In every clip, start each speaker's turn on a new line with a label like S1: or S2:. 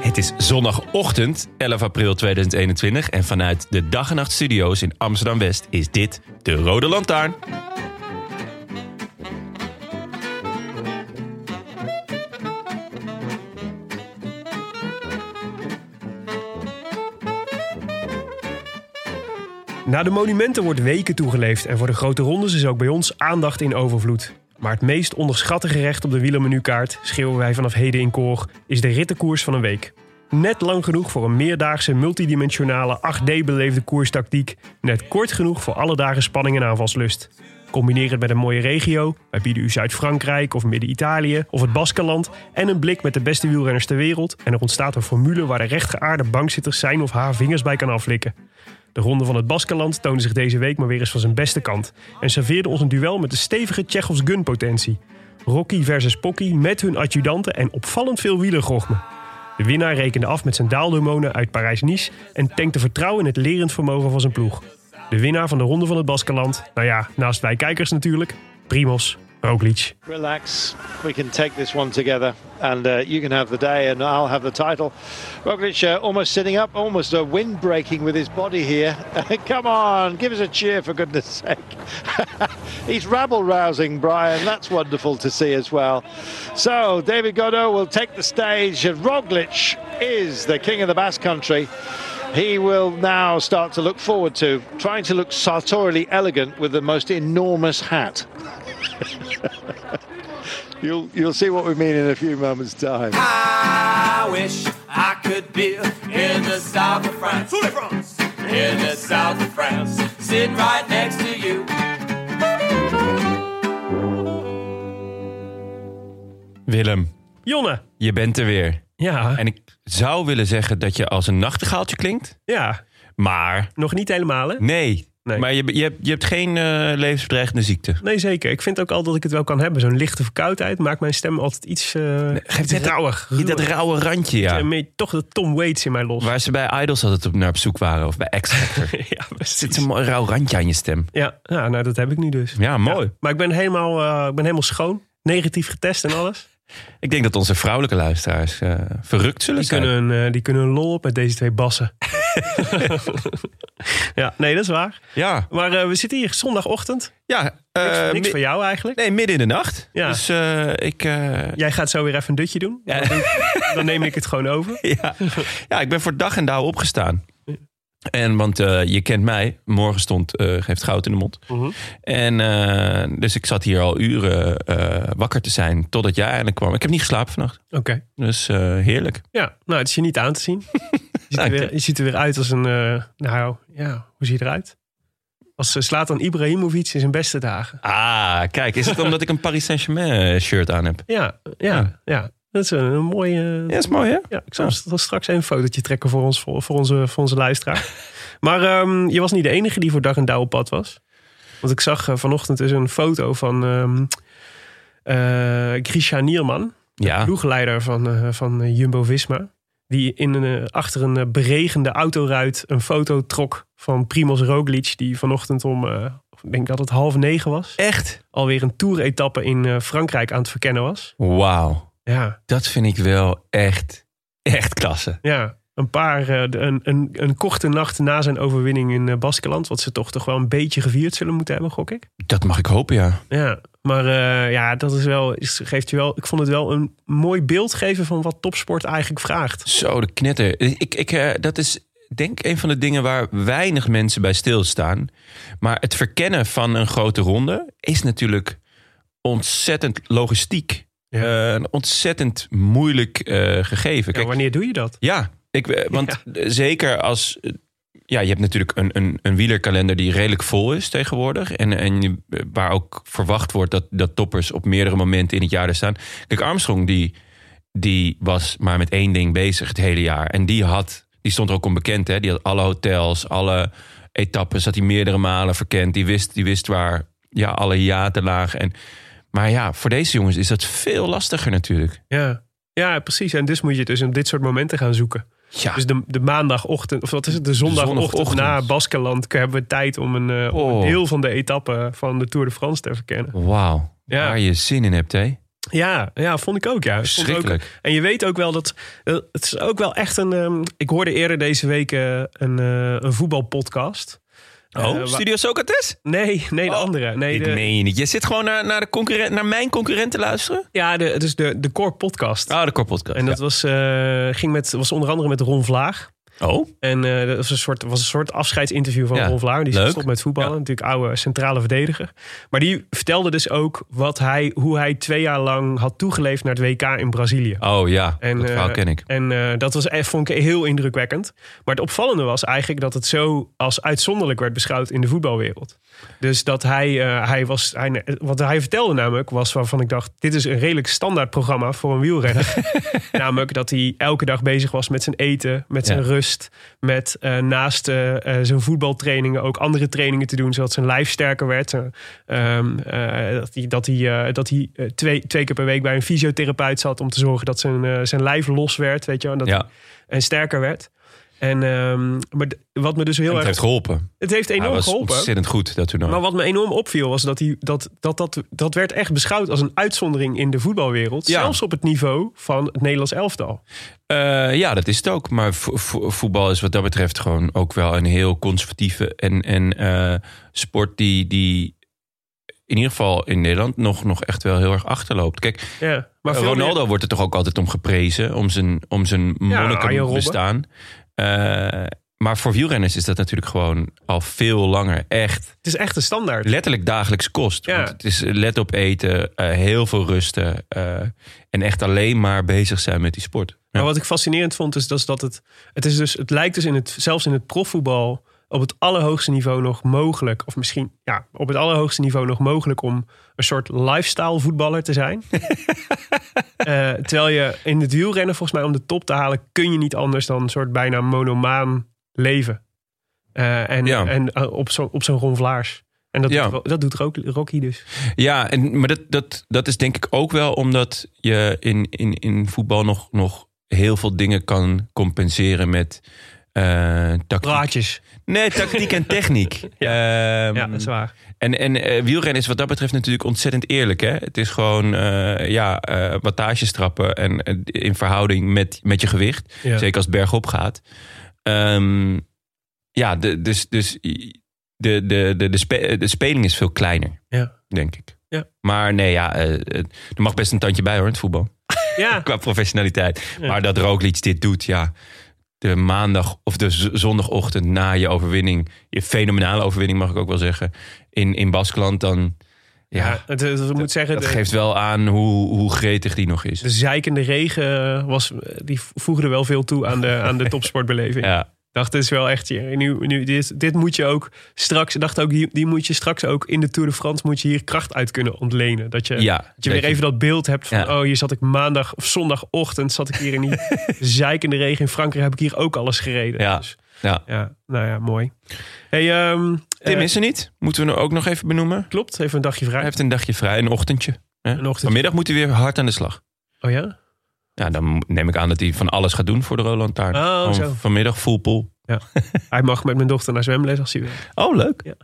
S1: Het is zondagochtend 11 april 2021 en vanuit de Dag en Nacht Studio's in Amsterdam West is dit de Rode Lantaarn.
S2: Naar de monumenten wordt weken toegeleefd en voor de grote rondes is ook bij ons aandacht in overvloed. Maar het meest onderschatte gerecht op de wielermenukaart, schreeuwen wij vanaf heden in koor, is de rittenkoers van een week. Net lang genoeg voor een meerdaagse, multidimensionale, 8D-beleefde koerstactiek. Net kort genoeg voor alle dagen spanning en aanvalslust. Combineer het met een mooie regio, wij bieden u Zuid-Frankrijk of Midden-Italië of het Baskenland en een blik met de beste wielrenners ter wereld en er ontstaat een formule waar de rechtgeaarde bankzitters zijn of haar vingers bij kan aflikken. De ronde van het Baskenland toonde zich deze week maar weer eens van zijn beste kant. En serveerde ons een duel met de stevige Tsjechofs gunpotentie. Rocky versus Pocky met hun adjudanten en opvallend veel wielergochme. De winnaar rekende af met zijn daalhormonen uit Parijs-Nice en tankte vertrouwen in het lerend vermogen van zijn ploeg. De winnaar van de ronde van het Baskenland, nou ja, naast wij kijkers natuurlijk, Primos Roglic.
S3: Relax. We can take this one together, and uh, you can have the day, and I'll have the title. Roglic uh, almost sitting up, almost a wind breaking with his body here. Come on, give us a cheer for goodness sake. He's rabble rousing, Brian. That's wonderful to see as well. So David Godot will take the stage. Roglic is the king of the Basque Country. He will now start to look forward to trying to look sartorially elegant with the most enormous hat. you'll you'll see what we mean in a few moments' time.
S4: I wish I could be in the south of France. In the south of France, sitting right next to you.
S1: Willem,
S2: Jonne,
S1: je bent er weer.
S2: ja,
S1: En ik zou willen zeggen dat je als een nachtegaaltje klinkt,
S2: ja,
S1: maar
S2: nog niet helemaal hè?
S1: nee.
S2: Nee.
S1: Maar je, je, hebt- je hebt geen eh, levensbedreigende ziekte.
S2: Nee, zeker. Ik vind ook al dat ik het wel kan hebben. Zo'n lichte verkoudheid maakt mijn stem altijd iets eh
S1: geeft net-
S2: rauwig.
S1: Je- Dat rauwe randje,
S2: En
S1: ja.
S2: meer toch de Tom Waits in mij los.
S1: Waar ze bij Idols altijd op, naar op zoek waren, of bij X Factor.
S2: ja,
S1: zit
S2: precies.
S1: een mooi rauw randje aan je stem.
S2: Ja, ja, nou dat heb ik nu dus.
S1: Ja, mooi.
S2: Ja, maar ik ben, helemaal, eh, ik ben helemaal schoon. Negatief getest en alles.
S1: Ik denk dat onze vrouwelijke luisteraars eh, verrukt zullen
S2: Die
S1: zijn.
S2: kunnen, een, eh, die kunnen een lol op met deze twee bassen. ja, nee, dat is waar.
S1: Ja,
S2: Maar eh, we zitten hier zondagochtend.
S1: ja.
S2: Niks,
S1: eh,
S2: niks
S1: mi-
S2: van jou eigenlijk.
S1: Nee, midden in de nacht.
S2: Ja.
S1: Dus eh, ik, eh,
S2: Jij gaat zo weer even een dutje doen.
S1: Ja.
S2: Dan, doe- dan neem ik het gewoon over.
S1: ja. ja, ik ben voor dag en dauw opgestaan. En want eh, je kent mij, morgen stond eh, geeft goud in de mond. En eh, dus ik zat hier al uren eh, wakker te zijn totdat jij eindelijk kwam. Ik heb niet geslapen vannacht.
S2: Oké.
S1: Dus eh, heerlijk.
S2: Ja, nou, het is je niet aan te zien. Je ziet er
S1: Dank je.
S2: weer, je ziet er weer uit als een. eh, nou ja, hoe zie je eruit? Als eh, Zlatan Ibrahimovic in zijn beste dagen.
S1: Ah, kijk, is het omdat ik een Paris Saint-Germain eh, shirt aan heb?
S2: Ja, ja, ja. Dat is een, een mooie. eh,
S1: Ja, is mooi hè?
S2: ja, ik zal st- straks even een fotootje trekken voor, ons, voor, voor onze, voor onze luisteraar. maar ehm, je was niet de enige die voor dag en dauw op pad was. Want ik zag eh, vanochtend dus een foto van ehm eh Christian Nierman.
S1: Ja.
S2: ploegleider van, eh, van eh, Jumbo Visma. Die in een, eh, achter een eh, beregende autoruit een foto trok van Primoz Roglic. Die vanochtend om, eh, ik denk dat het half negen was.
S1: Echt?
S2: Alweer een toeretappe in eh, Frankrijk aan het verkennen was.
S1: Wauw.
S2: Ja,
S1: Dat vind ik wel echt, echt klasse.
S2: ja. Een paar, eh, de- een, een, een korte nacht na zijn overwinning in eh, Baskeland. Wat ze toch toch wel een beetje gevierd zullen moeten hebben, gok ik.
S1: Dat mag ik hopen, ja.
S2: Ja, maar eh, ja, dat is wel, is- geeft je wel. Ik vond het wel een mooi beeld geven van wat topsport eigenlijk vraagt.
S1: Zo, de knetter. Ik, ik, eh, dat is denk ik een van de dingen waar weinig mensen bij stilstaan. Maar het verkennen van een grote ronde is natuurlijk ontzettend logistiek.
S2: Ja.
S1: Eh, een ontzettend moeilijk eh, gegeven.
S2: Ja,
S1: Kijk,
S2: wanneer doe je dat?
S1: ja, ik, eh, want zeker als... eh, Ja, je hebt natuurlijk een, een, een wielerkalender die redelijk vol is tegenwoordig. En, en je- eh, waar ook verwacht wordt dat, dat toppers op meerdere momenten in het jaar er staan. Kijk, Armstrong die, die was maar met één ding bezig het hele jaar. En die had, die stond er ook onbekend hè. Die had alle hotels, alle etappes, had hij meerdere malen verkend. Die wist, die wist waar ja, alle hiaten lagen. En, maar ja, voor deze jongens is dat veel lastiger natuurlijk.
S2: Ja. ja, precies. En dus moet je dus op dit soort momenten gaan zoeken.
S1: Ja.
S2: Dus de, de maandagochtend, of wat is het, de zondagochtend,
S1: zondagochtend.
S2: na Baskeland hebben we tijd om een, eh, om een
S1: Oh.
S2: deel van de etappe van de Tour de France te verkennen.
S1: Wauw,
S2: Ja.
S1: waar je zin in hebt hè.
S2: Ja, ja vond ik ook. Ja. Ik vond ook-
S1: Verschrikkelijk.
S2: en je weet ook wel dat eh, het is ook wel echt een. ehm, ik hoorde eerder deze week eh, een, eh, een voetbalpodcast. Eh, wa-
S1: Socrates?
S2: Nee, nee, de
S1: Oh,
S2: andere. Nee,
S1: Dit
S2: de-
S1: Oh, meen je niet. Je zit gewoon naar, naar, de concurrent, naar mijn concurrent te luisteren?
S2: ja, de, dus de, de Core Podcast.
S1: Ah, de Korpodcast.
S2: en dat was, eh, ging met, was onder andere met Ron Vlaag.
S1: Oh,
S2: En eh, dat was een soort, was een soort afscheidsinterview van
S1: Ja,
S2: Ron Vlaar. Die
S1: leuk.
S2: stopt met voetballen.
S1: Ja.
S2: Natuurlijk oude centrale verdediger. Maar die vertelde dus ook wat hij, hoe hij twee jaar lang had toegeleefd naar het WK in Brazilië.
S1: oh ja.
S2: En,
S1: dat verhaal
S2: eh,
S1: ken ik.
S2: En eh, dat was, echt- vond ik heel indrukwekkend. Maar het opvallende was eigenlijk dat het zo als uitzonderlijk werd beschouwd in de voetbalwereld. Dus dat hij, eh, hij was, hij, wat hij vertelde namelijk, was waarvan ik dacht: dit is een redelijk standaard programma voor een wielrenner. namelijk dat hij elke dag bezig was met zijn eten, met zijn
S1: Ja.
S2: rust. Met eh, naast eh, eh, zijn voetbaltrainingen ook andere trainingen te doen, zodat zijn lijf sterker werd. Eh, ehm, eh, dat hij, dat hij, eh, dat hij eh, twee, twee keer per week bij een fysiotherapeut zat om te zorgen dat zijn, eh, zijn lijf los werd, weet je wel. En dat
S1: Ja,
S2: en sterker werd. En ehm, maar d- wat me dus heel
S1: en het
S2: erg.
S1: heeft geholpen.
S2: het heeft
S1: Hij
S2: enorm
S1: was
S2: geholpen.
S1: ontzettend goed, dat toernooi.
S2: Maar wat me enorm opviel was dat, hij, dat, dat, dat dat werd echt beschouwd als een uitzondering in de voetbalwereld.
S1: Ja.
S2: Zelfs op het niveau van het Nederlands elftal.
S1: Eh, ja, dat is het ook. Maar vo- vo- voetbal is wat dat betreft gewoon ook wel een heel conservatieve en, en eh, sport die, die in ieder geval in Nederland nog, nog echt wel heel erg achterloopt. Kijk,
S2: Ja. Maar veel
S1: Eh, Ronaldo
S2: meer-
S1: wordt er toch ook altijd om geprezen, om zijn, om zijn
S2: Arjen
S1: monniken
S2: Robben.
S1: bestaan. Eh, maar voor wielrenners is dat natuurlijk gewoon al veel langer echt
S2: het is echt een standaard.
S1: letterlijk dagelijks kost.
S2: Ja.
S1: Want het is let op eten, eh, heel veel rusten eh, en echt alleen maar bezig zijn met die sport. Ja.
S2: Maar wat ik fascinerend vond is, dus dat het, het, is dus, het lijkt dus in het, zelfs in het profvoetbal op het allerhoogste niveau nog mogelijk, of misschien ja, op het allerhoogste niveau nog mogelijk om een soort lifestyle voetballer te zijn. Eh, terwijl je in het wielrennen volgens mij om de top te halen kun je niet anders dan een soort bijna monomaan leven. Eh, en
S1: Ja.
S2: en eh, op zo'n op zo'n Ron Vlaars. En dat,
S1: Ja.
S2: doet, Ro- dat doet Rocky- Rocky dus.
S1: Ja, en, maar dat, dat, dat is denk ik ook wel omdat je in, in, in voetbal nog, nog heel veel dingen kan compenseren met eh tactiek.
S2: Praatjes.
S1: Nee, tactiek en techniek. Ehm,
S2: Ja, dat is waar.
S1: En, en eh, wielrennen is wat dat betreft natuurlijk ontzettend eerlijk. Hè? Het is gewoon eh, ja, eh wattages trappen en eh, in verhouding met, met je gewicht.
S2: Ja.
S1: Zeker als het bergop gaat. Ehm, ja, de, dus, dus de, de, de, de, spe- de speling is veel kleiner,
S2: Ja.
S1: denk ik.
S2: Ja.
S1: Maar nee, ja, eh, eh, er mag best een tandje bij hoor in het voetbal.
S2: Ja,
S1: Qua professionaliteit. Maar dat Roglic dit doet, ja. De maandag of de z- zondagochtend na je overwinning. Je fenomenale overwinning mag ik ook wel zeggen. In, in Baskeland dan... Ja,
S2: ja. Eh, het, het- ik moet zeggen,
S1: dat
S2: de-
S1: geeft wel aan hoe, hoe gretig die nog is.
S2: De zeikende regen eh, was, die voegde wel veel toe aan de, aan de topsportbeleving.
S1: Ja,
S2: Ik dacht, dit is wel echt... hier- Nu, nu, dit, dit moet je ook straks... Ik dacht ook, die, die moet je straks ook in de Tour de France... moet je hier kracht uit kunnen ontlenen. Dat je,
S1: Ja,
S2: dat je weer
S1: dat je-
S2: even dat beeld hebt van...
S1: Ja.
S2: oh, hier zat ik maandag of zondagochtend... zat ik hier in die zeikende regen. In Frankrijk heb ik hier ook alles gereden.
S1: Ja.
S2: Dus,
S1: ja.
S2: ja nou ja, mooi. Hey, ehm,
S1: Tim
S2: eh,
S1: is er niet. Moeten we hem ook nog even benoemen.
S2: Klopt, even een dagje
S1: Hij
S2: vrij.
S1: heeft een dagje vrij, een ochtendje. hè?
S2: Een ochtendje.
S1: Vanmiddag moet hij weer hard aan de slag.
S2: Oh ja?
S1: Ja, dan neem ik aan dat hij van alles gaat doen voor de Roland Taarn.
S2: Oh,
S1: Gewoon
S2: zo.
S1: Vanmiddag full pool.
S2: Hij mag met mijn dochter naar zwemles als hij wil.
S1: Oh, leuk.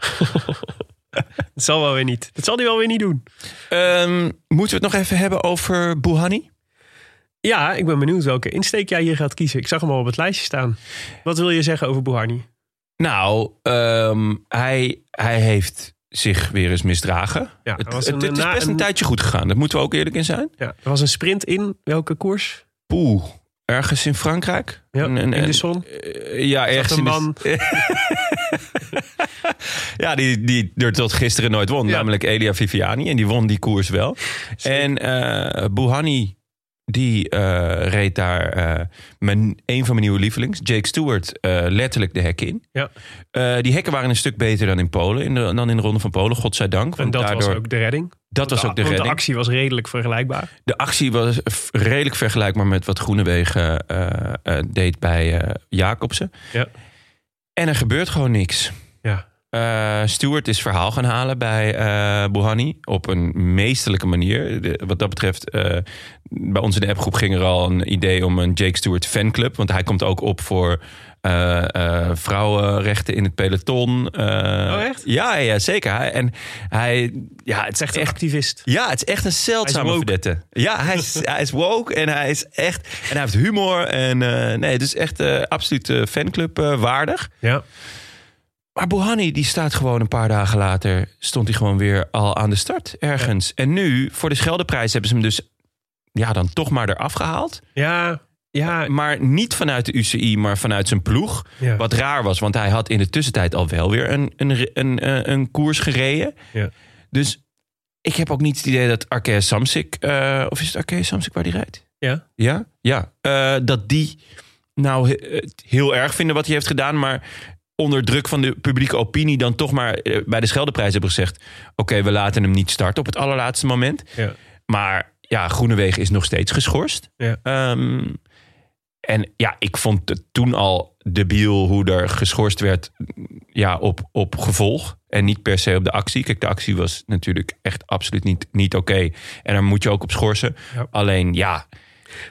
S2: Dat zal wel weer niet. Dat zal hij wel weer niet doen.
S1: Ehm, moeten we het nog even hebben over Bouhanni?
S2: Ja, ik ben benieuwd welke insteek jij hier gaat kiezen. Ik zag hem al op het lijstje staan. Wat wil je zeggen over Buharni?
S1: Nou, ehm, hij, hij heeft zich weer eens misdragen.
S2: Ja,
S1: het,
S2: er was
S1: het-
S2: een-
S1: het is
S2: na-
S1: best een
S2: een-
S1: tijdje goed gegaan. Daar moeten we ook eerlijk in zijn.
S2: Ja, er was een sprint in welke koers?
S1: Poeh, ergens in Frankrijk.
S2: Ja,
S1: Een- een-
S2: in de
S1: een-
S2: zon.
S1: eh, ja, ergens
S2: een
S1: in de-
S2: man.
S1: ja, die, die er tot gisteren nooit won.
S2: Ja.
S1: Namelijk Elia Viviani. En die won die koers wel. En eh Bouhanni, die eh, reed daar eh, mijn, een van mijn nieuwe lievelings, Jake Stewart, eh, letterlijk de hek in.
S2: Ja.
S1: Eh, die hekken waren een stuk beter dan in Polen. In de, dan in de Ronde van Polen, godzijdank.
S2: En
S1: want
S2: dat
S1: daardoor,
S2: was ook de redding.
S1: dat was ook de
S2: Want
S1: redding.
S2: de actie was redelijk vergelijkbaar.
S1: De actie was f- redelijk vergelijkbaar met wat Groenewegen eh, eh, deed bij eh Jacobsen.
S2: Ja.
S1: En er gebeurt gewoon niks.
S2: Ja.
S1: Eh, Stewart is verhaal gaan halen bij eh Bouhanni op een meestelijke manier. De- wat dat betreft, eh, bij ons in de appgroep ging er al een idee om een Jake Stewart fanclub. Want hij komt ook op voor eh, eh, vrouwenrechten in het peloton. Eh,
S2: Oh, echt?
S1: Ja, ja zeker. Hij- en hij, ja, het is
S2: Echt
S1: echt
S2: een activist.
S1: ja, het is echt een zeldzame
S2: woke.
S1: vedette. Ja, hij is, hij is woke en hij is echt... En hij heeft humor en... eh, nee, het is echt eh, absoluut eh, fanclub eh, waardig.
S2: Ja.
S1: Maar Bohani, die staat gewoon een paar dagen later... stond hij gewoon weer al aan de start ergens. En nu, voor de Scheldeprijs hebben ze hem dus... ja, dan toch maar eraf gehaald.
S2: Ja. Ja.
S1: Maar niet vanuit de UCI, maar vanuit zijn ploeg.
S2: Ja.
S1: Wat raar was, want hij had in de tussentijd al wel weer een, een, re- een, eh, een koers gereden.
S2: Ja.
S1: Dus ik heb ook niet het idee dat Arkea Samsic, eh, of is het Arkea Samsic waar die rijdt?
S2: Ja.
S1: Ja, ja. Eh, dat die nou he- het heel erg vinden wat hij heeft gedaan, maar onder druk van de publieke opinie dan toch maar eh, bij de Scheldeprijs hebben gezegd... oké, we laten hem niet starten op het allerlaatste moment.
S2: Ja.
S1: Maar ja, Groenewegen is nog steeds geschorst.
S2: Ja.
S1: Ehm, en ja, ik vond het toen al debiel hoe er geschorst werd ja, op, op gevolg. En niet per se op de actie. Kijk, de actie was natuurlijk echt absoluut niet, niet oké. En daar moet je ook op schorsen.
S2: Ja.
S1: Alleen ja,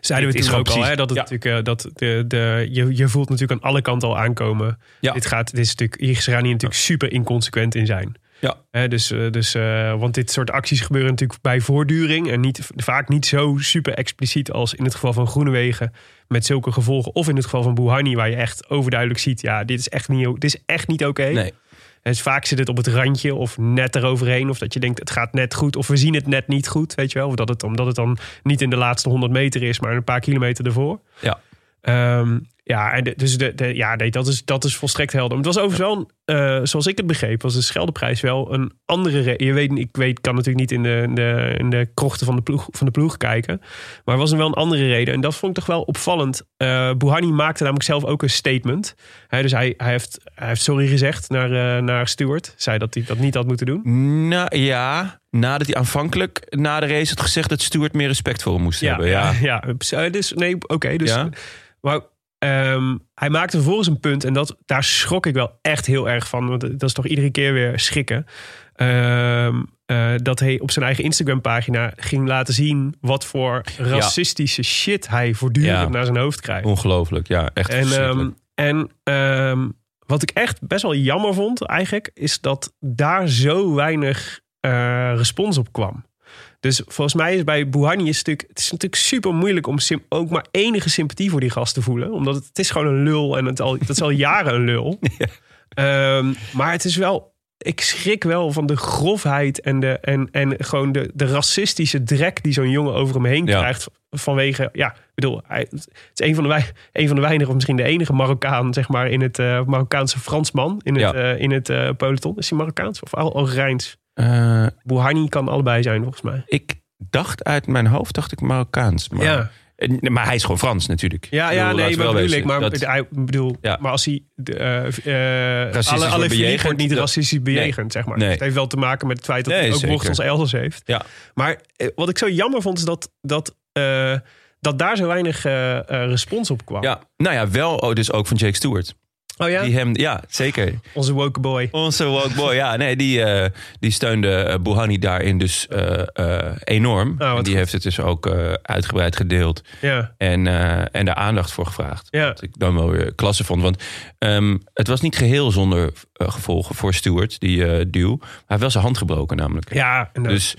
S2: Zeiden we
S1: Dit is
S2: toen ook
S1: gewoon
S2: al,
S1: precies-
S2: hè, dat het
S1: ja.
S2: natuurlijk, eh, dat de, de, je, je voelt natuurlijk aan alle kanten al aankomen.
S1: Ja.
S2: Dit gaat, dit is natuurlijk, hier is Rani natuurlijk super inconsequent in zijn.
S1: Ja.
S2: Hè, dus, eh, dus, eh, want dit soort acties gebeuren natuurlijk bij voortduring en niet, vaak niet zo super expliciet als in het geval van Groenewegen met zulke gevolgen. Of in het geval van Bouhanni, waar je echt overduidelijk ziet, ja, dit is echt niet, o- dit is echt niet oké.
S1: nee.
S2: En dus vaak zit het op het randje of net eroverheen. Of dat je denkt, het gaat net goed. Of we zien het net niet goed, weet je wel. Of dat het, omdat het dan niet in de laatste 100 meter is, maar een paar kilometer ervoor.
S1: Ja.
S2: Ehm, ja, en de- dus de, de- ja, nee, dat, is, dat is volstrekt helder. Maar het was overigens wel, een, eh, zoals ik het begreep, was de Scheldeprijs wel een andere... re- Je weet, ik weet, kan natuurlijk niet in de, in de, in de krochten van de, ploeg, van de ploeg kijken. Maar er was wel een andere reden. En dat vond ik toch wel opvallend. Eh Buhani maakte namelijk zelf ook een statement. Hè, dus hij, hij, heeft, hij heeft sorry gezegd naar, eh, naar Stewart. Zei dat hij dat niet had moeten doen.
S1: Nou ja, nadat hij aanvankelijk na de race had gezegd dat Stuart meer respect voor hem moest hebben. Ja.
S2: ja. Eh, Dus nee, oké. dus,
S1: Ja.
S2: Maar ehm, hij maakte vervolgens een punt. En dat, daar schrok ik wel echt heel erg van. Want dat is toch iedere keer weer schrikken. Ehm, eh, dat hij op zijn eigen Instagram-pagina ging laten zien. wat voor racistische shit hij voortdurend
S1: Ja.
S2: naar zijn hoofd krijgt.
S1: Ongelooflijk, ja. Echt
S2: En,
S1: verschrikkelijk.
S2: ehm, en ehm, wat ik echt best wel jammer vond eigenlijk, is dat daar zo weinig eh, respons op kwam. Dus volgens mij is bij Buhani is het, natuurlijk, het is natuurlijk super moeilijk om sim- ook maar enige sympathie voor die gast te voelen. Omdat het, het is gewoon een lul en het al, dat is al jaren een lul. Ehm, maar het is wel, ik schrik wel van de grofheid en, de, en, en gewoon de, de racistische drek die zo'n jongen over hem heen
S1: Ja.
S2: krijgt. Vanwege, ja, ik bedoel, hij, het is een van, de, wei- een van de weinige, of misschien de enige Marokkaan, zeg maar, in het eh, Marokkaanse Fransman in het,
S1: Ja.
S2: eh, in het eh, peloton. Is hij Marokkaans of Al Algerijns?
S1: Eh,
S2: Bouhani kan allebei zijn, volgens mij.
S1: ik dacht uit mijn hoofd, dacht ik Marokkaans. Maar,
S2: Ja.
S1: Eh, Maar hij is gewoon Frans natuurlijk.
S2: Ja,
S1: Ik bedoel,
S2: ja,
S1: laten we
S2: nee, maar
S1: wel
S2: bedoel
S1: wezen.
S2: ik. Maar,
S1: Dat-
S2: hij, bedoel,
S1: Ja.
S2: maar als hij... De, eh, eh,
S1: Racistisch
S2: alle
S1: wordt
S2: alle
S1: bejegend,
S2: wordt niet
S1: dat-
S2: racistisch bejegend, zeg maar.
S1: Nee.
S2: Dus het heeft wel te maken met het feit dat
S1: Nee,
S2: hij ook
S1: zeker.
S2: wortels elders heeft.
S1: Ja.
S2: Maar eh, wat ik zo jammer vond, is dat, dat, eh, dat daar zo weinig eh, eh, respons op kwam.
S1: ja, nou ja, wel oh, dus ook van Jake Stewart.
S2: Oh ja?
S1: Die hem, ja, zeker.
S2: Onze woke boy.
S1: Onze woke boy, ja, nee, die, eh, die steunde eh, Bouhanni daarin dus eh, eh, enorm.
S2: Oh, wat
S1: en die
S2: goed.
S1: heeft het dus ook eh, uitgebreid gedeeld
S2: Ja,
S1: en, eh, en daar aandacht voor gevraagd.
S2: ja.
S1: Wat ik dan wel weer klasse vond. Want ehm, het was niet geheel zonder eh, gevolgen voor Stewart, die eh duw. Hij heeft wel zijn hand gebroken namelijk.
S2: Ja, en dat-
S1: Dus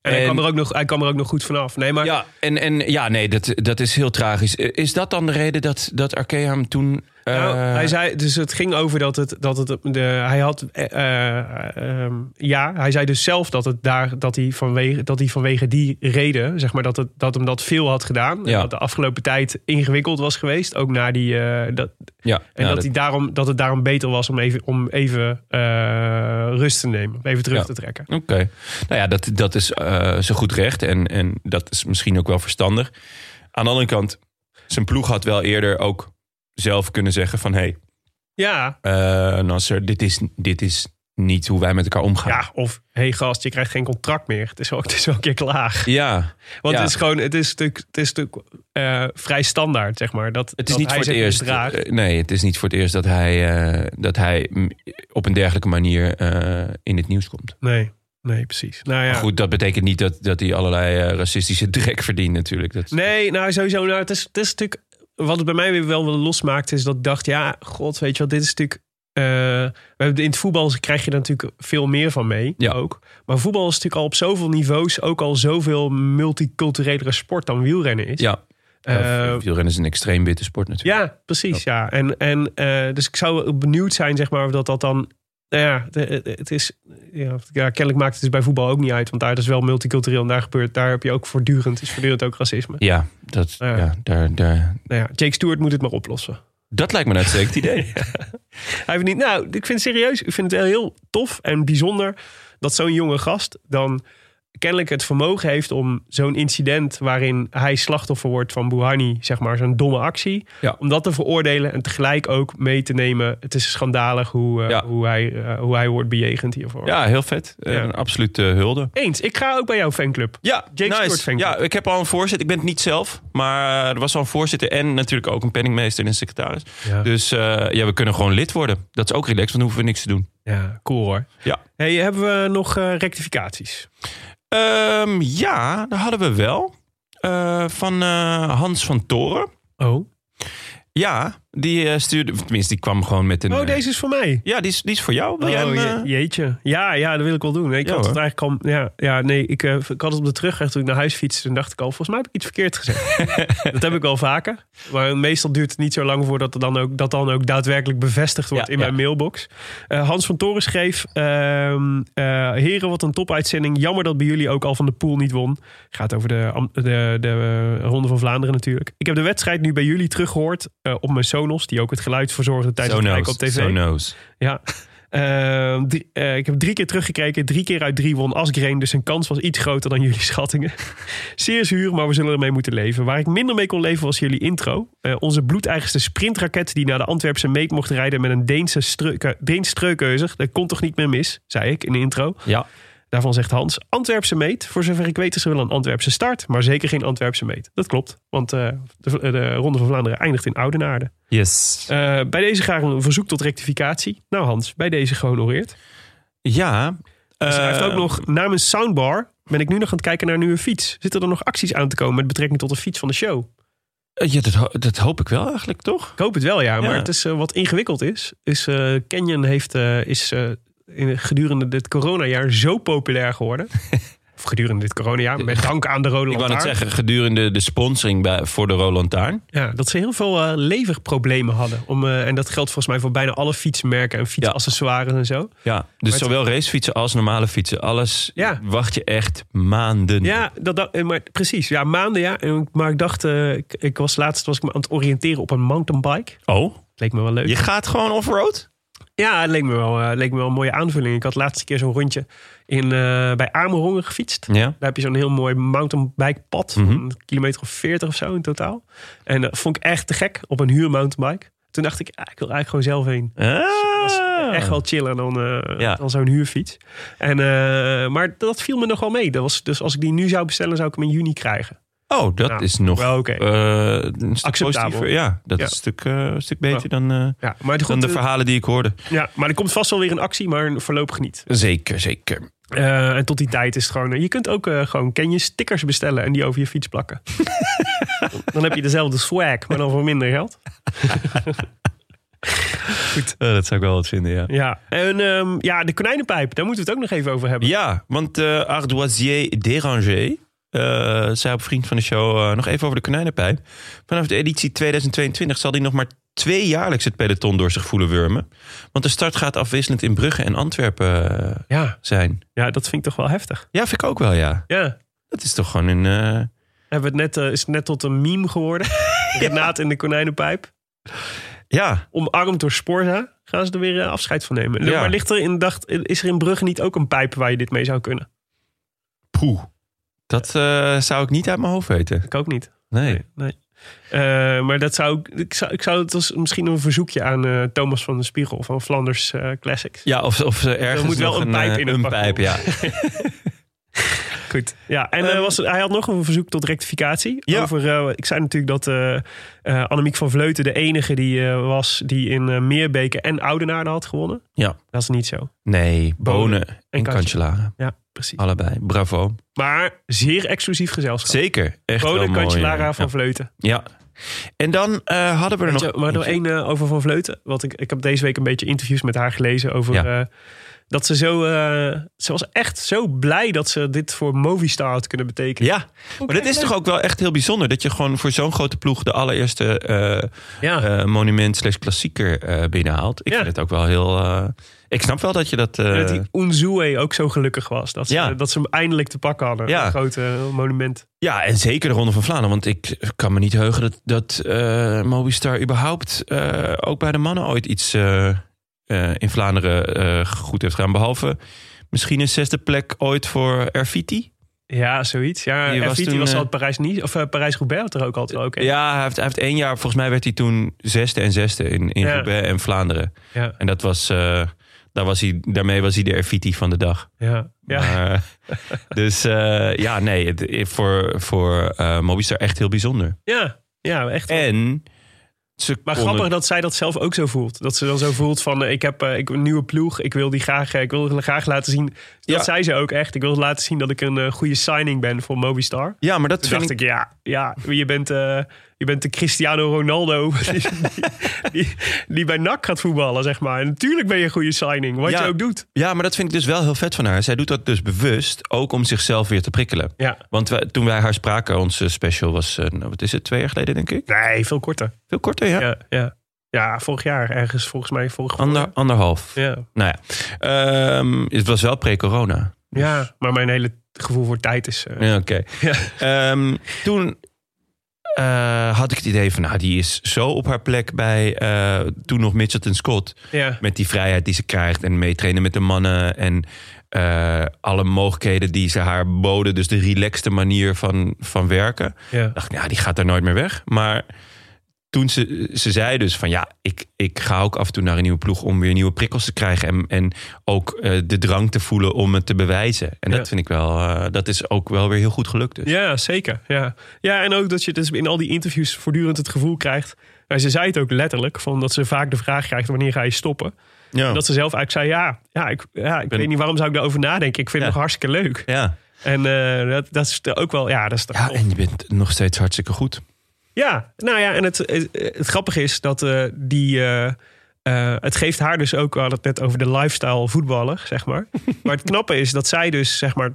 S2: En, hij,
S1: En-
S2: kwam er ook nog, hij kwam er ook nog goed vanaf. Nee, maar
S1: Ja, en, en ja, nee, dat, dat is heel tragisch. Eh, Is dat dan de reden dat, dat Arkea hem toen... eh,
S2: Nou, hij zei, dus het ging over dat het, dat het de, hij had, eh, eh, ehm, ja, hij zei dus zelf dat het daar, dat hij vanwege, dat hij vanwege die reden, zeg maar, dat het, dat hem dat veel had gedaan. En
S1: Ja.
S2: dat de afgelopen tijd ingewikkeld was geweest, ook na die, eh, dat,
S1: ja, nou,
S2: en
S1: ja,
S2: dat, hij daarom, dat het daarom beter was om even, om even eh, rust te nemen, om even terug
S1: Ja.
S2: te trekken.
S1: Oké. Nou ja, dat, dat is eh, zo goed recht. En, en dat is misschien ook wel verstandig. Aan de andere kant, zijn ploeg had wel eerder ook zelf kunnen zeggen van... hé,
S2: Ja,
S1: hey, Nasser, dit is, dit is niet hoe wij met elkaar omgaan.
S2: ja of hé hey gast, je krijgt geen contract meer. Het is wel, het is wel een keer klaar.
S1: Ja,
S2: Want
S1: Ja.
S2: het is gewoon, het is natuurlijk, het is natuurlijk eh, vrij standaard, zeg maar. Dat,
S1: het is
S2: dat
S1: niet
S2: hij
S1: voor het
S2: zich
S1: eerst.
S2: misdraagt.
S1: eh, nee, het is niet voor het eerst dat hij, eh, dat hij mm, op een dergelijke manier eh, in het nieuws komt.
S2: Nee, nee, precies. Nou ja.
S1: Maar goed, dat betekent niet dat, dat hij allerlei eh, racistische drek verdient natuurlijk. Dat,
S2: Nee, nou sowieso. Nou, het, is, het is natuurlijk. Wat het bij mij weer wel wel losmaakt, is dat ik dacht: ja, god, weet je wel, dit is natuurlijk. eh, we hebben- in het voetbal dus krijg je daar natuurlijk veel meer van mee.
S1: Ja.
S2: Ook. Maar voetbal is natuurlijk al op zoveel niveaus ook al zoveel multiculturelere sport dan wielrennen is.
S1: Ja,
S2: Eh,
S1: uh, wielrennen is een extreem witte sport natuurlijk.
S2: Ja, precies. Ja. En, en, eh, dus ik zou benieuwd zijn, zeg maar, of dat, dat dan. Nou ja, het, het is. Ja, ja, kennelijk maakt het dus bij voetbal ook niet uit. Want daar is wel multicultureel en daar gebeurt. Daar heb je ook voortdurend. Is voortdurend ook racisme.
S1: Ja, dat,
S2: Ja.
S1: ja. daar, daar,
S2: Nou ja, Jake Stewart moet het maar oplossen.
S1: dat lijkt me een uitstekend idee.
S2: Hij heeft niet. Nou, ik vind het serieus. Ik vind het wel heel tof en bijzonder dat zo'n jonge gast dan kennelijk het vermogen heeft om zo'n incident waarin hij slachtoffer wordt van Buhani, zeg maar, zo'n domme actie,
S1: Ja.
S2: om dat te veroordelen en tegelijk ook mee te nemen. Het is schandalig hoe, eh,
S1: Ja.
S2: hoe, hij, eh, hoe hij wordt bejegend hiervoor.
S1: Ja, heel vet. Eh,
S2: Ja.
S1: Een absolute hulde.
S2: Eens, ik ga ook bij jouw fanclub.
S1: Ja,
S2: Jake
S1: nice.
S2: Stewart vind ik
S1: Ja,
S2: het.
S1: ik heb al een voorzitter. Ik ben het niet zelf. Maar eh, er was al een voorzitter en natuurlijk ook een penningmeester en een secretaris.
S2: Ja.
S1: Dus eh, ja, we kunnen gewoon lid worden. Dat is ook relaxed, want dan hoeven we niks te doen.
S2: Ja, cool hoor.
S1: Ja.
S2: Hey, hebben we nog eh, rectificaties?
S1: Ehm, ja, daar hadden we wel. Eh, van eh, Hans van Toren.
S2: Oh.
S1: Ja, die eh, stuurde... of Tenminste, die kwam gewoon met een...
S2: Oh,
S1: eh,
S2: deze is voor mij.
S1: Ja, die is, die is voor jou. Wil jij
S2: Oh,
S1: hem,
S2: je-
S1: eh,
S2: jeetje. Ja, ja, dat wil ik wel doen. Ik
S1: Ja,
S2: had het
S1: hoor.
S2: eigenlijk al. Ja, ja nee, ik, eh, ik had het op de terugweg toen ik naar huis fietste. Toen dacht ik al, volgens mij heb ik iets verkeerd gezegd. dat heb ik wel vaker. Maar meestal duurt het niet zo lang voordat het dan ook, dat dan ook daadwerkelijk bevestigd wordt
S1: Ja,
S2: in
S1: ja.
S2: mijn mailbox. Eh, Hans van Toren schreef: ehm, eh, Heren, wat een topuitzending. Jammer dat bij jullie ook al van de pool niet won. Gaat over de, am- de, de eh, Ronde van Vlaanderen natuurlijk. Ik heb de wedstrijd nu bij jullie teruggehoord eh, op mijn Sonos, die ook het geluid verzorgde tijdens
S1: so
S2: het kijken
S1: knows,
S2: op tv.
S1: so knows.
S2: Ja. Ehm, drie- eh, ik heb drie keer teruggekeken. Drie keer uit drie won Asgreen. Dus zijn kans was iets groter dan jullie schattingen. Zeer zuur, maar we zullen ermee moeten leven. Waar ik minder mee kon leven was jullie intro. Eh, onze bloedeigenste sprintraket die naar de Antwerpse meet mocht rijden... met een Deense streuke, Deens streukeuzer. Dat kon toch niet meer mis, zei ik in de intro.
S1: Ja.
S2: Daarvan zegt Hans, Antwerpse meet. Voor zover ik weet is er wel een Antwerpse start... maar zeker geen Antwerpse meet. Dat klopt, want eh, de, de Ronde van Vlaanderen eindigt in Oudenaarde.
S1: Yes.
S2: Eh, bij deze graag een verzoek tot rectificatie. Nou Hans, bij deze gehonoreerd.
S1: Ja.
S2: Eh, dus Hij
S1: eh,
S2: schrijft ook nog, namens Soundbar ben ik nu nog aan het kijken naar een nieuwe fiets. Zitten er nog acties aan te komen met betrekking tot de fiets van de show?
S1: eh, Ja, dat, ho- dat hoop ik wel eigenlijk, toch?
S2: Ik hoop het wel, ja. Maar
S1: Ja.
S2: het is eh, wat ingewikkeld is. is eh, Canyon heeft, eh, is eh, in, gedurende dit coronajaar zo populair geworden. of gedurende dit coronajaar, met dank aan de Rode
S1: Ik wou net
S2: Lantaarn.
S1: zeggen, gedurende de sponsoring bij, voor de Roland Taarn.
S2: Ja, dat ze heel veel eh, leverproblemen hadden. Om, eh, en dat geldt volgens mij voor bijna alle fietsmerken en fietsaccessoires en zo.
S1: Ja, dus
S2: Maar het-
S1: zowel racefietsen als normale fietsen. Alles
S2: Ja.
S1: wacht je echt maanden.
S2: Ja, dat, dat- eh, maar precies. Ja, maanden ja. En- Maar ik dacht, eh, ik, ik was laatst was ik me aan het oriënteren op een mountainbike.
S1: Oh,
S2: Leek me wel leuk.
S1: je gaat gewoon offroad?
S2: Ja, het leek me wel, eh, leek me wel een mooie aanvulling. Ik had laatste keer zo'n rondje in, eh, bij Amerongen gefietst.
S1: Ja.
S2: Daar heb je zo'n heel mooi mountainbike pad.
S1: Hm. Mhm.
S2: Een kilometer of veertig of zo in totaal. En dat vond ik echt te gek op een huur mountainbike. Toen dacht ik, ah, ik wil eigenlijk gewoon zelf heen.
S1: Ah.
S2: Dat is echt wel chiller dan, eh,
S1: Ja.
S2: dan zo'n huurfiets. En, eh, maar dat viel me nog wel mee. Dat was, dus als ik die nu zou bestellen, zou ik hem in juni krijgen.
S1: Oh, dat
S2: Nou,
S1: is nog
S2: wel oké.
S1: eh, een stuk
S2: Acceptabel.
S1: positiever. Ja, dat
S2: Ja.
S1: is een stuk, eh, een stuk beter
S2: Ja.
S1: dan, eh,
S2: Ja, maar, het-
S1: dan
S2: goed,
S1: de
S2: eh,
S1: verhalen die ik hoorde.
S2: ja, maar er komt vast wel weer een actie, maar voorlopig niet.
S1: Zeker, zeker.
S2: Eh, en tot die tijd is het gewoon... eh, Je kunt ook eh, gewoon ken je stickers bestellen en die over je fiets plakken. dan heb je dezelfde swag, maar dan voor minder geld. Goed.
S1: Eh, dat zou ik wel wat vinden, ja.
S2: Ja, en ehm, ja, de konijnenpijp, daar moeten we het ook nog even over hebben.
S1: Ja, want eh Ardoisier Déranger eh zei op Vriend van de Show eh, nog even over de konijnenpijp. Vanaf de editie 2022 zal hij nog maar twee jaarlijks het peloton door zich voelen wurmen. Want de start gaat afwisselend in Brugge en Antwerpen eh,
S2: Ja,
S1: zijn.
S2: ja, dat vind ik toch wel heftig.
S1: Ja, vind ik ook wel, ja.
S2: Ja,
S1: Dat is toch gewoon een... eh,
S2: hebben we het net, eh, is het net tot een meme geworden. Renaat in de konijnenpijp.
S1: ja,
S2: Omarmd door Sporza gaan ze er weer eh, afscheid van nemen.
S1: Ja.
S2: Maar ligt er in, dacht, is er in Brugge niet ook een pijp waar je dit mee zou kunnen?
S1: poeh. Dat eh, zou ik niet uit mijn hoofd weten.
S2: Ik ook niet.
S1: Nee.
S2: Nee. Eh, maar dat zou, ik- ik zou, ik zou het als misschien een verzoekje aan eh, Thomas van den Spiegel van Flanders eh, Classics.
S1: Ja, of, of ze ergens
S2: moet wel
S1: nog
S2: een pijp
S1: eh,
S2: in het
S1: een
S2: pak
S1: pijp, ja.
S2: Goed. Ja, en eh,
S1: Ehm,
S2: was, hij had nog een verzoek tot rectificatie.
S1: Ja.
S2: Over, eh, ik zei natuurlijk dat eh eh, Annemiek van Vleuten de enige die eh, was die in eh, Meerbeke en Oudenaarde had gewonnen.
S1: Ja.
S2: Dat is niet zo.
S1: Nee, Bonen en,
S2: en
S1: Cancellara.
S2: Ja, precies.
S1: Allebei. Bravo.
S2: Maar zeer exclusief gezelschap.
S1: Zeker. Echt wel
S2: Bonen,
S1: mooi.
S2: Cancellara
S1: Ja.
S2: van Vleuten.
S1: Ja. En dan eh, hadden we er nog...
S2: Weet je, maar nog één eh, over Van Vleuten. Want ik, ik heb deze week een beetje interviews met haar gelezen over...
S1: Ja.
S2: eh, dat ze zo... eh, ze was echt zo blij dat ze dit voor Movistar had kunnen betekenen.
S1: Ja, maar dat is toch ook wel echt heel bijzonder... dat je gewoon voor zo'n grote ploeg de allereerste eh,
S2: Ja.
S1: eh, monument slash klassieker eh, binnenhaalt. Ik
S2: Ja.
S1: vind het ook wel heel... eh, ik snap wel dat je dat... eh,
S2: En dat die Unzue ook zo gelukkig was. Dat ze,
S1: Ja.
S2: dat ze hem eindelijk te pakken hadden.
S1: Ja.
S2: Een grote eh, monument.
S1: Ja, en zeker de Ronde van Vlaanderen. Want ik kan me niet heugen dat, dat eh Mobistar überhaupt eh, ook bij de mannen ooit iets eh, eh, in Vlaanderen eh, goed heeft gedaan. Behalve misschien een zesde plek ooit voor Erfiti.
S2: Ja, zoiets. Ja,
S1: Die
S2: en
S1: was
S2: Viti
S1: toen,
S2: was
S1: eh,
S2: altijd Parijs-Roubaix of eh, Parijs-Roubaix had er ook altijd wel ook. een.
S1: Ja, hij heeft, hij heeft één jaar, volgens mij werd hij toen zesde en zesde in, in
S2: Ja.
S1: Roubaix en Vlaanderen.
S2: Ja.
S1: En dat was, eh, daar was hij, daarmee was hij de Erfiti van de dag.
S2: Ja. Ja.
S1: Maar, dus eh, ja, nee, het, voor, voor eh Mobistar echt heel bijzonder.
S2: ja. Ja, echt.
S1: En ze
S2: Maar
S1: konden-
S2: grappig dat zij dat zelf ook zo voelt. Dat ze dan zo voelt van eh, ik heb eh, ik, een nieuwe ploeg. Ik wil die graag, eh, ik wil graag laten zien. Dat
S1: Ja.
S2: zei ze ook echt. Ik wil laten zien dat ik een eh, goede signing ben voor Mobistar.
S1: Ja, maar dat
S2: Toen
S1: vind
S2: dacht
S1: ik...
S2: ik, ja, ja je, bent, eh, je bent de Cristiano Ronaldo die, die, die bij NAC gaat voetballen, zeg maar. En natuurlijk ben je een goede signing, wat
S1: Ja.
S2: je ook doet.
S1: Ja, maar dat vind ik dus wel heel vet van haar. Zij doet dat dus bewust, ook om zichzelf weer te prikkelen.
S2: Ja.
S1: Want wij- toen wij haar spraken, onze special was, eh, nou, wat is het, twee jaar geleden denk ik?
S2: Nee, veel korter.
S1: Veel korter, ja.
S2: Ja, ja. ja vorig jaar ergens, volgens mij vorig
S1: Ander, anderhalf.
S2: Ja.
S1: Nou ja, Ehm, het was wel pre-corona.
S2: ja, maar mijn hele gevoel voor tijd is... eh,
S1: Ja, oké.
S2: Ja.
S1: Ehm, toen eh, had ik het idee van, nou, die is zo op haar plek bij eh, toen nog Mitchelton Scott.
S2: ja.
S1: Met die vrijheid die ze krijgt en meetrainen met de mannen. En eh, alle mogelijkheden die ze haar boden. Dus de relaxte manier van, van werken.
S2: Ja.
S1: dacht ik, nou, die gaat daar nooit meer weg. Maar toen ze, ze zei dus van ja, ik, ik ga ook af en toe naar een nieuwe ploeg om weer nieuwe prikkels te krijgen. En, en ook eh, de drang te voelen om het te bewijzen. En
S2: Ja.
S1: dat vind ik wel, eh, dat is ook wel weer heel goed gelukt. Dus.
S2: Ja, zeker. Ja. ja, en ook dat je dus in al die interviews voortdurend het gevoel krijgt. Nou, ze zei het ook letterlijk, van dat ze vaak de vraag krijgt: wanneer ga je stoppen?
S1: Ja.
S2: Dat ze zelf eigenlijk zei: ja, ja ik, ja, ik
S1: Oh. Ben-
S2: weet niet waarom zou ik daarover nadenken. Ik vind
S1: Ja.
S2: het nog hartstikke leuk.
S1: ja.
S2: En eh, dat, dat is er ook wel, ja, dat is toch
S1: ja,
S2: top.
S1: en je bent nog steeds hartstikke goed.
S2: Ja, nou ja, en het, eh, het grappige is dat eh, die. eh, eh, het geeft haar dus ook, we hadden het net over de lifestyle voetballer, zeg maar. Maar het knappe is dat zij dus, zeg maar,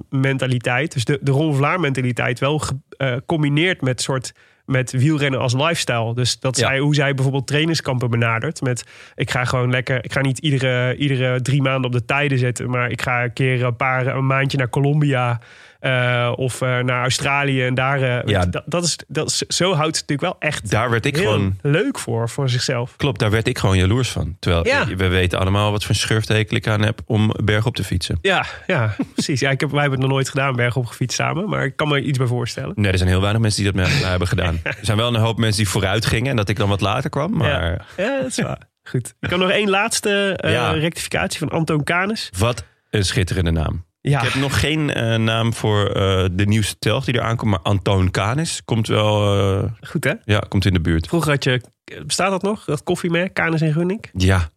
S2: topsportmentaliteit, dus de, de Ron Vlaar mentaliteit, wel ge- eh, combineert met soort met wielrennen als lifestyle. Dus dat
S1: Ja.
S2: zij, hoe zij bijvoorbeeld trainingskampen benadert. Met ik ga gewoon lekker, ik ga niet iedere, iedere drie maanden op de tijden zetten, maar ik ga een keer een paar een maandje naar Colombia eh, of eh, naar Australië en daar. eh,
S1: Ja.
S2: dat, dat is, dat is, zo houdt het natuurlijk wel echt
S1: Daar werd ik
S2: heel
S1: gewoon
S2: leuk voor, voor zichzelf.
S1: Klopt, daar werd ik gewoon jaloers van. Terwijl
S2: Ja.
S1: eh, we weten allemaal wat voor een schurftekel ik aan heb om berg op te fietsen.
S2: Ja, ja precies. Ja, ik heb, wij hebben het nog nooit gedaan, bergop gefietst samen. Maar ik kan me iets bij voorstellen.
S1: Nee, er zijn heel weinig mensen die dat met mij hebben gedaan. Er zijn wel een hoop mensen die vooruit gingen en dat ik dan wat later kwam. Maar
S2: Ja, ja dat is waar. eh, Goed. Ik heb nog één laatste eh,
S1: Ja.
S2: rectificatie van Antoon Kanes.
S1: wat een schitterende naam.
S2: Ja,
S1: Ik heb nog geen eh, naam voor eh, de nieuwste telg die er aankomt, maar Antoon Kanis komt wel eh,
S2: goed hè?
S1: ja, komt in de buurt.
S2: Vroeger had je, bestaat dat nog? Dat koffiemerk, Kanes en Gunning?
S1: Ja,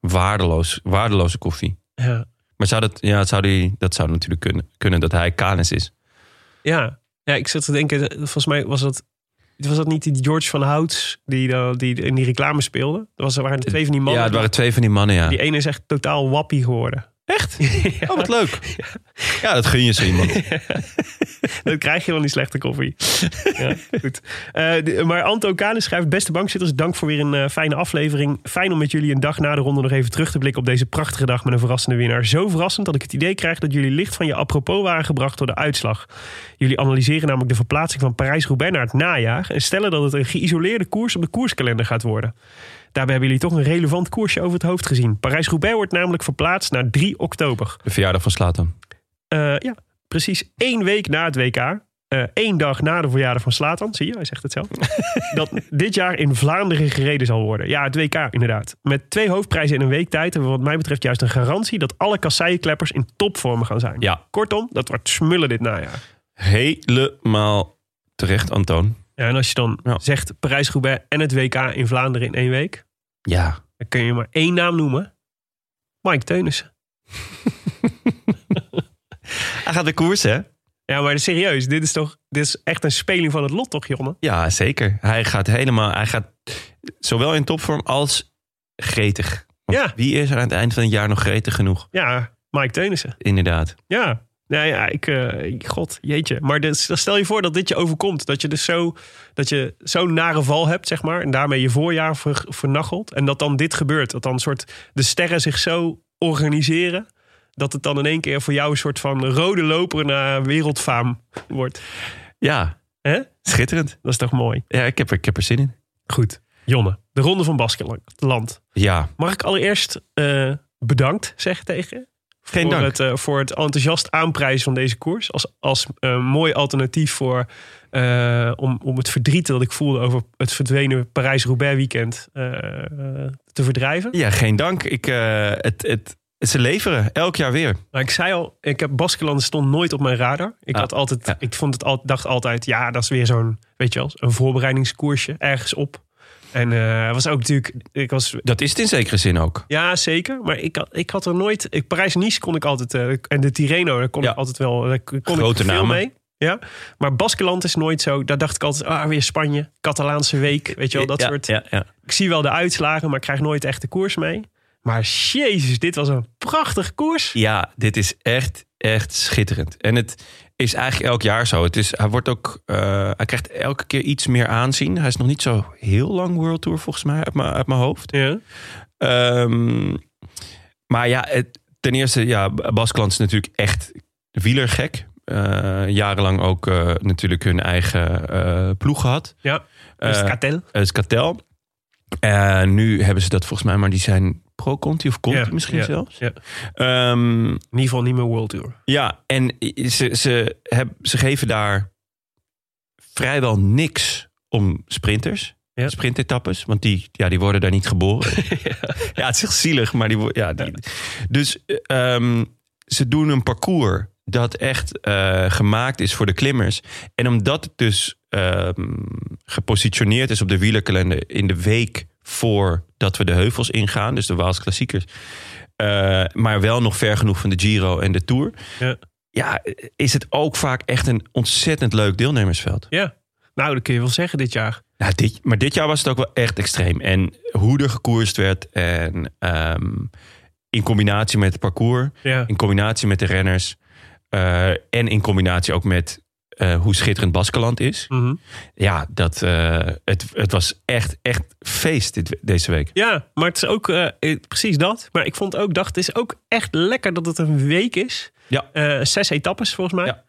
S1: waardeloos, waardeloze koffie.
S2: Ja.
S1: Maar zou dat, ja, zou die, dat zou natuurlijk kunnen, kunnen dat hij Kanis is.
S2: Ja. ja, ik zat te denken, volgens mij was dat Was dat niet die George van Houts die, dan- die in die reclame speelde? Dat was, er waren twee van die mannen.
S1: Ja, het waren twee van die mannen, ja.
S2: Die ene is echt totaal wappie geworden. Echt? ja,
S1: Oh, wat leuk. Ja, dat gun je zo iemand.
S2: dat krijg je van die slechte koffie. ja, goed. Eh, de- maar Anto Kanis schrijft... Beste bankzitters, dank voor weer een eh, fijne aflevering. Fijn om met jullie een dag na de ronde nog even terug te blikken... op deze prachtige dag met een verrassende winnaar. Zo verrassend dat ik het idee krijg dat jullie licht van je apropos waren gebracht door de uitslag. Jullie analyseren namelijk de verplaatsing van Parijs-Roubaix naar het najaar... en stellen dat het een geïsoleerde koers op de koerskalender gaat worden. Daarbij hebben jullie toch een relevant koersje over het hoofd gezien. Parijs-Roubaix wordt namelijk verplaatst naar 3 oktober.
S1: De verjaardag van Slatan.
S2: Eh, ja, precies één week na het WK. eh, één dag na de verjaardag van Slatan, zie je, hij zegt het zelf. dat dit jaar in Vlaanderen gereden zal worden. Ja, het WK inderdaad. Met twee hoofdprijzen in een week tijd hebben we wat mij betreft juist een garantie dat alle kasseienklappers in topvorm gaan zijn.
S1: Ja,
S2: Kortom, dat wordt smullen dit najaar.
S1: helemaal terecht, Antoon.
S2: Ja, en als je dan
S1: Ja.
S2: zegt Parijs-Roubaix en het WK in Vlaanderen in één week,
S1: Ja.
S2: dan kun je maar één naam noemen. Mike Teunissen.
S1: Hij gaat de koers, hè?
S2: Ja, maar serieus, dit is toch dit is echt een speling van het lot toch, Jonne?
S1: Ja, zeker. Hij gaat helemaal, hij gaat zowel in topvorm als gretig. Want
S2: Ja.
S1: Wie is er aan het eind van het jaar nog gretig genoeg?
S2: Ja, Mike Teunissen.
S1: Inderdaad.
S2: Ja, nou ja, ik, eh, ik- god, jeetje. Maar dus, dan stel je voor dat dit je overkomt. Dat je dus zo, dat je zo'n nare val hebt, zeg maar. En daarmee je voorjaar ver, vernachelt. En dat dan dit gebeurt. Dat dan soort de sterren zich zo organiseren. Dat het dan in één keer voor jou een soort van rode loper naar wereldfaam wordt.
S1: Ja,
S2: Hè?
S1: schitterend.
S2: Dat is toch mooi?
S1: Ja, ik heb er, ik heb er zin in.
S2: Goed. Jonne, de Ronde van Baskeland.
S1: Ja,
S2: Mag ik allereerst eh, bedankt zeggen tegen?
S1: Geen
S2: voor,
S1: dank.
S2: Het, eh, voor het enthousiast aanprijzen van deze koers. Als, als eh, mooi alternatief voor, eh, om, om het verdriet dat ik voelde over het verdwenen Parijs-Roubaix weekend eh, eh, te verdrijven.
S1: ja geen dank. Ik, eh, het, het, ze leveren elk jaar weer.
S2: Maar ik zei al, ik heb Baskeland stond nooit op mijn radar. Ik,
S1: Ah,
S2: had altijd,
S1: ja.
S2: ik vond het al, dacht altijd, ja, dat is weer zo'n, weet je wel, een voorbereidingskoersje ergens op. En eh, was ook natuurlijk, ik was
S1: Dat is het in zekere zin ook.
S2: Ja, zeker. Maar ik had, ik had er nooit... ik- Parijs-Nice kon ik altijd... eh, en de Tirreno, daar kon
S1: Ja.
S2: ik altijd wel... Daar kon ik
S1: Grote
S2: veel
S1: namen.
S2: mee. Ja. Maar Baskeland is nooit zo... Daar dacht ik altijd, ah, weer Spanje. Catalaanse week, weet je wel, dat
S1: Ja,
S2: soort...
S1: Ja, ja.
S2: Ik zie wel de uitslagen, maar ik krijg nooit echt de koers mee. Maar jezus, dit was een prachtig koers.
S1: ja, dit is echt, echt schitterend. En het is eigenlijk elk jaar zo. Het is, hij, wordt ook, eh, hij krijgt elke keer iets meer aanzien. Hij is nog niet zo heel lang World Tour volgens mij uit mijn- uit mijn hoofd.
S2: Ja.
S1: Ehm, maar ja, het- ten eerste, ja, Baskeland is natuurlijk echt wielergek. Eh, jarenlang ook eh, natuurlijk hun eigen eh, ploeg gehad.
S2: Ja.
S1: Eh,
S2: Euskaltel.
S1: eh, Skatel. Eh, nu hebben ze dat volgens mij, maar die zijn pro-Conti of Conti
S2: Ja,
S1: misschien
S2: ja,
S1: zelfs.
S2: ja.
S1: Ehm,
S2: In ieder geval niet meer World Tour.
S1: ja, en ze, ze, heb, ze geven daar vrijwel niks om sprinters.
S2: Ja.
S1: Sprintetappes, want die, ja, die worden daar niet geboren. ja. het is echt zielig, maar die, wo- ja, die- Dus eh, ehm, ze doen een parcours dat echt eh, gemaakt is voor de klimmers. En omdat het dus ehm, gepositioneerd is op de wielerkalender in de week voordat we de heuvels ingaan, dus de Waals klassiekers, eh, maar wel nog ver genoeg van de Giro en de Tour.
S2: Ja.
S1: Ja, is het ook vaak echt een ontzettend leuk deelnemersveld.
S2: Ja. Nou, dat kun je wel zeggen dit jaar.
S1: Nou, dit, maar dit jaar was het ook wel echt extreem. En hoe er gekoerst werd en ehm, in combinatie met het parcours,
S2: Ja.
S1: in combinatie met de renners eh, en in combinatie ook met eh, hoe schitterend Baskeland is.
S2: Mhm.
S1: Ja, dat, eh, het, het was echt, echt feest dit, deze week.
S2: Ja, maar het is ook eh, eh, precies dat. Maar ik vond ook, dacht, het is ook echt lekker dat het een week is.
S1: Ja.
S2: Eh, zes etappes volgens mij.
S1: Ja.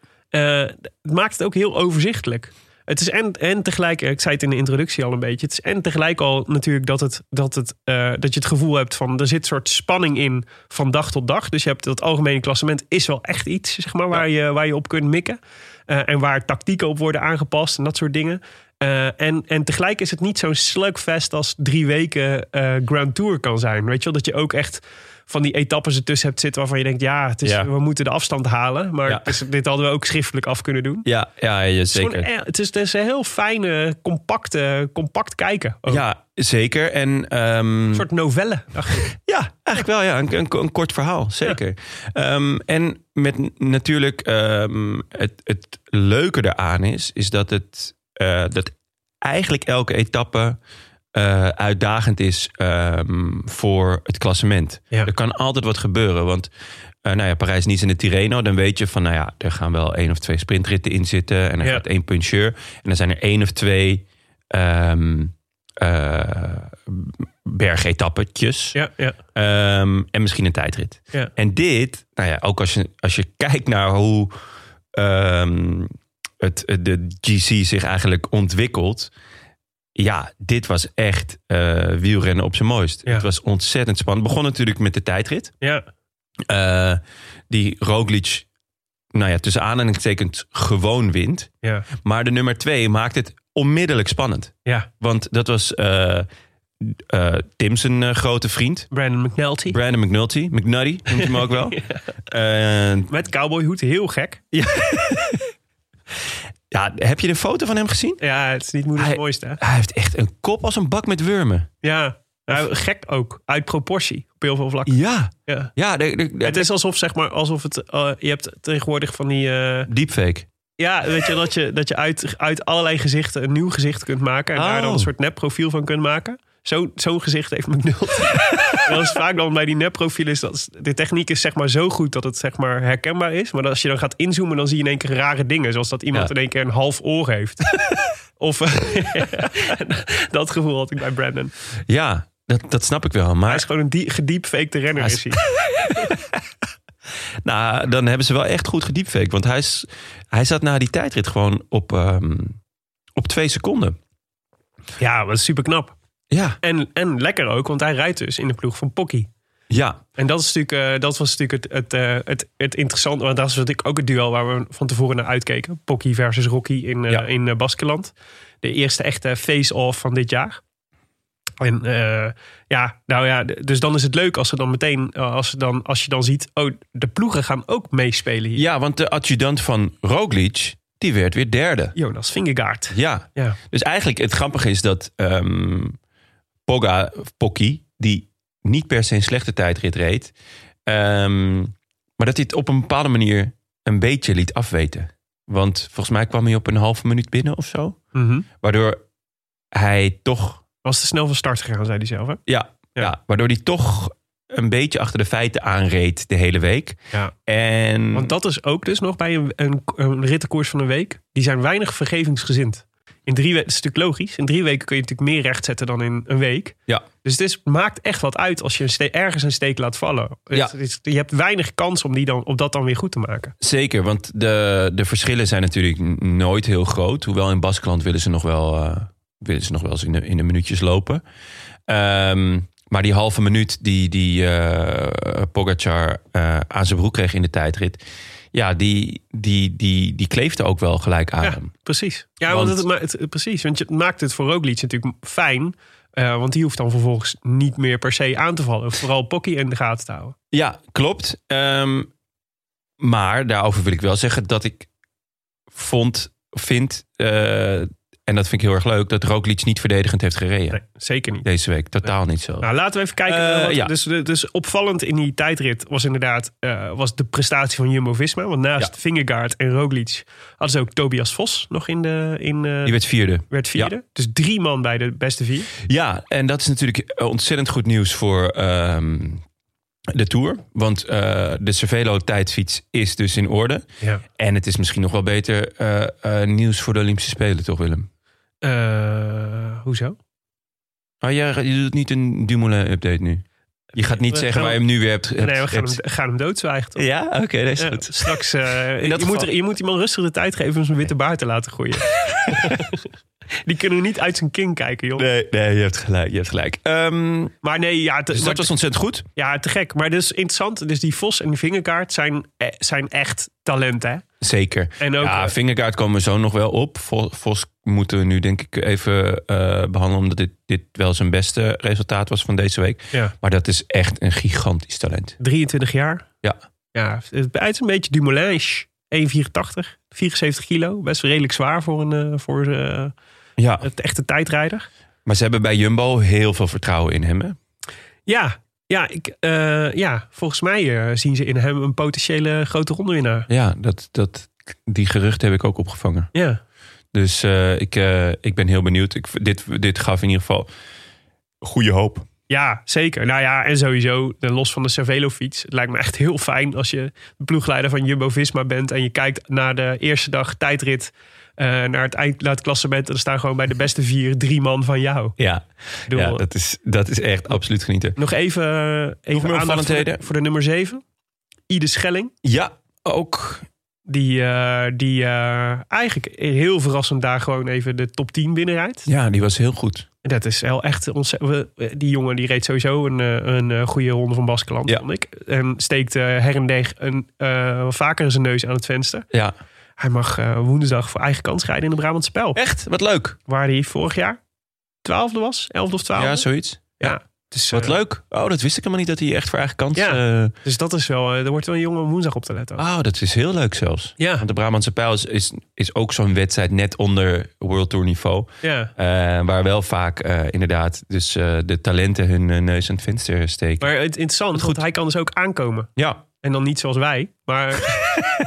S2: Eh, het maakt het ook heel overzichtelijk. Het is en, en tegelijk, eh, ik zei het in de introductie al een beetje. Het is en tegelijk al natuurlijk dat, het, dat, het, eh, dat je het gevoel hebt van er zit een soort spanning in van dag tot dag. Dus je hebt dat algemene klassement is wel echt iets, zeg maar, waar, je, waar je op kunt mikken. Eh, en waar tactieken op worden aangepast en dat soort dingen. Eh, en, en tegelijk is het niet zo'n slugfest als drie weken eh, Grand Tour kan zijn. Weet je wel, dat je ook echt van die etappes ertussen hebt zitten waarvan je denkt, ja, het is,
S1: Ja.
S2: we moeten de afstand halen. Maar
S1: Ja.
S2: het is- dit hadden we ook schriftelijk af kunnen doen.
S1: Ja, ja, ja
S2: Het is gewoon e- Het is, het is een heel fijne, compacte, compact kijken. Ook.
S1: Ja, zeker. En, ehm,
S2: Een soort novelle. dacht ik.
S1: Ja, eigenlijk wel. Ja. Een, een, een kort verhaal, zeker. Ehm, en met n- natuurlijk ehm, het, het leuke eraan is, is dat het eh, dat eigenlijk elke etappe eh, uitdagend is ehm, voor het klassement.
S2: Ja.
S1: Er kan altijd wat gebeuren. Want eh, nou ja, Parijs-Nice en de Tirreno, dan weet je van... nou ja, er gaan wel één of twee sprintritten in zitten... en er
S2: Ja.
S1: gaat één puncheur. En dan zijn er één of twee ehm eh, bergetappetjes.
S2: Ja, ja,
S1: Ehm, en misschien een tijdrit.
S2: Ja.
S1: En dit, nou ja, ook als je, als je kijkt naar hoe ehm, het, het- de GC zich eigenlijk ontwikkelt. Ja, dit was echt eh, wielrennen op zijn mooist.
S2: Ja.
S1: Het was ontzettend spannend. Het begon natuurlijk met de tijdrit.
S2: ja.
S1: Eh, die Roglic, nou ja, tussen aanhalingstekens gewoon wint.
S2: ja.
S1: Maar de nummer twee maakt het onmiddellijk spannend.
S2: Ja.
S1: Want dat was eh eh, Tim zijn eh, grote vriend.
S2: Brandon McNulty.
S1: Brandon McNulty, McNulty noemt hem ook wel. Eh,
S2: Met cowboyhoed, heel gek.
S1: ja, heb je de foto van hem gezien?
S2: Ja, het is niet moeders
S1: Hij-
S2: mooiste. hè?
S1: Hij heeft echt een kop als een bak met wurmen.
S2: Ja, Nou, gek ook. Uit proportie, op heel veel vlakken.
S1: Ja.
S2: Ja.
S1: Ja, de, de- de-
S2: Het is alsof, zeg maar, alsof het, eh, je hebt tegenwoordig van die... eh,
S1: deepfake.
S2: ja, weet je, dat je, dat je uit, uit allerlei gezichten een nieuw gezicht kunt maken. En daar dan
S1: Oh.
S2: een soort nepprofiel van kunt maken. Zo- Zo'n gezicht heeft McNulty. dat is vaak dan bij die nepprofielen. Is dat, is- de techniek is zeg maar zo goed dat het zeg maar herkenbaar is. Maar als je dan gaat inzoomen, dan zie je in één keer rare dingen. Zoals dat iemand
S1: Ja.
S2: in één keer een half oor heeft. of eh, dat gevoel had ik bij Brandon.
S1: Ja, dat, dat snap ik wel.
S2: Hij is
S1: Maar
S2: gewoon een die, gediepfakte renner.
S1: Hij
S2: Is
S1: is-
S2: hij.
S1: nou, dan hebben ze wel echt goed gediepfaked. Want hij, is, hij zat na die tijdrit gewoon op, ehm, op twee seconden.
S2: Ja, dat is super knap.
S1: Ja,
S2: En, en lekker ook, want hij rijdt dus in de ploeg van Pocky.
S1: ja,
S2: En dat, is natuurlijk, eh, dat was natuurlijk het, het, eh, het, het interessante. Want dat is natuurlijk ook het duel waar we van tevoren naar uitkeken. Pocky versus Rocky in, eh,
S1: Ja.
S2: in eh, Baskeland. De eerste echte face-off van dit jaar. En eh, ja, nou ja, d- dus dan is het leuk als ze dan meteen, eh, als, ze dan, als je dan ziet, oh, de ploegen gaan ook meespelen hier.
S1: ja, want de adjudant van Roglic, die werd weer derde.
S2: Jonas Vingegaard.
S1: Ja,
S2: Ja,
S1: Dus eigenlijk het grappige is dat ehm Pogga, of Pocky, die niet per se een slechte tijdrit reed, ehm, maar dat hij het op een bepaalde manier een beetje liet afweten. Want volgens mij kwam hij op een halve minuut binnen of zo.
S2: Mhm.
S1: Waardoor hij toch,
S2: was te snel van start gegaan, zei hij zelf. Hè?
S1: ja,
S2: Ja.
S1: ja. waardoor hij toch een beetje achter de feiten aanreed de hele week.
S2: Ja.
S1: En
S2: Want dat is ook dus nog bij een, een, een rittenkoers van een week. Die zijn weinig vergevingsgezind. In drie weken, dat is natuurlijk logisch. In drie weken kun je natuurlijk meer recht zetten dan in een week.
S1: Ja.
S2: Dus het is, maakt echt wat uit als je een ste- ergens een steek laat vallen. Het
S1: Ja.
S2: is- je hebt weinig kans om, die dan, om dat dan weer goed te maken.
S1: Zeker, want de, de verschillen zijn natuurlijk n- nooit heel groot. Hoewel in Baskeland willen ze nog wel, eh, willen ze nog wel eens in de, in de minuutjes lopen. Ehm, maar die halve minuut die, die eh Pogacar eh, aan zijn broek kreeg in de tijdrit... ja, die, die, die, die kleefde ook wel gelijk aan
S2: Ja.
S1: hem.
S2: Precies. Ja, want,
S1: Want-
S2: het, ma- het- precies. Want je het maakt het voor Roglic natuurlijk fijn. eh, want die hoeft dan vervolgens niet meer per se aan te vallen. Vooral Pocky in de gaten te houden.
S1: Ja, klopt. Ehm, maar daarover wil ik wel zeggen dat ik vond, vind... eh, en dat vind ik heel erg leuk, dat Roglic niet verdedigend heeft gereden.
S2: Nee, zeker niet.
S1: Deze week, totaal niet zo.
S2: Nou, laten we even kijken.
S1: Eh,
S2: eh, wat-
S1: ja.
S2: dus, dus opvallend in die tijdrit was inderdaad eh, was de prestatie van Jumbo-Visma. Want naast Vingegaard en Roglic hadden ze ook Tobias Vos nog in de... In, eh,
S1: Die werd vierde.
S2: werd vierde.
S1: ja.
S2: Dus drie man bij de beste vier.
S1: Ja, en dat is natuurlijk eh, ontzettend goed nieuws voor ehm, de Tour. Want eh, de Cervelo-tijdfiets is dus in orde.
S2: Ja.
S1: En het is misschien nog wel beter eh, eh, nieuws voor de Olympische Spelen, toch Willem?
S2: Eh, hoezo?
S1: Oh, jij, je doet niet een Dumoulin-update nu. Je gaat niet
S2: We
S1: zeggen
S2: gaan-
S1: waar je hem nu weer hebt. hebt-
S2: nee, we gaan hem,
S1: hebt-
S2: gaan hem doodzwijgen. toch?
S1: Ja, oké, dat is
S2: Ja,
S1: goed.
S2: straks, eh,
S1: In dat
S2: je, moet
S1: geval.
S2: er, je moet iemand rustig de tijd geven om zijn witte baard te laten groeien. die kunnen we niet uit zijn kin kijken, joh.
S1: Nee, nee, je hebt gelijk. Je hebt gelijk. Ehm,
S2: Maar nee, ja, het,
S1: dus
S2: maar-
S1: dat was ontzettend goed.
S2: Ja, te gek. Maar dus interessant. Dus die Vos en die Vingerkaart zijn, eh, zijn echt talenten. hè?
S1: Zeker.
S2: En ook,
S1: ja,
S2: eh,
S1: Vingergaard komen we zo nog wel op. Vo- Vos moeten we nu denk ik even eh, behandelen... omdat dit, dit wel zijn beste resultaat was van deze week.
S2: Ja.
S1: Maar dat is echt een gigantisch talent.
S2: 23 jaar.
S1: Ja.
S2: Ja, het is een beetje Dumoulin-ish. 1,84, 74 kilo. Best wel redelijk zwaar voor een eh, voor, eh,
S1: Ja,
S2: het echte tijdrijder.
S1: maar ze hebben bij Jumbo heel veel vertrouwen in hem. Hè?
S2: Ja, ja, ik, eh, ja volgens mij eh, zien ze in hem een potentiële grote rondewinnaar.
S1: Ja, dat, dat, die geruchten heb ik ook opgevangen.
S2: Ja,
S1: Dus eh, ik, eh, ik ben heel benieuwd. Ik, v- dit, dit gaf in ieder geval goede hoop.
S2: Ja, zeker. Nou ja, en sowieso, eh, los van de Cervelo-fiets. Het lijkt me echt heel fijn als je de ploegleider van Jumbo-Visma bent... en je kijkt naar de eerste dag tijdrit eh, naar, het eind, naar het klassement... en er staan gewoon bij de beste vier drie man van jou.
S1: Ja,
S2: Ik bedoel,
S1: ja dat, is, dat is echt absoluut genieten.
S2: Nog even, eh, even
S1: meer
S2: aandacht voor de,
S1: opvallendheden?
S2: voor de nummer 7. Ide Schelling.
S1: Ja, ook.
S2: Die, eh, die eh, eigenlijk heel verrassend daar gewoon even de top 10 binnenrijdt.
S1: Ja, die was heel goed.
S2: Dat is wel echt ontzettend. Die jongen die reed sowieso een, eh, een eh, goede ronde van Baskeland,
S1: Ja.
S2: vond ik. En steekt eh, her en deeg een, eh, vaker zijn neus aan het venster.
S1: Ja.
S2: Hij mag eh, woensdag voor eigen kans rijden in de Brabantse Pijl.
S1: Echt? Wat leuk.
S2: Waar hij vorig jaar twaalfde was. Elfde of twaalfde.
S1: Ja, zoiets.
S2: dus,
S1: Wat
S2: eh,
S1: leuk. Oh, dat wist ik helemaal niet dat hij echt voor eigen kans...
S2: Ja.
S1: eh,
S2: Dus dat is wel... eh, er wordt wel een jongen om woensdag op te letten.
S1: Oh, dat is heel leuk zelfs.
S2: Ja.
S1: Want de Brabantse Pijl is, is, is ook zo'n wedstrijd net onder World Tour niveau.
S2: Ja.
S1: eh, waar wel vaak eh, inderdaad dus, eh, de talenten hun eh, neus aan het venster steken.
S2: Maar het interessant, want hij kan dus ook aankomen.
S1: ja,
S2: En dan niet zoals wij, maar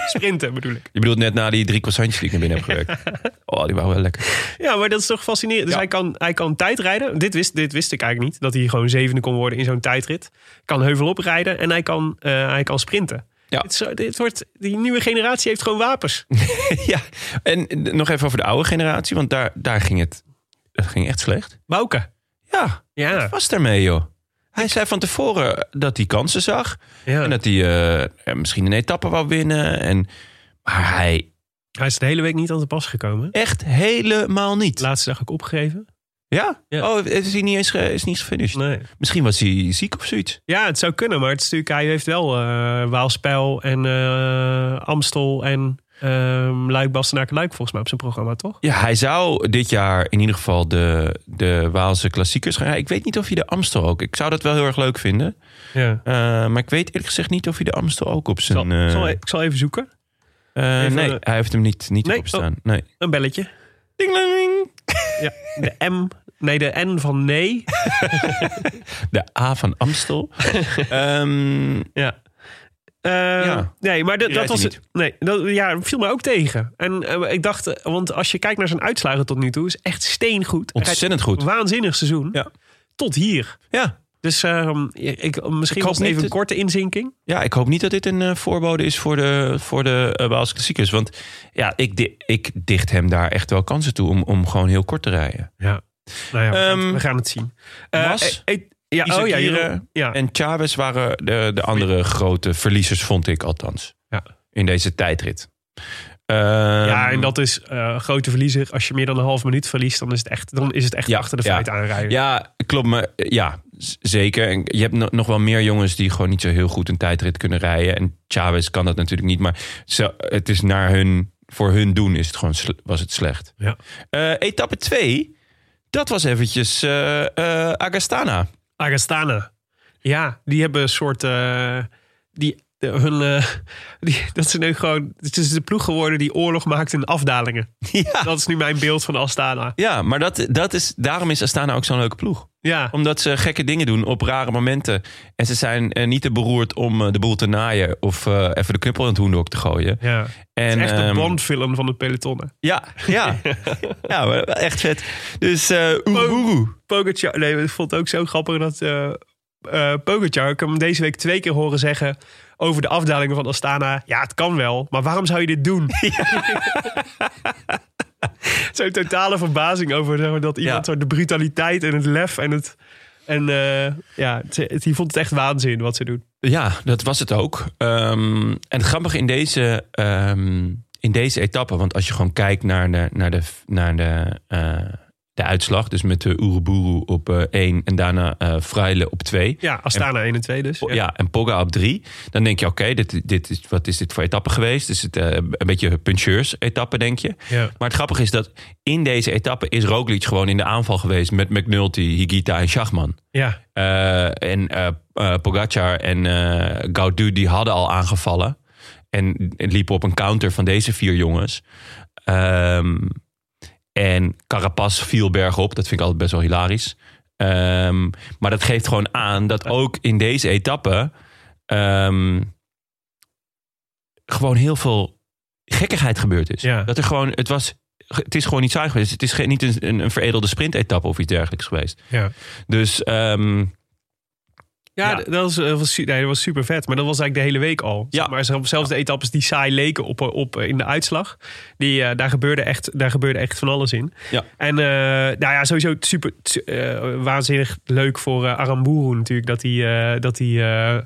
S2: sprinten bedoel ik.
S1: je bedoelt net na die drie croissantjes die ik naar binnen heb gewerkt. Oh, die waren wel lekker.
S2: Ja, maar dat is toch fascinerend. Dus
S1: Ja.
S2: hij, kan, hij kan tijdrijden. Dit wist, dit wist ik eigenlijk niet. Dat hij gewoon zevende kon worden in zo'n tijdrit. Kan heuvel oprijden en hij kan, eh, hij kan sprinten.
S1: Ja.
S2: Dit, is- dit wordt, die nieuwe generatie heeft gewoon wapens.
S1: ja, en eh, nog even over de oude generatie, want daar, daar ging het dat ging echt slecht.
S2: Bouke.
S1: Ja,
S2: Ja.
S1: was daarmee joh. Hij zei van tevoren dat hij kansen zag.
S2: ja.
S1: En dat hij eh, eh, misschien een etappe wou winnen. En, maar hij
S2: Hij is de hele week niet aan de pas gekomen.
S1: echt helemaal niet.
S2: Laatste dag ook opgegeven.
S1: Ja?
S2: Ja.
S1: Oh, is hij niet eens, ge- is niet eens gefinished?
S2: Nee.
S1: Misschien was hij ziek of zoiets.
S2: Ja, het zou kunnen, maar het is natuurlijk, hij heeft wel eh Waalspijl en eh, Amstel en ehm Luik, Bastenaken, Luik volgens mij op zijn programma, toch?
S1: Ja, hij zou dit jaar in ieder geval de, de Waalse klassiekers gaan rijden. Ik weet niet of hij de Amstel ook... Ik zou dat wel heel erg leuk vinden.
S2: Ja.
S1: Eh, maar ik weet eerlijk gezegd niet of hij de Amstel ook op
S2: Ik zal,
S1: zijn...
S2: ik zal, e-
S1: eh,
S2: ik zal even zoeken.
S1: eh,
S2: even-
S1: nee, hij heeft hem niet, niet
S2: Nee? oh.
S1: op staan. Nee.
S2: Een belletje.
S1: Dingling.
S2: Ja. De M, nee, de N van nee.
S1: De A van Amstel. Ehm,
S2: Ja.
S1: Ja.
S2: Eh, Nee, maar dat-
S1: Die
S2: dat
S1: rijdt
S2: was.
S1: hij niet.
S2: Nee, dat ja, viel mij ook tegen. En eh, ik dacht, eh, want als je kijkt naar zijn uitslagen tot nu toe, is echt steengoed. Hij rijdt
S1: ontzettend goed.
S2: een Waanzinnig seizoen.
S1: Ja.
S2: Tot hier.
S1: Ja.
S2: Dus ehm, ik, misschien
S1: Ik hoop
S2: was het
S1: niet
S2: even een
S1: dat-
S2: korte inzinking.
S1: Ja, ik hoop niet dat dit een eh, voorbode is voor de, voor de eh, Waalse klassiekers. Want ja, ik, di- ik dicht hem daar echt wel kansen toe om, om gewoon heel kort te rijden.
S2: Ja. Nou ja, we, gaan, het-
S1: Ehm,
S2: we gaan het zien. Eh,
S1: Mas,
S2: eh, eh, ja, oh ja,
S1: Isakire
S2: Jeroen. ja.
S1: En Chavez waren de, de andere grote verliezers, vond ik althans.
S2: Ja.
S1: In deze tijdrit. Ehm,
S2: ja, en dat is eh, grote verliezer. Als je meer dan een half minuut verliest, dan is het echt, dan is het echt
S1: Ja,
S2: achter de
S1: ja.
S2: feiten aanrijden.
S1: Ja, klopt. Maar, eh, ja, z- zeker. En je hebt no- nog wel meer jongens die gewoon niet zo heel goed een tijdrit kunnen rijden. En Chavez kan dat natuurlijk niet. Maar ze- het is naar hun, voor hun doen is het gewoon, sle- was het slecht.
S2: Ja.
S1: Eh, etappe 2, dat was eventjes eh, eh, Agastana.
S2: Agastana. Ja, die hebben een soort. eh, die, de- hun, eh, die, dat ze nu gewoon. Het is de ploeg geworden die oorlog maakt in afdalingen.
S1: ja.
S2: Dat is nu mijn beeld van Astana.
S1: ja, maar dat, dat is, daarom is Astana ook zo'n leuke ploeg.
S2: Ja,
S1: Omdat ze gekke dingen doen op rare momenten. En ze zijn eh, niet te beroerd om eh, de boel te naaien. Of eh, even de knuppel in het hoendok te gooien.
S2: ja. Het
S1: En,
S2: is echt een
S1: ehm,
S2: Bond-film van de pelotonnen.
S1: Ja, ja. ja, maar wel echt vet. Dus eh Oeroboeroe.
S2: Pogacar, nee, ik vond het ook zo grappig dat eh eh, Pogacar, ik heb hem deze week twee keer horen zeggen over de afdalingen van Astana. Ja, het kan wel, maar waarom zou je dit doen? Zo'n totale verbazing over zeg maar, dat iemand
S1: Ja.
S2: zo de brutaliteit en het lef en het... En eh, ja, het, het- die vond het echt waanzin wat ze doen.
S1: Ja, dat was het ook. Ehm, en het grappige in deze, ehm, in deze etappe, want als je gewoon kijkt naar de, naar de, naar de, eh, de uitslag, dus met de Oeroboeroe op eh, één en daarna eh Fraile op twee.
S2: Ja, Astana 1 en 2 dus.
S1: Po- ja, en Pogga op drie. Dan denk je, oké, dit, dit is, wat is dit voor etappe geweest? Is het eh, een beetje puncheurs-etappe, denk je?
S2: Ja.
S1: Maar het grappige is dat in deze etappe is Roglic gewoon in de aanval geweest... met McNulty, Higita en Schachman.
S2: ja.
S1: Eh, en eh eh, Pogacar en eh Gaudu die hadden al aangevallen. En liepen op een counter van deze vier jongens. Ehm, en Carapaz viel bergop. Dat vind ik altijd best wel hilarisch. Ehm, maar dat geeft gewoon aan dat ook in deze etappe... ehm, gewoon heel veel gekkigheid gebeurd is.
S2: Ja.
S1: Dat er gewoon... Het was het is gewoon niet saai geweest. Het is geen, niet een, een, een veredelde sprintetappe of iets dergelijks geweest.
S2: Ja,
S1: Dus ehm,
S2: ja,
S1: Ja.
S2: d- Dat, was, eh, was, su- nee, dat was super vet. Maar dat was eigenlijk de hele week al.
S1: Ja.
S2: Maar zelfs zelfs de etappes die saai leken op, op, eh, in de uitslag. Die, eh, daar, gebeurde echt, daar gebeurde echt van alles in.
S1: Ja.
S2: En eh, nou ja, sowieso super t- eh, waanzinnig leuk voor eh, Aramburu natuurlijk. Dat hij eh, dat hij eh, eh,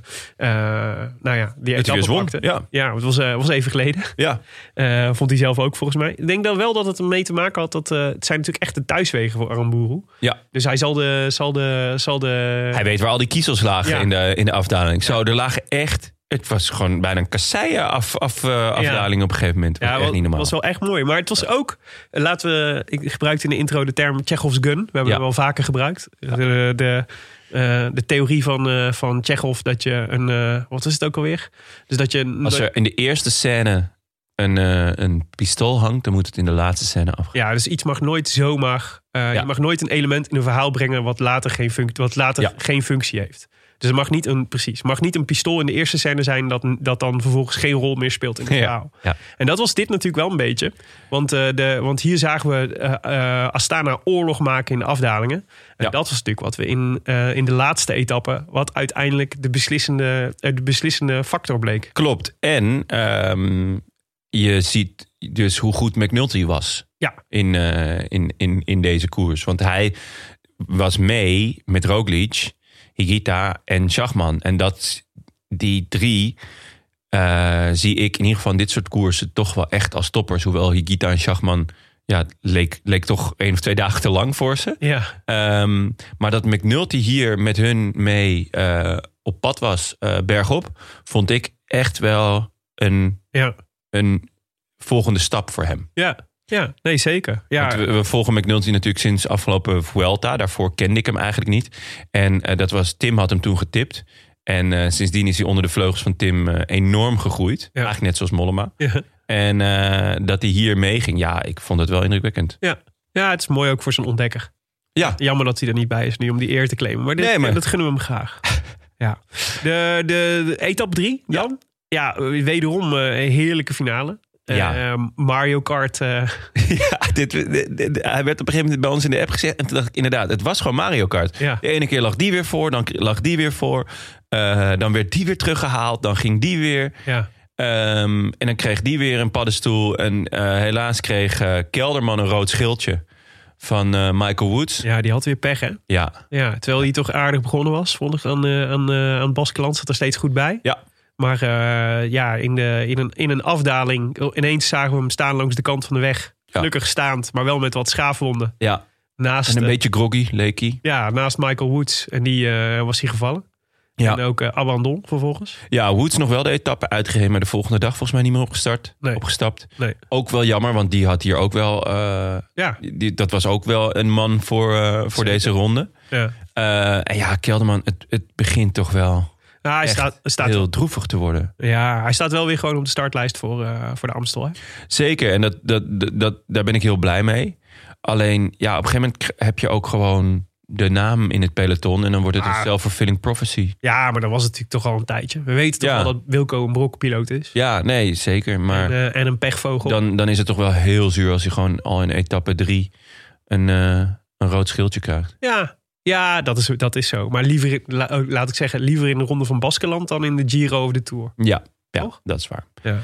S2: nou ja, die
S1: weer
S2: etappe
S1: zwom,
S2: pakte.
S1: ja.
S2: ja het was, eh, was even geleden.
S1: ja,
S2: Eh, vond hij zelf ook volgens mij. Ik denk dan wel dat het ermee te maken had. Dat, eh, het zijn natuurlijk echt de thuiswegen voor Aramburu.
S1: ja.
S2: Dus hij zal de... Zal de, zal de
S1: Hij weet waar al die kiezels lagen
S2: Ja.
S1: in, de, in de afdaling. Zo, er lagen echt... Het was gewoon bijna een kasseien af, af, eh, afdaling op een gegeven moment. Ja,
S2: Ja,
S1: echt
S2: was,
S1: niet normaal.
S2: was wel echt mooi. Maar het was ook, eh, laten we, ik gebruikte in de intro de term Chekhov's gun. We hebben
S1: Ja.
S2: hem wel vaker gebruikt. De, de, eh, de theorie van, eh van Chekhov dat je een, eh, wat is het ook alweer? Dus dat je, een-
S1: Als er in de eerste scène een, eh, een pistool hangt... dan moet het in de laatste scène afgaan.
S2: ja, dus iets mag nooit zomaar, eh,
S1: Ja.
S2: je mag nooit een element in een verhaal brengen wat later geen, funct, wat later
S1: Ja.
S2: geen functie heeft. Dus het mag niet een, precies, het mag niet een pistool in de eerste scène zijn dat, dat dan vervolgens geen rol meer speelt in het verhaal.
S1: Ja.
S2: En dat was dit natuurlijk wel een beetje. Want, eh, de, want hier zagen we eh, eh, Astana oorlog maken in de afdalingen. En
S1: Ja.
S2: dat was natuurlijk wat we in, eh, in de laatste etappe... wat uiteindelijk de beslissende, eh, de beslissende factor bleek.
S1: Klopt. En ehm, je ziet dus hoe goed McNulty was
S2: Ja.
S1: in, eh, in, in, in deze koers. Want hij was mee met Roglic, Higita en Schachman. En dat, die drie eh, zie ik in ieder geval in dit soort koersen toch wel echt als toppers. Hoewel Higita en Schachman... Ja, leek, leek toch één of twee dagen te lang voor ze.
S2: Ja,
S1: Ehm, maar dat McNulty hier met hun mee eh, op pad was, eh, bergop, vond ik echt wel een,
S2: ja,
S1: een volgende stap voor hem.
S2: ja, ja. Nee, zeker. Ja,
S1: Want we, we volgen McNulty natuurlijk sinds afgelopen Vuelta. Daarvoor kende ik hem eigenlijk niet. En eh, dat was, Tim had hem toen getipt. En eh, sindsdien is hij onder de vleugels van Tim eh, enorm gegroeid. Eigenlijk net zoals Mollema.
S2: ja.
S1: En eh, dat hij hier meeging, ja, ik vond het wel indrukwekkend.
S2: ja. ja, het is mooi ook voor zo'n ontdekker.
S1: Ja,
S2: Jammer dat hij er niet bij is nu om die eer te claimen. Maar, dit,
S1: Nee, maar-
S2: dat gunnen we hem graag. ja. De, de, de etappe 3 dan? Ja, eh, wederom eh, een heerlijke finale. Eh,
S1: Ja.
S2: eh, Mario Kart. eh,
S1: Ja, dit, dit- dit- hij werd op een gegeven moment bij ons in de app gezegd. En toen dacht ik inderdaad, het was gewoon Mario Kart.
S2: Ja.
S1: De ene keer lag die weer voor, dan lag die weer voor. Eh, dan werd die weer teruggehaald, dan ging die weer.
S2: ja.
S1: Ehm, en dan kreeg die weer een paddenstoel. En eh, helaas kreeg eh, Kelderman een rood schildje van eh, Michael Woods. Ja.
S2: ja, die had weer pech hè.
S1: Ja.
S2: Ja, terwijl hij toch aardig begonnen was. Vond ik aan, eh aan, eh, aan Baskeland zat er steeds goed bij. Maar eh, ja, in, de, in, een, in een afdaling oh, ineens zagen we hem staan langs de kant van de weg. Gelukkig staand, maar wel met wat schaafwonden.
S1: Ja.
S2: Naast,
S1: En een
S2: eh,
S1: beetje groggy, leek hij.
S2: ja, naast Michael Woods. En die eh, was hij gevallen.
S1: Ja.
S2: En ook eh, Abandon vervolgens.
S1: Ja, Woods nog wel de etappe uitgegeven, maar de volgende dag volgens mij niet meer opgestart,
S2: Nee.
S1: opgestapt.
S2: Nee.
S1: Ook wel jammer, want die had hier ook wel. eh,
S2: Ja.
S1: die, dat was ook wel een man voor, eh, voor deze ronde.
S2: ja.
S1: Eh, en ja, Kelderman, het, het begint toch wel
S2: Nou, hij,
S1: echt
S2: staat, staat,
S1: heel droevig te worden.
S2: ja, hij staat wel weer gewoon op de startlijst voor, eh, voor de Amstel. Hè?
S1: Zeker, en dat, dat, dat, dat- daar ben ik heel blij mee. Alleen, ja, op een gegeven moment k- heb je ook gewoon de naam in het peloton. En dan wordt het een
S2: Ah.
S1: self-fulfilling prophecy.
S2: Ja, maar dat was het natuurlijk toch al een tijdje. We weten toch
S1: Ja.
S2: al dat Wilco een brokpiloot is.
S1: Ja, nee, zeker. Maar
S2: En, eh, en een pechvogel.
S1: dan, dan is het toch wel heel zuur als je gewoon al in etappe drie een, eh, een rood schildje krijgt.
S2: Ja, ja dat, is, dat is zo. Maar liever, in- la- oh, laat ik zeggen, liever in de Ronde van Baskeland dan in de Giro of de Tour.
S1: Ja, ja
S2: Toch?
S1: dat is waar.
S2: Ja.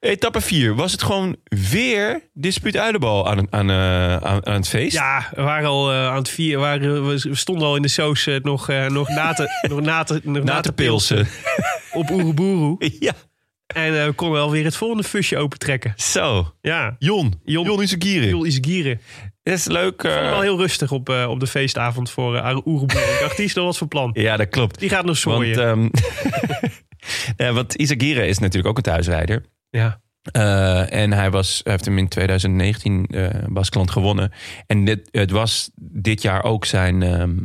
S1: Etappe 4 was het gewoon weer dispuut uilenbal aan, aan, eh, aan, aan het feest.
S2: Ja, we waren al eh, aan het vieren. we Waren, we we stonden al in de saus eh, nog, eh, nog na te, nog na te, nog
S1: Na te pilsen.
S2: op Oeruburu.
S1: ja,
S2: En eh, we konden alweer het volgende fusje opentrekken.
S1: zo.
S2: Ja,
S1: Jon.
S2: Jon.
S1: Jon is een gieren.
S2: Jules Isgieren.
S1: Dat is leuk. eh.
S2: wel heel rustig op, eh, op de feestavond voor uh, Ik dacht, die is nog wat van plan.
S1: Ja, dat klopt.
S2: Die gaat nog
S1: Want,
S2: zooien.
S1: ehm ja, want Isagire is natuurlijk ook een thuisrijder.
S2: ja.
S1: Eh, en hij, was, hij heeft hem in 2019 eh Baskeland gewonnen. En dit, het was dit jaar ook zijn, ehm,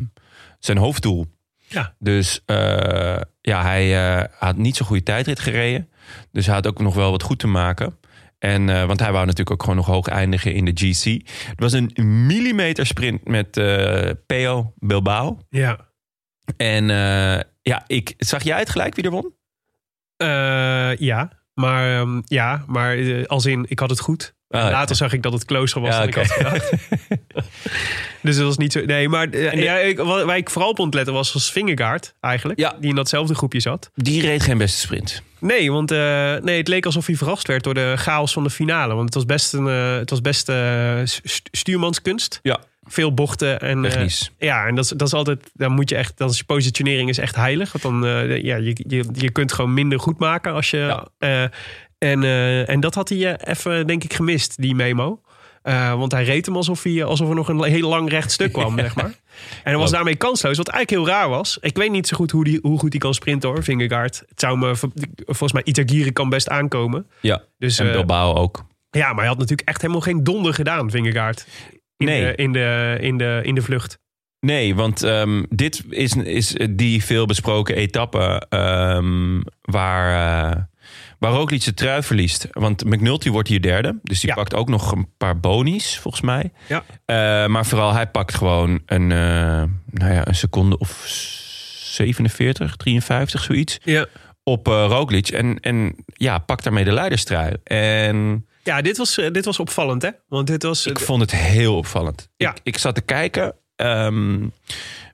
S1: zijn hoofddoel.
S2: Ja.
S1: Dus eh, ja, hij eh, had niet zo'n goede tijdrit gereden. Dus hij had ook nog wel wat goed te maken. En, eh, want hij wou natuurlijk ook gewoon nog hoog eindigen in de GC. Het was een millimeter sprint met eh Peo Bilbao.
S2: ja.
S1: En eh, ja, ik, zag jij het gelijk wie er won?
S2: Eh, ja. Maar, ehm, ja, maar eh, als in, ik had het goed.
S1: Ah,
S2: Later zag ik dat het klooster was.
S1: Ja,
S2: dan ik had gedacht. dus dat was niet zo. Nee, maar eh, ja, ik, wat- waar ik vooral op ontletten was, was Vingegaard eigenlijk.
S1: Ja.
S2: Die in datzelfde groepje zat.
S1: Die reed geen beste sprint.
S2: Nee, want eh, nee, het leek alsof hij verrast werd door de chaos van de finale. Want het was best, een, eh, het was best eh, stu- stuurmanskunst.
S1: Ja.
S2: Veel bochten. En, eh,
S1: Technisch.
S2: ja, en dat, is- dat is altijd, dan moet je echt, dan is je positionering is echt heilig. Want dan, eh, ja, je, je, je kunt gewoon minder goed maken als je...
S1: Ja.
S2: eh, en, eh, en dat had hij eh, even, denk ik, gemist, die memo. Eh, want hij reed hem alsof, hij, alsof er nog een heel lang recht stuk kwam, zeg maar. En hij was
S1: Klopt.
S2: daarmee kansloos, wat eigenlijk heel raar was. Ik weet niet zo goed hoe, die, hoe goed hij kan sprinten hoor, Vingegaard. Het zou me, ver- volgens mij, Itagiri kan best aankomen.
S1: Ja.
S2: Dus,
S1: en
S2: eh,
S1: Bilbao ook.
S2: ja, maar hij had natuurlijk echt helemaal geen donder gedaan, Vingegaard. In
S1: Nee.
S2: De, in, de, in, de, in de vlucht.
S1: Nee, want ehm, dit is, is die veelbesproken etappe ehm, waar, eh waar Roglic de trui verliest. Want McNulty wordt hier derde, dus die
S2: Ja.
S1: pakt ook nog een paar bonies volgens mij.
S2: Ja.
S1: Eh, maar vooral hij pakt gewoon een, eh, nou ja, een seconde of 47, 53, zoiets
S2: Ja.
S1: op eh Roglic. En, en ja, pakt daarmee de leiderstrui. En
S2: Ja, dit was, eh, dit was opvallend, hè? Want dit was. eh,
S1: ik vond het heel opvallend.
S2: Ja.
S1: Ik, ik zat te kijken. Ehm,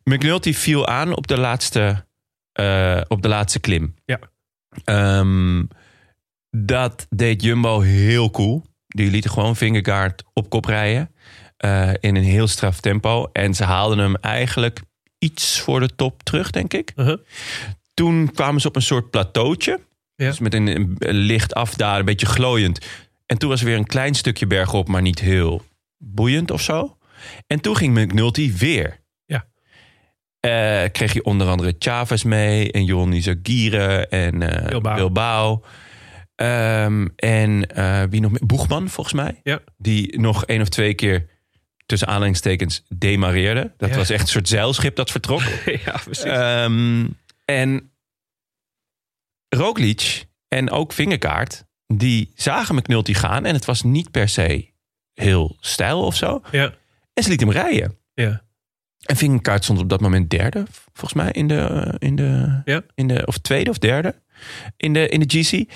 S1: McNulty viel aan op de laatste, eh, op de laatste klim.
S2: Ja.
S1: Ehm, dat deed Jumbo heel cool. Die lieten gewoon Vingegaard op kop rijden. eh, in een heel straf tempo. En ze haalden hem eigenlijk iets voor de top terug, denk ik.
S2: Uh-huh.
S1: Toen kwamen ze op een soort plateautje.
S2: Ja.
S1: Dus met een, een licht afdalen, een beetje glooiend. En toen was er weer een klein stukje bergop, maar niet heel boeiend of zo. En toen ging McNulty weer.
S2: Ja.
S1: Eh, kreeg je onder andere Chavez mee en Johnny Zagire en eh,
S2: Bilbao.
S1: Bilbao. Ehm, en eh, wie nog meer? Boegman, volgens mij.
S2: Ja.
S1: Die nog één of twee keer tussen aanhalingstekens demareerde. Dat
S2: Ja.
S1: was echt een soort zeilschip dat vertrok.
S2: ja, precies.
S1: Ehm, en Roglic en ook Vingerkaart, die zagen McNulty gaan. En het was niet per se heel stijl of zo.
S2: ja.
S1: En ze liet hem rijden.
S2: Ja.
S1: En Vingerkaart stond op dat moment derde, volgens mij, in de, in de,
S2: Ja.
S1: in de of tweede of derde, in de, in de GC.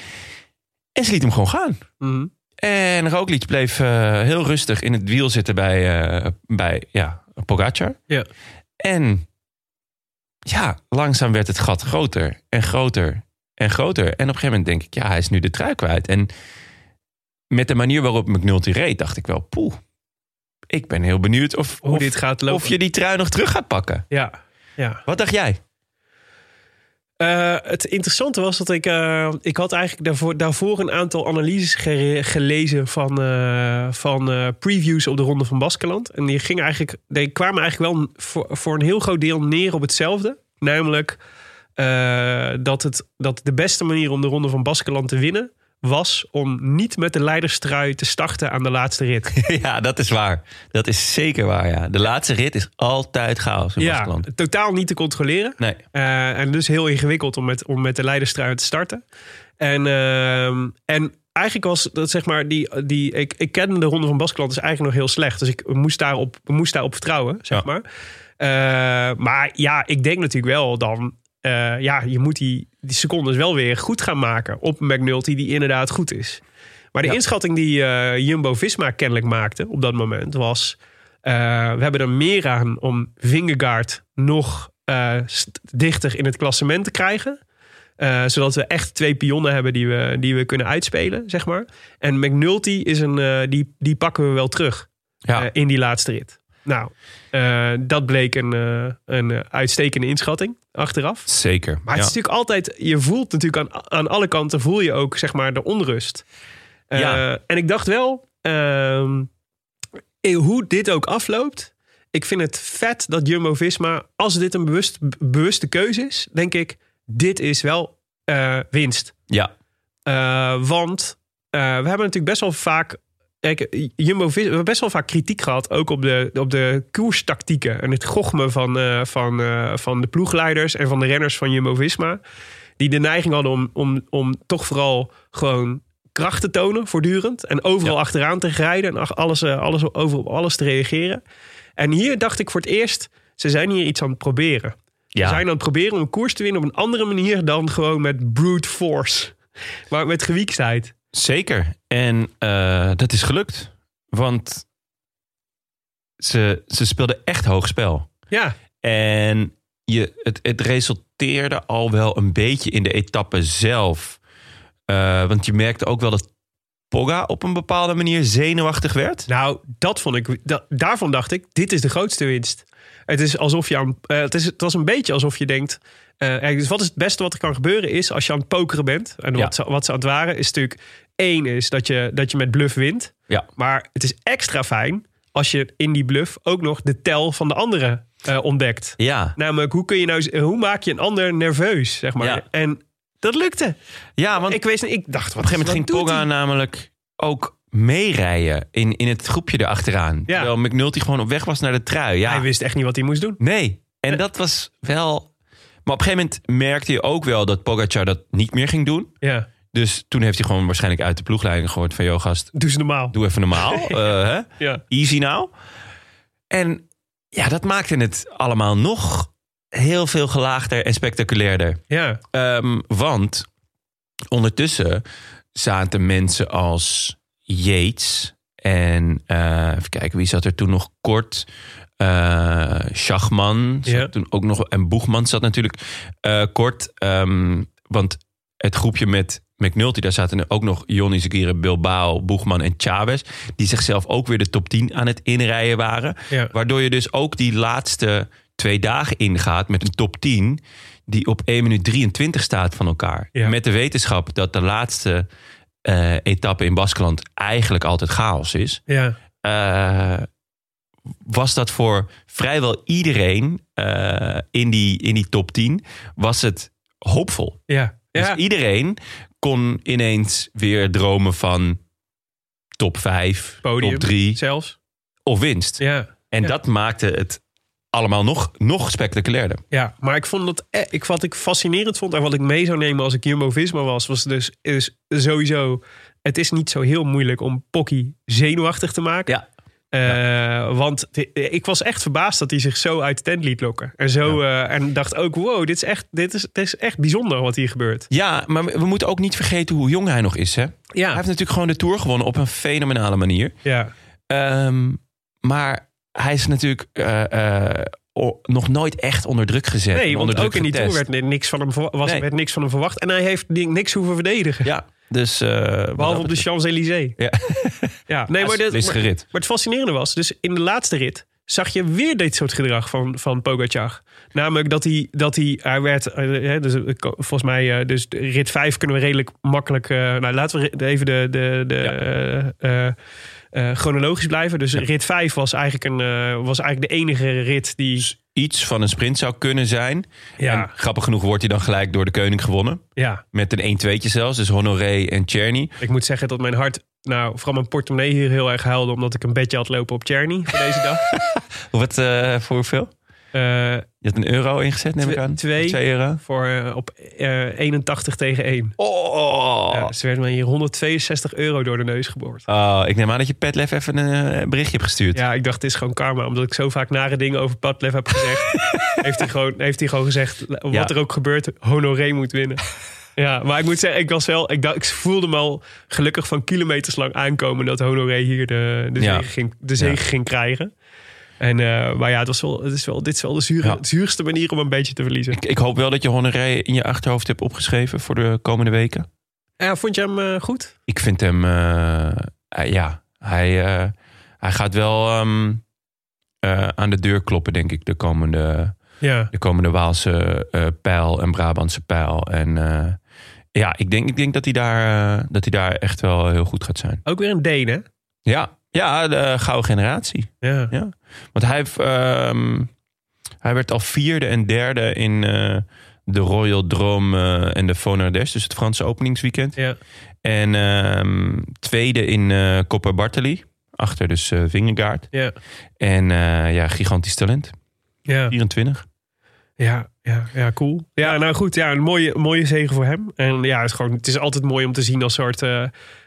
S1: En ze liet hem gewoon gaan.
S2: Mhm.
S1: En Roglic bleef eh, heel rustig in het wiel zitten bij, eh, bij ja, Pogacar.
S2: Ja.
S1: En ja, langzaam werd het gat groter en groter en groter. En op een gegeven moment denk ik, ja, hij is nu de trui kwijt. En met de manier waarop McNulty reed, dacht ik wel, poeh. Ik ben heel benieuwd of,
S2: Hoe
S1: of,
S2: dit gaat lopen.
S1: of je die trui nog terug gaat pakken.
S2: Ja. ja.
S1: Wat dacht jij?
S2: Eh, het interessante was dat ik. eh, ik had eigenlijk daarvoor, daarvoor een aantal analyses gere- gelezen van, eh, van eh, previews op de Ronde van Baskeland. En die, gingen eigenlijk, die kwamen eigenlijk wel voor, voor een heel groot deel neer op hetzelfde. Namelijk eh, dat, het, dat de beste manier om de Ronde van Baskeland te winnen. was om niet met de leiderstrui te starten aan de laatste rit.
S1: ja, dat is waar. Dat is zeker waar, ja. De laatste rit is altijd chaos in
S2: ja,
S1: Baskeland.
S2: totaal niet te controleren.
S1: Nee,
S2: Eh, en dus heel ingewikkeld om met, om met de leiderstrui te starten. En, ehm, en eigenlijk was dat zeg maar die. die ik, ik kende de Ronde van Baskeland dus eigenlijk nog heel slecht. Dus ik moest daarop, moest daarop vertrouwen, zeg
S1: Ja.
S2: maar. Eh, maar ja, ik denk natuurlijk wel dan. eh, ja, je moet die, die secondes wel weer goed gaan maken op McNulty, die inderdaad goed is. Maar de inschatting die eh, Jumbo Visma kennelijk maakte op dat moment was. eh, we hebben er meer aan om Vingegaard nog eh, st- dichter in het klassement te krijgen. Eh, zodat we echt twee pionnen hebben die we, die we kunnen uitspelen, zeg maar. En McNulty is een, eh, die, die pakken we wel terug
S1: ja.
S2: eh, in die laatste rit. Nou, eh, dat bleek een, eh, een eh, uitstekende inschatting achteraf.
S1: zeker.
S2: Maar
S1: ja.
S2: het is natuurlijk altijd, je voelt natuurlijk aan, aan alle kanten, voel je ook zeg maar de onrust. Eh,
S1: Ja.
S2: En ik dacht wel, ehm, eh, hoe dit ook afloopt. Ik vind het vet dat Jumbo Visma, als dit een bewust, b- bewuste keuze is, denk ik, dit is wel eh, winst.
S1: ja.
S2: Eh, want eh, we hebben natuurlijk best wel vaak. Kijk, Jumbo Vis, we hebben best wel vaak kritiek gehad, ook op de, op de koerstactieken. En het gochme van, eh, van, eh, van de ploegleiders en van de renners van Jumbo Visma. Die de neiging hadden om, om, om toch vooral gewoon kracht te tonen voortdurend. En overal achteraan te rijden en ach- alles, eh, alles, over op alles te reageren. En hier dacht ik voor het eerst, ze zijn hier iets aan het proberen.
S1: Ja.
S2: Ze zijn aan het proberen om een koers te winnen op een andere manier dan gewoon met brute force. Maar met gewieksheid.
S1: Zeker. En eh, dat is gelukt. Want ze, ze speelden echt hoog spel.
S2: Ja,
S1: En je, het, het resulteerde al wel een beetje in de etappe zelf. Eh, want je merkte ook wel dat Pogga op een bepaalde manier zenuwachtig werd.
S2: nou, dat vond ik, da- daarvan dacht ik, dit is de grootste winst. Het, is alsof je aan, eh, het, is, het was een beetje alsof je denkt... eh, eh, dus wat is het beste wat er kan gebeuren is als je aan het pokeren bent... en
S1: Ja.
S2: wat, ze, wat ze aan het waren is natuurlijk... één is dat je, dat je met bluff wint.
S1: Ja.
S2: Maar het is extra fijn als je in die bluff ook nog de tel van de andere eh, ontdekt.
S1: Ja,
S2: Namelijk, hoe, kun je nou, hoe maak je een ander nerveus, zeg maar.
S1: Ja.
S2: En dat lukte.
S1: ja want
S2: ik, weet niet, ik dacht, wat,
S1: Op een gegeven moment
S2: wat
S1: ging
S2: doet
S1: Pogga
S2: hij?
S1: namelijk ook meerijden in, in het groepje erachteraan.
S2: Ja.
S1: Terwijl McNulty gewoon op weg was naar de trui. Ja.
S2: Hij wist echt niet wat hij moest doen.
S1: Nee, en dat was wel... Maar op een gegeven moment merkte je ook wel dat Pogacar dat niet meer ging doen.
S2: Ja,
S1: Dus toen heeft hij gewoon waarschijnlijk uit de ploegleiding gehoord van... joh gast,
S2: doe ze normaal.
S1: doe even normaal. eh, hè?
S2: Ja.
S1: Easy nou. En ja, dat maakte het allemaal nog heel veel gelaagder en spectaculairder.
S2: Ja.
S1: Ehm, want ondertussen zaten mensen als Yates en eh, even kijken, wie zat er toen nog kort? Eh Schachman zat
S2: Ja.
S1: toen ook nog, en Boegman zat natuurlijk eh, kort. Ehm, want het groepje met McNulty, daar zaten ook nog Johnny Zegire, Bilbao, Boegman en Chavez. Die zichzelf ook weer de top 10 aan het inrijden waren.
S2: Ja.
S1: Waardoor je dus ook die laatste twee dagen ingaat met een top 10 die op 1 minuut 23 staat van elkaar.
S2: Ja.
S1: Met de wetenschap dat de laatste eh, etappe in Baskeland eigenlijk altijd chaos is.
S2: ja.
S1: eh, was dat voor vrijwel iedereen eh, in, die, in die top 10 was het hoopvol.
S2: Ja. Ja.
S1: Dus iedereen kon ineens weer dromen van top 5,
S2: Podium.
S1: top 3
S2: Zelfs.
S1: of winst.
S2: Ja.
S1: En
S2: Ja.
S1: dat maakte het allemaal nog, nog spectaculairder.
S2: Ja, maar ik vond dat eh, ik, wat ik fascinerend vond en wat ik mee zou nemen als ik Jumbo Visma was, was dus is sowieso. Het is niet zo heel moeilijk om Pocky zenuwachtig te maken.
S1: Ja.
S2: Eh, Want de- ik was echt verbaasd dat hij zich zo uit de tent liet lokken. En, zo, eh, en dacht ook: wow, dit is, echt, dit, is, dit is echt bijzonder wat hier gebeurt.
S1: Ja, maar we we moeten ook niet vergeten hoe jong hij nog is.
S2: Ah.
S1: Hè? Hij heeft natuurlijk gewoon de Tour gewonnen op een fenomenale manier.
S2: ja.
S1: Ehm, maar hij is natuurlijk eh, eh, o- nog nooit echt onder druk gezet. en
S2: Nee,
S1: onder
S2: want
S1: druk
S2: ook in die tour
S1: getest.
S2: werd ni- niks van hem, verwa- was,
S1: Nee.
S2: werd niks van hem verwacht. En hij heeft ni- niks hoeven verdedigen.
S1: Ja, dus... eh, wat
S2: Behalve
S1: dat
S2: op de
S1: betreft-
S2: Champs-Élysées.
S1: Ja.
S2: Ja, nee, maar, dit,
S1: is
S2: maar,
S1: gerit.
S2: maar het fascinerende was, dus in de laatste rit zag je weer dit soort gedrag van, van Pogacar. Namelijk dat hij, dat hij, hij werd, eh, hè, dus, eh, ko- volgens mij, eh, dus de rit 5 kunnen we redelijk makkelijk, eh, nou laten we re- even de, de, de eh, eh, eh, chronologisch blijven. Dus rit 5 was eigenlijk, een, eh, was eigenlijk de enige rit die,
S1: Iets van een sprint zou kunnen zijn.
S2: Ja.
S1: En grappig genoeg wordt hij dan gelijk door de koning gewonnen.
S2: ja,
S1: Met een 1-2'tje zelfs. Dus Honoré en Czerny.
S2: Ik moet zeggen dat mijn hart, nou, vooral mijn portemonnee hier heel erg huilde. omdat ik een bedje had lopen op Cherny voor deze dag.
S1: Wat eh, voor hoeveel?
S2: Eh,
S1: Je had een euro ingezet, neem ik
S2: Twe-
S1: aan?
S2: twee.
S1: Twee euro?
S2: voor eh, op eh, 81 tegen 1.
S1: Oh.
S2: Ja, ze werden mij hier 162 euro door de neus geboord.
S1: Oh, ik neem aan dat je Petlef even een eh, berichtje hebt gestuurd.
S2: Ja, ik dacht, dit is gewoon karma. Omdat ik zo vaak nare dingen over Padlef heb gezegd. heeft, hij gewoon, heeft hij gewoon gezegd, wat
S1: Ja.
S2: er ook gebeurt, Honoré moet winnen. Ja, maar ik moet zeggen, ik was wel, ik, dacht, ik voelde me al gelukkig van kilometers lang aankomen dat Honoré hier de, de
S1: Ja.
S2: zege ging, de zege ging krijgen. En, eh, maar ja, het was wel, het is wel, dit is wel de zure,
S1: Ja.
S2: het zuurste manier om een beetje te verliezen.
S1: Ik, ik hoop wel dat je Honoré in je achterhoofd hebt opgeschreven voor de komende weken.
S2: Ja, vond je hem eh, goed?
S1: Ik vind hem, eh, eh, ja, hij, eh, hij gaat wel ehm, eh, aan de deur kloppen, denk ik, de komende,
S2: Ja.
S1: de komende Waalse eh, pijl en Brabantse pijl. En eh, ja, ik denk, ik denk dat, hij daar, eh, dat hij daar echt wel heel goed gaat zijn.
S2: Ook weer een Deen, hè?
S1: Ja, ja de eh, gouden generatie.
S2: Ja.
S1: Ja. Want hij, heeft, ehm, hij werd al vierde en derde in eh, de Royal Drome eh, en de Fonardes, dus het Franse openingsweekend.
S2: Ja.
S1: En ehm, tweede in eh Coppa Bartoli, achter dus eh Vingegaard.
S2: Ja.
S1: En eh, ja, gigantisch talent,
S2: ja.
S1: 24.
S2: Ja, ja, ja, cool. Ja, nou goed, ja, een mooie, mooie zegen voor hem. En ja, het is, gewoon, het is altijd mooi om te zien als soort. eh,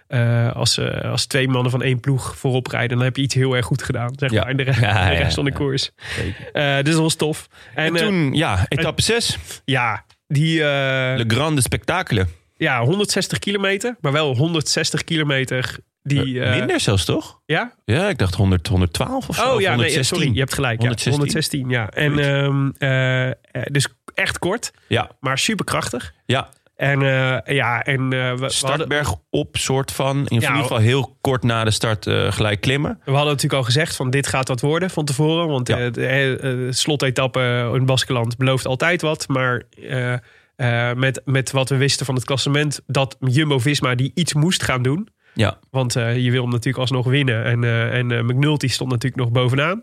S2: eh, als, eh, als twee mannen van één ploeg voorop rijden, dan heb je iets heel erg goed gedaan. Zeg
S1: Ja.
S2: maar, in de, re-
S1: Ja,
S2: de
S1: ja,
S2: rest van de
S1: ja.
S2: koers.
S1: Zeker.
S2: Eh, dus dat was tof. En,
S1: En
S2: eh,
S1: toen, ja, etappe 6,
S2: ja, die. eh,
S1: Le Grande Spectacle.
S2: Ja, 160 kilometer, maar wel 160 kilometer die... eh,
S1: Minder zelfs, toch?
S2: Ja?
S1: Ja, ik dacht 100, 112 of zo.
S2: Oh
S1: of
S2: ja, nee,
S1: 116.
S2: sorry, je hebt gelijk.
S1: 116.
S2: Ja, 116, ja. En, ehm, eh, eh, dus echt kort,
S1: Ja,
S2: maar superkrachtig.
S1: ja.
S2: En eh, ja, en eh, we, we, hadden,
S1: Startberg op, soort van. In
S2: Ja,
S1: ieder geval heel kort na de start eh, gelijk klimmen.
S2: we hadden natuurlijk al gezegd van dit gaat wat worden van tevoren. Want
S1: Ja.
S2: eh, de eh, eh, slotetappe in Baskeland belooft altijd wat. Maar eh, eh, met, met wat we wisten van het klassement, dat Jumbo-Visma die iets moest gaan doen.
S1: Ja,
S2: Want eh, je wil hem natuurlijk alsnog winnen. En, eh, en eh, McNulty stond natuurlijk nog bovenaan.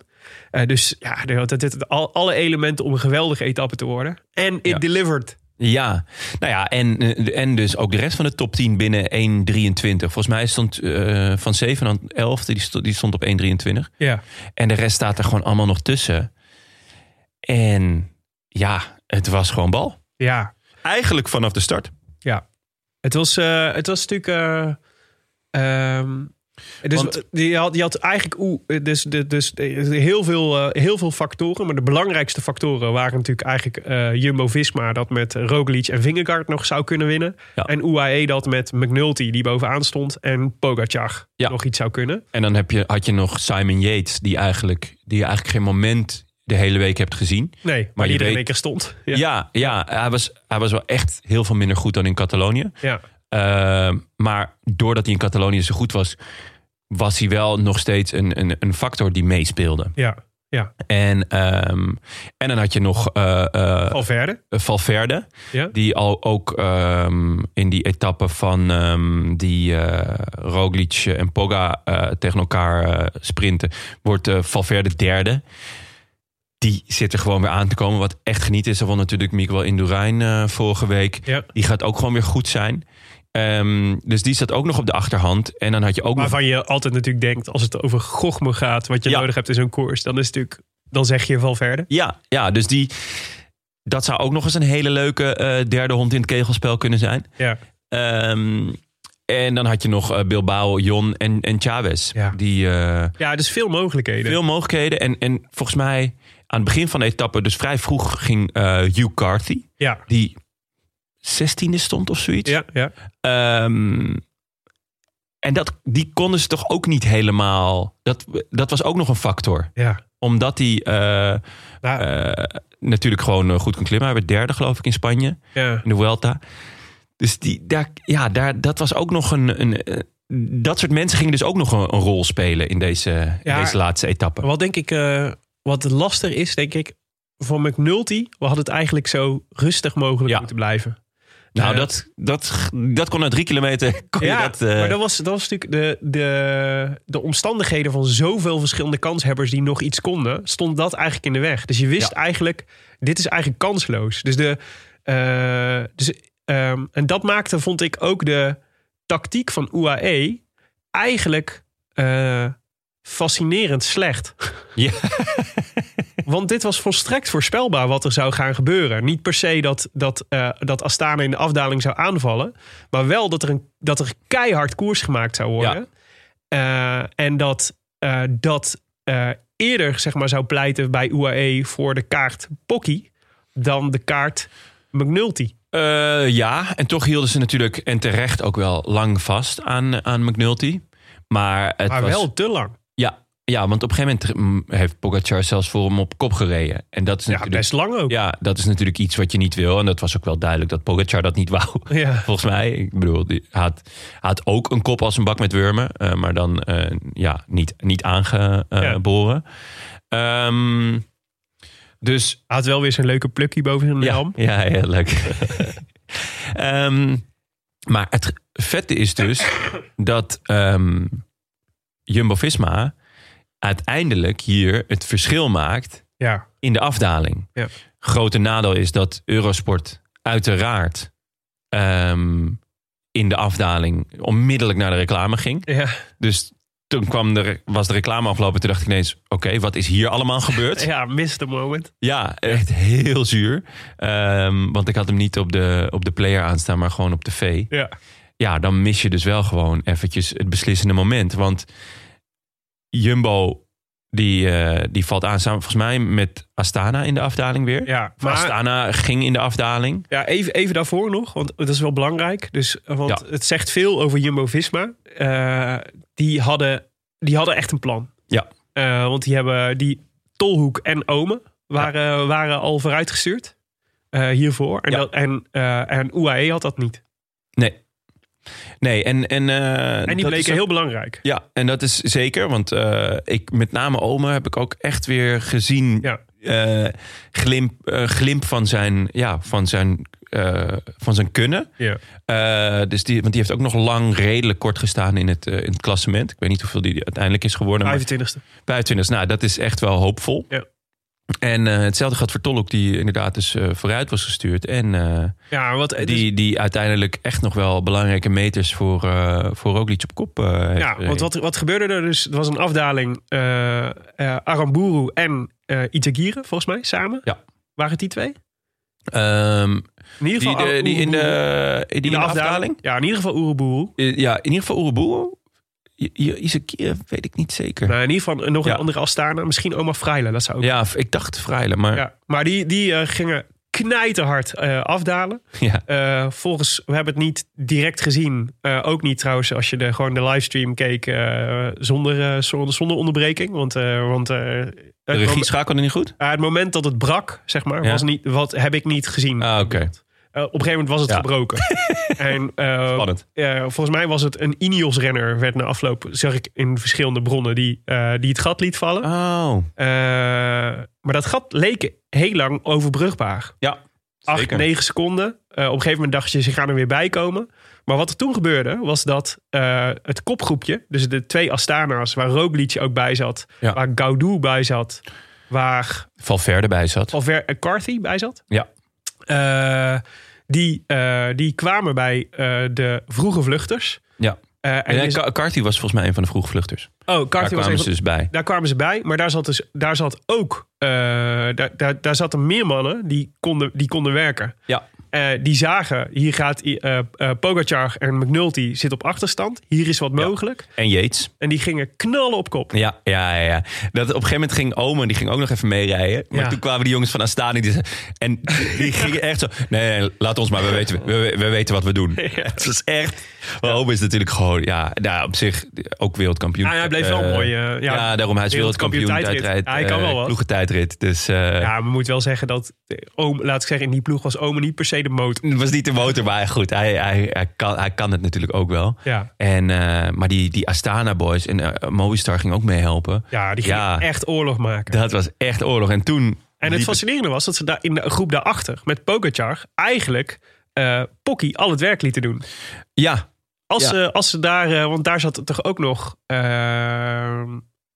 S2: Eh, dus ja, er had- het, het- al, alle elementen om een geweldige etappe te worden. En it
S1: Ja.
S2: delivered.
S1: Ja, nou ja, en, eh, en dus ook de rest van de top 10 binnen 1,23. Volgens mij stond eh, van 7 aan 11, die stond, die stond op 1,23.
S2: Ja.
S1: En de rest staat er gewoon allemaal nog tussen. En ja, het was gewoon bal.
S2: Ja,
S1: Eigenlijk vanaf de start.
S2: ja. Het was, eh, het was natuurlijk... eh, ehm, dus
S1: Want-
S2: je, had, je had eigenlijk oeh, eh, dus, de- dus, eh, heel, veel, eh, heel veel factoren. Maar de belangrijkste factoren waren natuurlijk eigenlijk eh, Jumbo-Visma... dat met Roglic en Vingegaard nog zou kunnen winnen.
S1: Ja.
S2: En UAE dat met McNulty, die bovenaan stond... en Pogacar
S1: Ja.
S2: nog iets zou kunnen.
S1: En dan heb je, had je nog Simon Yates, die, eigenlijk, die je eigenlijk geen moment de hele week hebt gezien.
S2: Nee, maar,
S1: Maar je
S2: iedereen
S1: weet-
S2: in één keer stond. Ja.
S1: Ja, ja, hij, was, hij was wel echt heel veel minder goed dan in Catalonië.
S2: Ja.
S1: Eh, maar doordat hij in Catalonië zo goed was, was hij wel nog steeds een, een, een factor die meespeelde.
S2: Ja. ja.
S1: En, ehm, en dan had je nog eh, eh,
S2: Valverde.
S1: Valverde,
S2: Ja.
S1: die al ook ehm, in die etappe van ehm, die eh, Roglic en Poga eh, tegen elkaar eh, sprinten, wordt eh, Valverde derde. Die zit er gewoon weer aan te komen. Wat echt geniet is, dat was natuurlijk Miguel Indurain eh, vorige week.
S2: Ja.
S1: Die gaat ook gewoon weer goed zijn. Ehm, dus die zat ook nog op de achterhand. En dan had je ook nog...
S2: Waarvan je altijd natuurlijk denkt, als het over gochme gaat... wat je
S1: Ja.
S2: nodig hebt in zo'n koers, dan is het natuurlijk... dan zeg je Valverde.
S1: Ja, ja, dus die... Dat zou ook nog eens een hele leuke eh, derde hond in het kegelspel kunnen zijn.
S2: Ja.
S1: Ehm, en dan had je nog eh, Bilbao, Jon en, en Chavez.
S2: Ja.
S1: Die eh,
S2: ja, dus veel mogelijkheden.
S1: veel mogelijkheden. En, en volgens mij aan het begin van de etappe, dus vrij vroeg, ging eh Hugh Carthy.
S2: Ja.
S1: Die 16e stond of zoiets.
S2: Ja, ja.
S1: Ehm, en dat, die konden ze toch ook niet helemaal. Dat, dat was ook nog een factor.
S2: ja.
S1: Omdat hij eh,
S2: Nou,
S1: eh, natuurlijk gewoon eh, goed kon klimmen. Hij werd derde, geloof ik, in Spanje
S2: ja.
S1: in de Vuelta. Dus die, daar, ja, daar, dat was ook nog een, een. eh, Dat soort mensen gingen dus ook nog een, een rol spelen in deze, in
S2: Ja.
S1: deze laatste etappe.
S2: Wat denk ik, eh, wat lastig is, denk ik, voor McNulty... we hadden het eigenlijk zo rustig mogelijk
S1: Ja.
S2: moeten blijven.
S1: nou,
S2: eh,
S1: dat, dat, dat kon na drie kilometer. Kon je dat, eh,
S2: maar dat was, dat was natuurlijk de, de, de omstandigheden van zoveel verschillende kanshebbers die nog iets konden, stond dat eigenlijk in de weg. Dus je wist
S1: Ja.
S2: eigenlijk, dit is eigenlijk kansloos. Dus de, eh, dus, ehm, en dat maakte, vond ik, ook de tactiek van UAE eigenlijk eh, fascinerend slecht.
S1: Ja.
S2: Want dit was volstrekt voorspelbaar wat er zou gaan gebeuren. Niet per se dat, dat, eh, dat Astana in de afdaling zou aanvallen. Maar wel dat er, een, dat er keihard koers gemaakt zou worden. Eh, en dat eh, dat eh, eerder zeg maar, zou pleiten bij UAE voor de kaart Pocky dan de kaart McNulty.
S1: Eh, ja, en toch hielden ze natuurlijk en terecht ook wel lang vast aan, aan McNulty. Maar het
S2: maar
S1: was,
S2: wel te lang.
S1: Ja, ja, want op een gegeven moment mm, heeft Pogacar zelfs voor hem op kop gereden. En dat is
S2: Ja,
S1: natuurlijk,
S2: best lang ook.
S1: ja, dat is natuurlijk iets wat je niet wil. En dat was ook wel duidelijk dat Pogacar dat niet wou.
S2: Ja.
S1: Volgens mij, ik bedoel, die had, had ook een kop als een bak met wurmen, eh, maar dan eh, ja, niet, niet aangeboren. Ehm, dus
S2: Hij had wel weer zijn leuke plukkie boven zijn
S1: ja,
S2: helm.
S1: ja, heel leuk. Ehm, maar het vette is dus dat ehm, Jumbo-Visma uiteindelijk hier het verschil maakt
S2: Ja,
S1: in de afdaling.
S2: Ja.
S1: Grote nadeel is dat Eurosport uiteraard ehm, in de afdaling onmiddellijk naar de reclame ging.
S2: ja.
S1: Dus toen kwam de, was de reclame afgelopen. Toen dacht ik ineens, oké, wat is hier allemaal gebeurd?
S2: ja missed the moment.
S1: Ja, echt heel zuur. Ehm, want ik had hem niet op de, op de player aanstaan, maar gewoon op de V.
S2: Ja.
S1: Ja, dan mis je dus wel gewoon eventjes het beslissende moment. Want Jumbo Die, eh, die valt aan samen, volgens mij, met Astana in de afdaling weer.
S2: Ja,
S1: Maar...
S2: maar
S1: Astana ging in de afdaling.
S2: ja, even, even daarvoor nog, want dat is wel belangrijk. Dus, eh, want
S1: Ja.
S2: het zegt veel over Jumbo-Visma. Eh, die, hadden, die hadden echt een plan.
S1: Ja.
S2: Eh, want die hebben die Tolhoek en Omen waren, waren al vooruitgestuurd eh, hiervoor. En,
S1: Ja.
S2: dat, en, eh, en UAE had dat niet.
S1: Nee. Nee, en... En, eh,
S2: En die
S1: dat is
S2: bleken
S1: ook-
S2: heel belangrijk.
S1: Ja, en dat is zeker, want eh, ik, met name Ome heb ik ook echt weer gezien
S2: Ja.
S1: eh, glimp, eh, glimp van zijn, ja, van zijn, eh, van zijn kunnen.
S2: Ja.
S1: Eh, dus die, want die heeft ook nog lang redelijk kort gestaan in het, eh, in het klassement. Ik weet niet hoeveel die uiteindelijk is geworden. maar-
S2: 25e.
S1: 25. Nou, dat is echt wel hoopvol.
S2: Ja.
S1: En eh, hetzelfde geldt voor Tolk, die inderdaad dus eh, vooruit was gestuurd. En eh,
S2: Ja, dus, want het is-
S1: die, die uiteindelijk echt nog wel belangrijke meters voor, eh voor Roglic op kop eh, heeft
S2: ja,
S1: gereden.
S2: want wat, wat gebeurde er dus? Er was een afdaling. eh eh, Aramburu en eh Itagire, volgens mij, samen.
S1: Ja.
S2: Waren het die twee?
S1: Ehm,
S2: In ieder
S1: die,
S2: geval oh,
S1: de- die in
S2: Aramburu
S1: de, die in de afdaling?
S2: Ja, in ieder geval Oeruburu.
S1: Eh, Ja, in ieder geval Oeroboe. Isakir weet ik niet zeker.
S2: Nou, in ieder geval nog een
S1: Ja.
S2: andere Astana. Misschien Oma Freile, dat zou ook. Ja.
S1: Ja, ik dacht Vrijlen, maar ja.
S2: Maar die, die eh, gingen knijterhard eh, afdalen. Eh, volgens, we hebben het niet direct gezien. Eh, ook niet trouwens als je de, gewoon de livestream keek eh, zonder, eh, zonder, zonder onderbreking. Want, eh, want eh,
S1: de
S2: het,
S1: regie
S2: mom-
S1: schakelde niet goed.
S2: eh, het moment dat het brak, zeg maar,
S1: Ja.
S2: was niet, wat heb ik niet gezien.
S1: Ah, oké.
S2: Eh, op een gegeven moment was het
S1: Ja.
S2: gebroken. en, eh,
S1: Spannend.
S2: eh, volgens mij was het een Ineos-renner, werd na afloop, zag ik in verschillende bronnen, die, eh, die het gat liet vallen.
S1: Oh,
S2: Eh, maar dat gat leek heel lang overbrugbaar.
S1: ja.
S2: Acht,
S1: Zeker.
S2: negen seconden. Eh, op een gegeven moment dacht je, ze gaan er weer bij komen. Maar wat er toen gebeurde, was dat eh, het kopgroepje... dus de twee Astana's, waar Roglic ook bij zat...
S1: Ja.
S2: waar Gaudu bij zat... waar
S1: Valverde bij zat.
S2: Valver eh, Carthy bij zat...
S1: Ja.
S2: eh, die, eh, die kwamen bij eh, de vroege vluchters.
S1: Ja.
S2: Eh, en
S1: En
S2: is-
S1: Carty was volgens mij een van de vroegvluchters.
S2: oh,
S1: Daar
S2: Carthy was
S1: kwamen
S2: een
S1: ze
S2: van-
S1: dus bij.
S2: daar kwamen ze bij, maar daar zat, dus, daar zat ook... eh, daar, daar, daar zaten meer mannen die konden, die konden werken.
S1: Ja.
S2: Eh, die zagen, hier gaat eh eh, Pogacar en McNulty zit op achterstand. Hier is wat mogelijk.
S1: En Yates.
S2: En die gingen knallen op kop.
S1: Ja, ja, ja, ja. Dat, op een gegeven moment ging Omen, die ging ook nog even meerijden. Maar
S2: Ja.
S1: toen kwamen die jongens van Astani. Die, ze- en die gingen echt zo... Nee, nee, laat ons maar, we weten, we, we weten wat we doen. Het is echt... Maar Omen is natuurlijk gewoon... Ja, nou, op zich ook wereldkampioen.
S2: Ah, hij bleef wel
S1: Eh,
S2: mooi, eh, ja.
S1: ja. daarom, hij is
S2: Wereldkampioen
S1: wereldkampioen
S2: tijdrit.
S1: tijdrit.
S2: Ja, hij kan wel
S1: eh,
S2: wat.
S1: ploegentijdrit. Dus eh,
S2: Ja, maar moet wel zeggen dat eh, Oom, laat ik zeggen, in die ploeg was Omen niet per se de motor.
S1: het was niet de motor, maar goed. Hij, hij, hij, kan, hij kan het natuurlijk ook wel.
S2: Ja.
S1: En, eh, maar die, die Astana boys en eh, Movistar ging ook meehelpen.
S2: Ja, die gingen
S1: Ja.
S2: echt oorlog maken.
S1: Dat was echt oorlog. En toen.
S2: en het
S1: liep
S2: fascinerende was dat ze daar in de groep daarachter met Pogacar eigenlijk eh Pocky al het werk lieten doen.
S1: Ja,
S2: Als,
S1: Ja.
S2: ze, als ze daar, eh, want daar zat toch ook nog eh,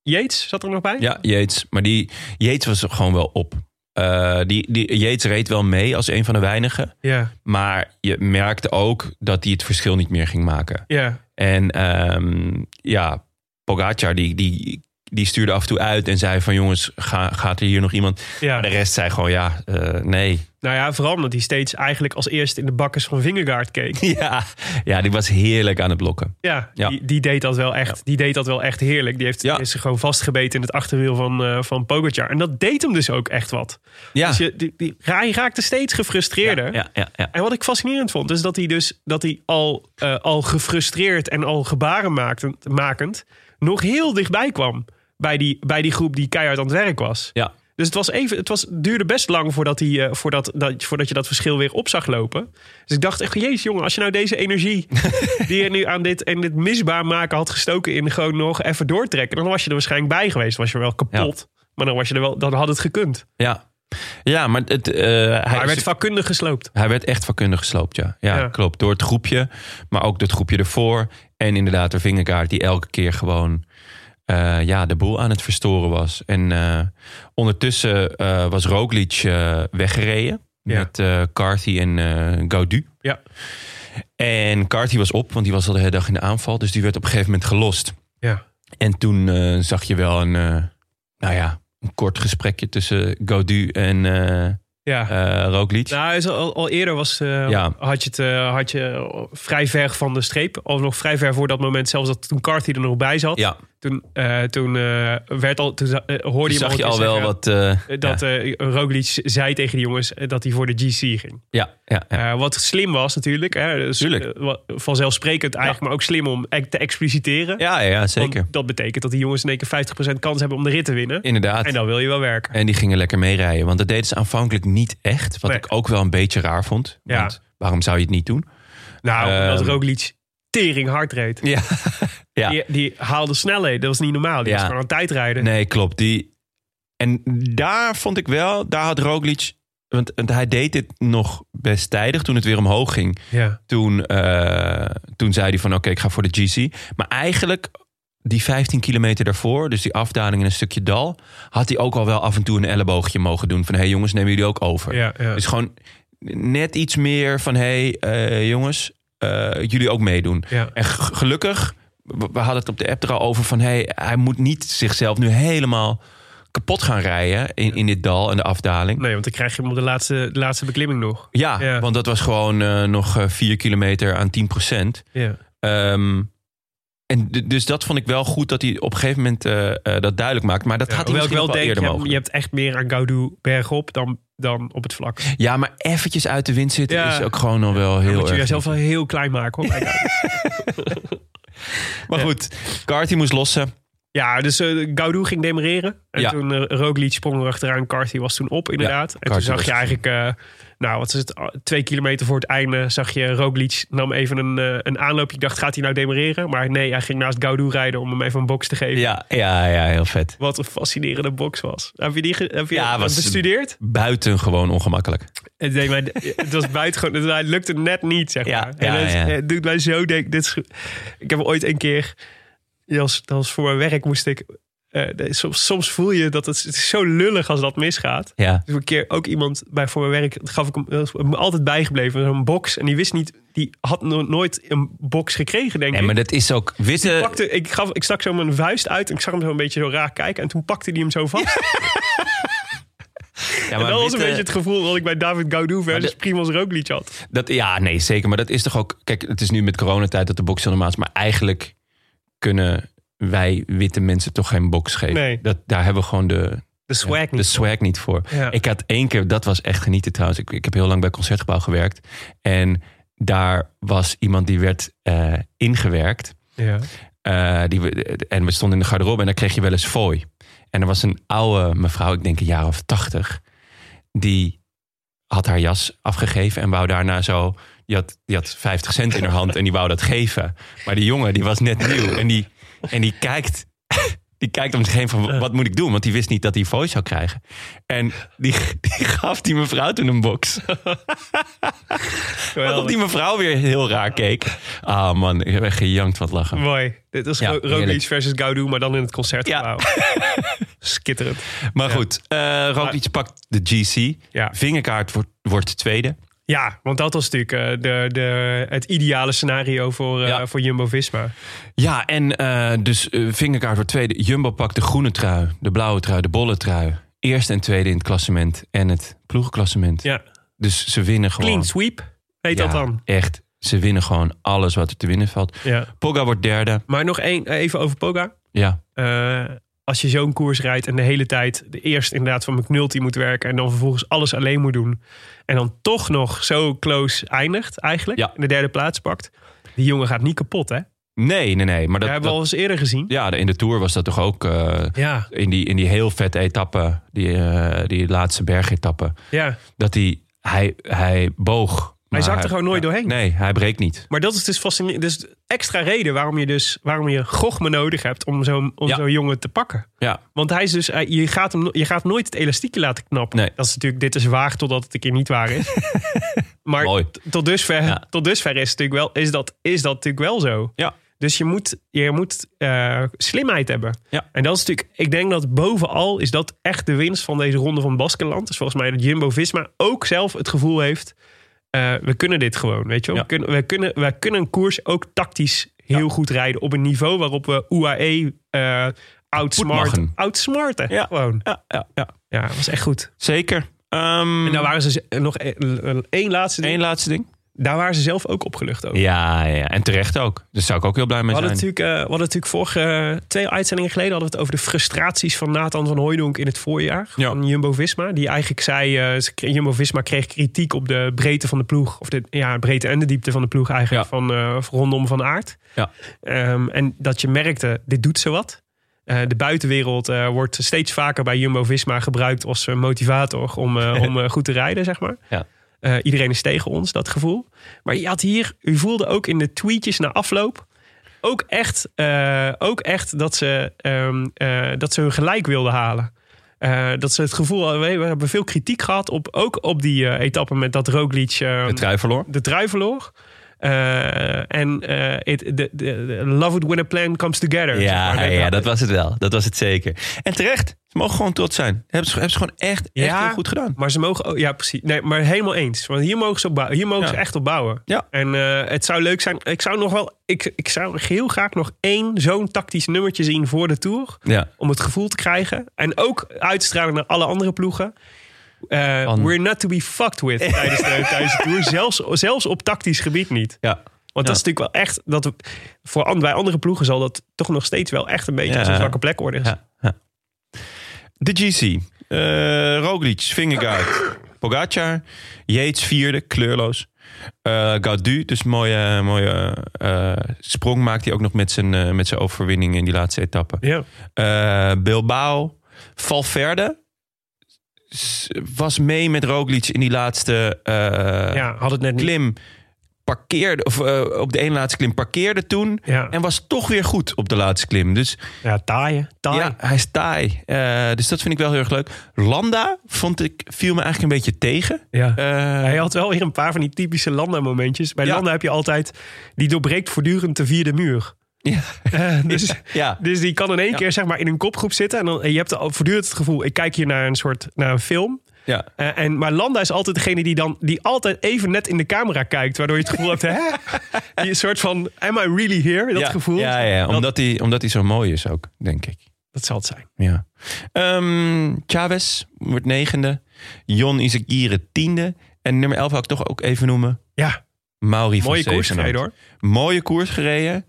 S2: Yates zat er nog bij?
S1: ja, Yates. Maar die Yates was er gewoon wel op. Eh, die, die, Yates reed wel mee als een van de weinigen.
S2: Ja.
S1: Maar je merkte ook dat hij het verschil niet meer ging maken.
S2: ja.
S1: En ehm, ja, Pogacar die, die, die stuurde af en toe uit en zei van jongens, ga, gaat er hier nog iemand?
S2: ja.
S1: Maar de rest zei gewoon ja, eh, nee.
S2: Nou ja, vooral omdat hij steeds eigenlijk als eerste in de bakkers van Vingegaard keek.
S1: ja, ja, die was heerlijk aan het blokken.
S2: Ja,
S1: Ja.
S2: Die, die deed dat wel echt. Die deed dat wel echt heerlijk. Die heeft
S1: Ja.
S2: is gewoon vastgebeten in het achterwiel van, eh van Pogacar. En dat deed hem dus ook echt wat.
S1: Ja,
S2: Dus je, die, die, hij raakte steeds gefrustreerder.
S1: ja, ja, ja.
S2: En wat ik fascinerend vond, is dat hij dus dat hij al, eh, al gefrustreerd en al gebaren maakend, makend nog heel dichtbij kwam bij die, bij die groep die keihard aan het werk was.
S1: ja.
S2: Dus het, was even, het was, duurde best lang voordat, hij, eh, voordat, dat, voordat je dat verschil weer op zag lopen. Dus ik dacht echt, jezus jongen, als je nou deze energie die je nu aan dit, en dit misbaar maken had gestoken in gewoon nog even doortrekken, dan was je er waarschijnlijk bij geweest. Was je wel kapot, maar dan, was je er wel, dan had het gekund.
S1: Ja, ja maar het, eh, hij,
S2: hij
S1: is-
S2: werd vakkundig gesloopt.
S1: hij werd echt vakkundig gesloopt, ja. ja.
S2: Ja.
S1: klopt. Door het groepje, maar ook door het groepje ervoor. En inderdaad door Vingerkaart, die elke keer gewoon eh, ja, de boel aan het verstoren was. En eh, ondertussen eh, was Roglic eh, weggereden
S2: Ja.
S1: met eh Carthy en eh Gaudu.
S2: Ja.
S1: En Carthy was op, want die was al de hele dag in de aanval. Dus die werd op een gegeven moment gelost.
S2: Ja.
S1: En toen eh, zag je wel een, eh, nou ja, een kort gesprekje tussen Gaudu en... eh,
S2: Ja.
S1: eh Roglic.
S2: Nou, is al, al eerder was, eh,
S1: Ja.
S2: had, je het, eh, had je vrij ver van de streep. Of nog vrij ver voor dat moment, zelfs dat toen Carthy er nog bij zat.
S1: ja,
S2: Toen, eh, toen, eh, werd al, toen za- eh, hoorde
S1: Toen
S2: je
S1: zag
S2: hem
S1: je al
S2: een keer
S1: wel
S2: zeggen,
S1: wat... eh,
S2: eh, Dat eh, Roglic zei tegen die jongens eh, dat hij voor de GC ging.
S1: ja, ja, ja.
S2: Eh, wat slim was natuurlijk. Hè? Dus,
S1: Tuurlijk.
S2: eh, wat- vanzelfsprekend eigenlijk, maar ook slim om e- te expliciteren.
S1: ja, ja, ja,
S2: Want
S1: zeker.
S2: dat betekent dat die jongens in één keer 50% kans hebben om de rit te winnen.
S1: Inderdaad.
S2: En dan wil je wel werken.
S1: En die gingen lekker meerijden. Want dat deden ze aanvankelijk niet echt. Wat
S2: Nee.
S1: ik ook wel een beetje raar vond.
S2: Ja.
S1: Want waarom zou je het niet doen?
S2: Nou,
S1: Ehm.
S2: dat Roglic tering hard reed.
S1: Ja. ja.
S2: Die, die haalde snelheden. Dat was niet normaal. Die
S1: Ja.
S2: was gewoon aan het tijdrijden.
S1: Nee, klopt. Die... En daar vond ik wel, daar had Roglic... Want, want hij deed dit nog best tijdig toen het weer omhoog ging.
S2: Ja.
S1: Toen, eh, toen zei hij van oké, ik ga voor de GC. Maar eigenlijk die 15 kilometer daarvoor, dus die afdaling in een stukje dal... had hij ook al wel af en toe een elleboogje mogen doen. Van hé hey, jongens, nemen jullie ook over.
S2: Ja, ja.
S1: Dus gewoon net iets meer van hé hey, eh, jongens, eh, jullie ook meedoen.
S2: ja.
S1: En g- gelukkig, we we hadden het op de app er al over van... Hey, hij moet niet zichzelf nu helemaal kapot gaan rijden in, in dit dal en de afdaling.
S2: Nee, want dan krijg je hem op de laatste, de laatste beklimming nog.
S1: Ja,
S2: Ja.
S1: want dat was gewoon eh, nog eh, 4 kilometer aan 10
S2: Ja.
S1: Ehm, en d- dus dat vond ik wel goed dat hij op een gegeven moment eh, eh, dat duidelijk maakt. Maar dat
S2: Ja,
S1: had hij
S2: hoewel
S1: misschien wel, wel
S2: je
S1: eerder
S2: hebt,
S1: mogen.
S2: je hebt echt meer aan Gaudu bergop dan, dan op het vlak. Dan
S1: Ja, maar eventjes uit de wind zitten
S2: Ja.
S1: is ook gewoon al wel heel
S2: moet je
S1: erg.
S2: jezelf wel heel klein maken. Hoor. bij Gaudu.
S1: Maar goed, Carty moest lossen.
S2: ja, dus eh Gaudu ging demereren. En
S1: Ja.
S2: toen eh, Roglic sprong erachteraan. Carthy was toen op, inderdaad. en toen
S1: Carthy
S2: zag
S1: was
S2: je eigenlijk... eh, nou, wat is het? ah, Twee kilometer voor het einde zag je Roglic nam even een, eh, een aanloop. Ik dacht, gaat hij nou demereren? Maar nee, hij ging naast Gaudu rijden om hem even een box te geven.
S1: Ja, ja, ja, heel vet.
S2: Wat een fascinerende box was. Heb je die ge- heb je
S1: Ja, was-
S2: bestudeerd?
S1: Buitengewoon ongemakkelijk.
S2: Het, deed mij, het was buitengewoon. Het lukte net niet, zeg
S1: Ja,
S2: maar.
S1: ja,
S2: en het,
S1: ja.
S2: het doet mij zo denken. Dit is, ik heb ooit een keer... Dat was, dat was voor mijn werk moest ik... eh, de- soms, soms voel je dat het, het is zo lullig als dat misgaat.
S1: Ja.
S2: Dus een keer ook iemand bij voor mijn werk... dat gaf ik hem, dat is me altijd bijgebleven. Zo'n box. En die wist niet... Die had no- nooit een box gekregen, denk
S1: Nee,
S2: ik.
S1: maar dat is ook... Witte,
S2: pakte, ik, gaf, ik stak zo mijn vuist uit en ik zag hem zo een beetje zo raar kijken. En toen pakte hij hem zo vast.
S1: ja,
S2: en
S1: maar
S2: dat was
S1: witte-
S2: een beetje het gevoel dat ik bij David Gaudu versus
S1: de-
S2: Primoz Roglic had.
S1: dat, ja, nee, zeker. Maar dat is toch ook... Kijk, het is nu met coronatijd dat de box normaal is. Maar eigenlijk kunnen wij witte mensen toch geen box geven.
S2: Nee.
S1: Dat, daar hebben we gewoon de,
S2: De swag
S1: Ja,
S2: niet.
S1: De swag niet voor.
S2: Ja.
S1: Ik had één keer, dat was echt genieten trouwens. Ik, ik heb heel lang bij Concertgebouw gewerkt. En daar was iemand die werd eh, ingewerkt.
S2: ja.
S1: Eh, die, we- en we stonden in de garderobe en daar kreeg je wel eens fooi. En er was een oude mevrouw, ik denk een jaar of tachtig. Die had haar jas afgegeven en wou daarna zo... Die had, die had 50 cent in haar hand en die wou dat geven. Maar die jongen, die was net nieuw. En die, en die kijkt... Die kijkt om zich heen van, wat moet ik doen? Want die wist niet dat hij fooi zou krijgen. En die, die gaf die mevrouw toen een box. Waarop die mevrouw weer heel raar keek. Ah man, ik heb echt gejankt van het lachen.
S2: Mooi. Dit is
S1: Ja,
S2: Ro- Roglic
S1: heerlijk.
S2: versus Gaudu, maar dan in het concertgebouw. Skitterend.
S1: Maar goed, eh Roglic pakt de GC.
S2: Ja.
S1: Vingerkaart wordt, wordt tweede.
S2: Ja, want dat was natuurlijk eh, de, de, het ideale scenario voor, eh,
S1: Ja.
S2: voor Jumbo-Visma.
S1: Ja, en eh, dus eh Vingerkaart wordt tweede. Jumbo pakt de groene trui, de blauwe trui, de bolle trui. Eerste en tweede in het klassement en het ploegenklassement.
S2: Ja.
S1: Dus ze winnen gewoon.
S2: Clean sweep heet
S1: Ja,
S2: dat dan.
S1: Echt, ze winnen gewoon alles wat er te winnen valt.
S2: Ja.
S1: Pogga wordt derde.
S2: Maar nog één, eh, even over Poga.
S1: Ja,
S2: Eh, als je zo'n koers rijdt en de hele tijd de eerst inderdaad van McNulty moet werken en dan vervolgens alles alleen moet doen. En dan toch nog zo close eindigt eigenlijk.
S1: Ja.
S2: En de derde plaats pakt. Die jongen gaat niet kapot hè. Dat,
S1: nee, nee, nee. Maar dat,
S2: hebben we al
S1: dat-
S2: eens eerder gezien.
S1: ja, in de Tour was dat toch ook... eh,
S2: Ja,
S1: in, die, in die heel vette etappe, die, eh, die laatste bergetappe.
S2: ja.
S1: dat hij, hij, hij boog. maar
S2: zakt er gewoon nooit doorheen.
S1: Nee, hij breekt niet.
S2: Maar dat is dus fascinerend. Dus extra reden waarom je dus waarom je Gochme nodig hebt om zo'n om
S1: Ja.
S2: zo'n jongen te pakken.
S1: Ja,
S2: Want hij is dus, hij- je, gaat hem, je gaat nooit het elastiekje laten knappen.
S1: Nee.
S2: Dat is natuurlijk, dit is waar totdat het een keer niet waar is. maar
S1: Mooi.
S2: t- tot dusver,
S1: Ja.
S2: tot dusver is, het natuurlijk wel, is, dat, is dat natuurlijk wel zo.
S1: Ja.
S2: Dus je moet, je moet eh, slimheid hebben.
S1: Ja.
S2: En dat is natuurlijk, ik denk dat bovenal is dat echt de winst van deze ronde van Baskeland. Dus volgens mij dat Jumbo Visma ook zelf het gevoel heeft: eh, we kunnen dit gewoon. Weet je wel?
S1: Ja.
S2: We, kunnen, we, kunnen, we kunnen een koers ook tactisch heel goed rijden op een niveau waarop we UAE eh outsmart,
S1: Goed
S2: outsmarten.
S1: Ja.
S2: Gewoon.
S1: ja, ja, ja.
S2: Ja, dat was echt goed.
S1: zeker. Ehm
S2: nou- En daar waren ze nog één, één laatste ding.
S1: één laatste ding.
S2: Daar waren ze zelf ook opgelucht over.
S1: Ja, ja, en terecht ook. Daar zou ik ook heel blij
S2: We
S1: mee
S2: hadden,
S1: zijn.
S2: natuurlijk, eh, we hadden natuurlijk vorige eh, twee uitzendingen geleden hadden we het over de frustraties van Nathan van Hooijdonk in het voorjaar
S1: Ja.
S2: van Jumbo Visma. Die eigenlijk zei: Jumbo Visma kreeg kritiek op de breedte van de ploeg. Of de ja, breedte en de diepte van de ploeg eigenlijk
S1: Ja.
S2: van eh, rondom van aard.
S1: Ja.
S2: Ehm, en dat je merkte, dit doet ze wat. Eh, de buitenwereld eh, wordt steeds vaker bij Jumbo-Visma gebruikt als eh, motivator om, eh, om eh, goed te rijden, zeg maar.
S1: Ja.
S2: Eh, iedereen is tegen ons, dat gevoel. Maar je had hier, u voelde ook in de tweetjes na afloop... ook echt, eh, ook echt dat, ze, ehm, eh, dat ze hun gelijk wilden halen. Eh, dat ze het gevoel hadden, we- we hebben veel kritiek gehad... Op, ook op die eh, etappe met dat Roglic... ehm,
S1: De trui verloor.
S2: de trui verloor. Eh, en eh, it- de de- de- love it when a plan comes together. zeg maar.
S1: Ja,
S2: Nee,
S1: ja, dat was het wel. Dat was het zeker. En terecht. Ze mogen gewoon trots zijn. Hebben ze, hebben ze gewoon echt, echt
S2: Ja.
S1: heel goed gedaan.
S2: Maar ze mogen, ook- ja precies, nee, maar helemaal eens. Want hier mogen ze, op bouwen, hier mogen
S1: Ja.
S2: ze echt op bouwen.
S1: Ja.
S2: En eh, het zou leuk zijn, ik zou nog wel, ik, ik zou heel graag nog één zo'n tactisch nummertje zien voor de Tour.
S1: Ja.
S2: Om het gevoel te krijgen. En ook uitstralen naar alle andere ploegen. Eh,
S1: Van-
S2: We're not to be fucked with tijdens de, tijdens de Tour. Zelfs, zelfs op tactisch gebied niet.
S1: Ja.
S2: Want
S1: Ja.
S2: dat is natuurlijk wel echt. Dat, we- voor, an- bij andere ploegen zal dat toch nog steeds wel echt een beetje
S1: Ja.
S2: als een zwakke plek worden.
S1: Ja. ja. De GC. eh Roglic, Vingegaard, Pogacar. Yates vierde, kleurloos. Eh Gaudu, dus mooie, mooie eh, sprong maakt hij ook nog met zijn, eh, met zijn overwinning in die laatste etappe.
S2: Ja.
S1: Eh, Bilbao. Valverde s- was mee met Roglic in die laatste eh,
S2: ja, had het net niet.
S1: klim. Parkeerde, of eh, op de ene laatste klim parkeerde toen.
S2: Ja.
S1: En was toch weer goed op de laatste klim. Dus
S2: Ja, taaien. Taaien.
S1: ja, hij is taai. Eh, dus dat vind ik wel heel erg leuk. Landa vond ik, viel me eigenlijk een beetje tegen.
S2: Ja.
S1: Eh,
S2: Hij had wel weer een paar van die typische Landa-momentjes. Bij
S1: Ja.
S2: Landa heb je altijd... Die doorbreekt voortdurend de vierde muur.
S1: ja,
S2: Eh, dus,
S1: ja.
S2: dus die kan in één keer zeg maar, in een kopgroep zitten. En, dan, en je hebt al voortdurend het gevoel... Ik kijk hier naar een soort naar een film.
S1: ja.
S2: Eh, en, maar Landa is altijd degene die dan die altijd even net in de camera kijkt. Waardoor je het gevoel hebt... Hè? Die een soort van... Am I really here? Dat
S1: ja,
S2: gevoel.
S1: Ja, ja,
S2: Dat,
S1: omdat, hij, omdat hij zo mooi is ook, denk ik.
S2: dat zal het zijn.
S1: Ja. Ehm Chavez wordt negende. Jon Izagirre tiende. En nummer 11 had ik toch ook even noemen.
S2: Ja,
S1: Mauri van
S2: mooie koers
S1: Zevenhout.
S2: gereden hoor.
S1: Mooie koers gereden.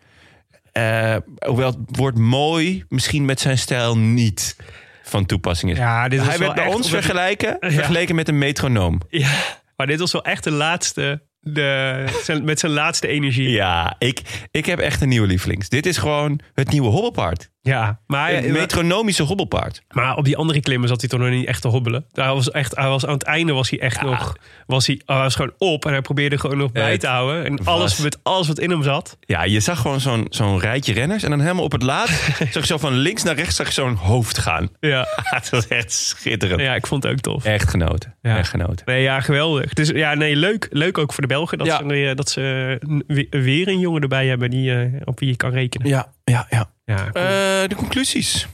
S1: Eh, hoewel het woord mooi misschien met zijn stijl niet van toepassing is.
S2: Ja, dit
S1: Hij werd bij ons vergelijken, vergeleken met een metronoom.
S2: Ja, maar dit was wel echt de laatste... De, zijn- met zijn laatste energie.
S1: Ja, ik, ik heb echt een nieuwe lievelings. Dit is gewoon het nieuwe hobbelpaard.
S2: Ja, maar, eh,
S1: Een metronomische hobbelpaard.
S2: maar op die andere klimmen zat hij toch nog niet echt te hobbelen. Hij was echt, hij was, aan het einde was hij echt nog... Was hij, hij was gewoon op en hij probeerde gewoon nog bij
S1: Het
S2: te houden. En
S1: was-
S2: alles, met alles wat in hem zat.
S1: Ja, je zag gewoon zo'n zo'n rijtje renners. En dan helemaal op het laatst zag je zo van links naar rechts zag je zo'n hoofd gaan.
S2: Ja,
S1: Het was echt schitterend.
S2: ja ik vond het ook tof.
S1: Echt genoten.
S2: Ja.
S1: Echt genoten.
S2: Nee, ja, geweldig. Dus ja, nee, leuk, leuk ook voor de Belgen dat
S1: Ja.
S2: ze, eh, dat ze n- we- weer een jongen erbij hebben die, eh, op wie je kan rekenen.
S1: Ja, ja, ja.
S2: Ja, cool.
S1: Eh, de conclusies.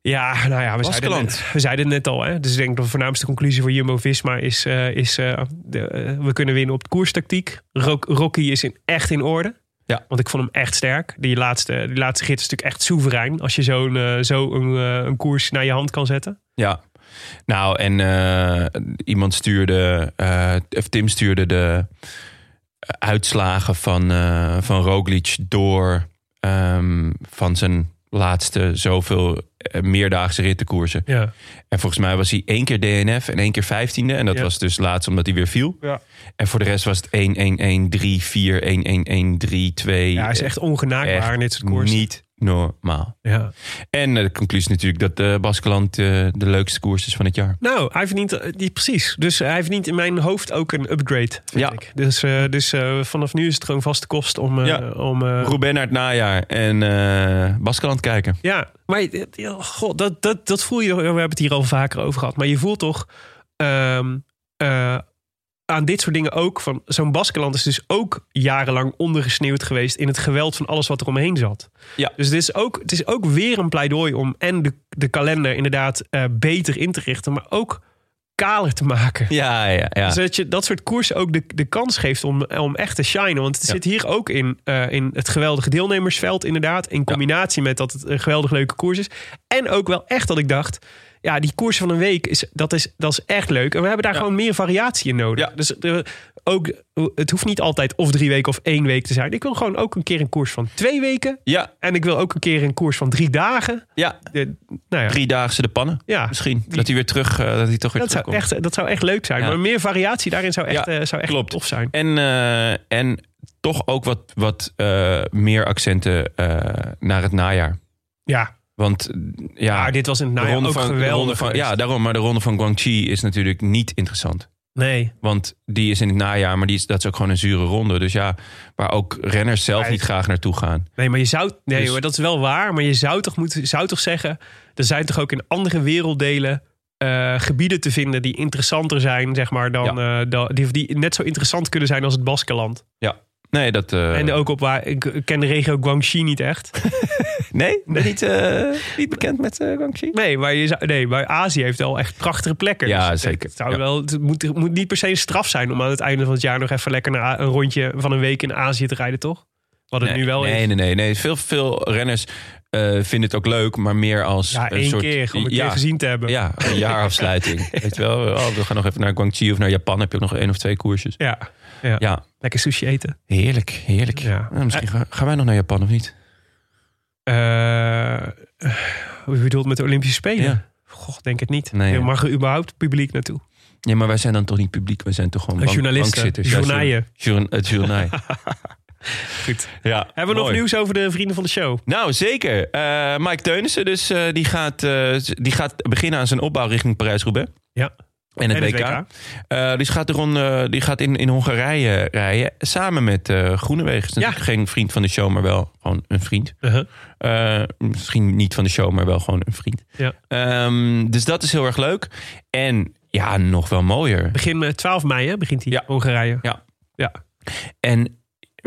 S2: ja nou ja, we zeiden, het
S1: Baskeland.
S2: net, we zeiden het net al. Hè? Dus ik denk dat de voornaamste conclusie voor Jumbo-Visma is... eh, is eh, de, eh, we kunnen winnen op de koerstactiek. Rock- Rocky is in, echt in orde.
S1: Ja.
S2: Want ik vond hem echt sterk. Die laatste, die laatste gids is natuurlijk echt soeverein. Als je zo'n eh, zo een, eh, een koers naar je hand kan zetten.
S1: Ja. Nou, en eh, iemand stuurde, eh, of Tim stuurde de uitslagen van, eh, van Roglic door ehm, van zijn laatste zoveel eh, meerdaagse rittenkoersen.
S2: Ja.
S1: En volgens mij was hij één keer DNF en één keer vijftiende. En dat
S2: Ja.
S1: was dus laatst omdat hij weer viel.
S2: Ja.
S1: En voor de rest was het 1 1 1 3 4 1 1 1 3 2
S2: ja, hij is echt ongenaakbaar
S1: echt
S2: in dit soort koersen.
S1: niet normaal.
S2: Ja.
S1: En eh, de conclusie is natuurlijk dat eh Baskeland eh, de leukste koers is van het jaar.
S2: Nou, hij verdient eh, die, precies. Dus hij verdient in mijn hoofd ook een upgrade, vind
S1: Ja.
S2: ik. Dus, eh, dus eh, vanaf nu is het gewoon vaste kost om... eh,
S1: Ja.
S2: om eh,
S1: Ruben naar het najaar en eh Baskeland kijken.
S2: Ja, maar eh, ja, god, dat, dat, dat voel je. We hebben het hier al vaker over gehad. Maar je voelt toch ehm, eh, aan dit soort dingen ook. Van, zo'n Baskeland is dus ook jarenlang ondergesneeuwd geweest. in het geweld van alles wat er omheen zat.
S1: Ja.
S2: Dus het is ook, het is ook weer een pleidooi om. en de, de kalender inderdaad eh, beter in te richten. maar ook kaler te maken.
S1: Ja, ja, ja.
S2: Zodat je dat soort koersen ook de, de kans geeft om, om echt te shinen. Want het
S1: Ja.
S2: zit hier ook in, eh, in het geweldige deelnemersveld, inderdaad. In combinatie met dat het een geweldig leuke koers is. En ook wel echt dat ik dacht. Ja, die koers van een week, is, dat, is, dat is echt leuk. En we hebben daar gewoon meer variatie in nodig.
S1: Ja.
S2: Dus eh, ook, het hoeft niet altijd of drie weken of één week te zijn. Ik wil gewoon ook een keer een koers van twee weken.
S1: Ja,
S2: En ik wil ook een keer een koers van drie dagen.
S1: ja.
S2: De, nou ja,
S1: Driedaagse de pannen.
S2: ja.
S1: Misschien. Dat hij weer terug, eh, dat hij toch weer
S2: Dat, zou
S1: terugkomt.
S2: echt, dat zou echt leuk zijn.
S1: Ja.
S2: Maar meer variatie daarin zou echt,
S1: Ja,
S2: eh, zou echt
S1: klopt.
S2: tof zijn.
S1: En, eh, en toch ook wat, wat eh, meer accenten eh, naar het najaar.
S2: Ja,
S1: Want eh, ja,
S2: maar dit was in het najaar ook
S1: van, de
S2: geweldig.
S1: ronde van,
S2: geweest.
S1: ja, daarom. Maar de ronde van Guangxi is natuurlijk niet interessant.
S2: nee.
S1: Want die is in het najaar, maar die is, dat is ook gewoon een zure ronde. Dus ja, waar ook renners zelf
S2: Maar-
S1: niet graag naartoe gaan.
S2: Nee, maar je zou. Nee,
S1: Dus-
S2: hoor, dat is wel waar. Maar je zou toch, moeten, zou toch zeggen. Er zijn toch ook in andere werelddelen. eh, gebieden te vinden die interessanter zijn, zeg maar, dan, eh, dan die, die net zo interessant kunnen zijn als het Baskenland.
S1: Nee, dat... eh,
S2: En ook op waar ik, ik ken de regio Guangxi niet echt.
S1: Nee? Ben je Niet, eh, niet bekend met eh, Guangxi?
S2: Nee, maar, je zou, nee, maar Azië heeft al echt prachtige plekken.
S1: Ja,
S2: Dus het-
S1: zeker.
S2: Het, zou
S1: Ja.
S2: wel, het, moet, het moet niet per se een straf zijn om aan het einde van het jaar nog even lekker naar, A- een rondje van een week in Azië te rijden, toch? Wat het
S1: nee,
S2: nu wel
S1: nee,
S2: is.
S1: Nee, nee, nee. Veel, veel renners eh, vinden het ook leuk, maar meer als
S2: ja,
S1: een
S2: één
S1: soort...
S2: keer om een
S1: ja,
S2: keer gezien te hebben.
S1: Ja, een jaarafsluiting. Weet je wel, oh, we gaan nog even naar Guangxi of naar Japan. Heb je ook nog één of twee koersjes.
S2: Ja,
S1: Ja,
S2: lekker sushi eten.
S1: heerlijk, heerlijk.
S2: Ja.
S1: Nou, misschien gaan, gaan wij nog naar Japan of niet?
S2: Eh hoe bedoelt met de Olympische Spelen?
S1: Ja.
S2: Goh, denk het niet.
S1: Nee,
S2: Er
S1: ja.
S2: mag er überhaupt publiek naartoe?
S1: Nee, maar wij zijn dan toch niet publiek. Wij zijn toch gewoon
S2: Als
S1: bank-
S2: journalisten,
S1: bankzitters. Ja,
S2: journaaien.
S1: journa- het journaai.
S2: Goed.
S1: Ja,
S2: Hebben we nog
S1: mooi.
S2: nieuws over de vrienden van de show?
S1: Nou, zeker. Eh, Mike Teunissen dus, eh, die, gaat, eh, die gaat beginnen aan zijn opbouw richting Parijs-Roubaix.
S2: Ja.
S1: En het
S2: En het
S1: WK.
S2: WK.
S1: Eh, dus gaat de ronde, die gaat in, in Hongarije rijden. Samen met eh Groenewegen. Dus
S2: Ja.
S1: natuurlijk Geen vriend van de show, maar wel gewoon een vriend.
S2: Uh-huh.
S1: Eh, misschien niet van de show, maar wel gewoon een vriend.
S2: Ja.
S1: Ehm, dus dat is heel erg leuk. En ja, nog wel mooier.
S2: Begin eh, 12 mei hè, begint hij
S1: Ja.
S2: Hongarije.
S1: En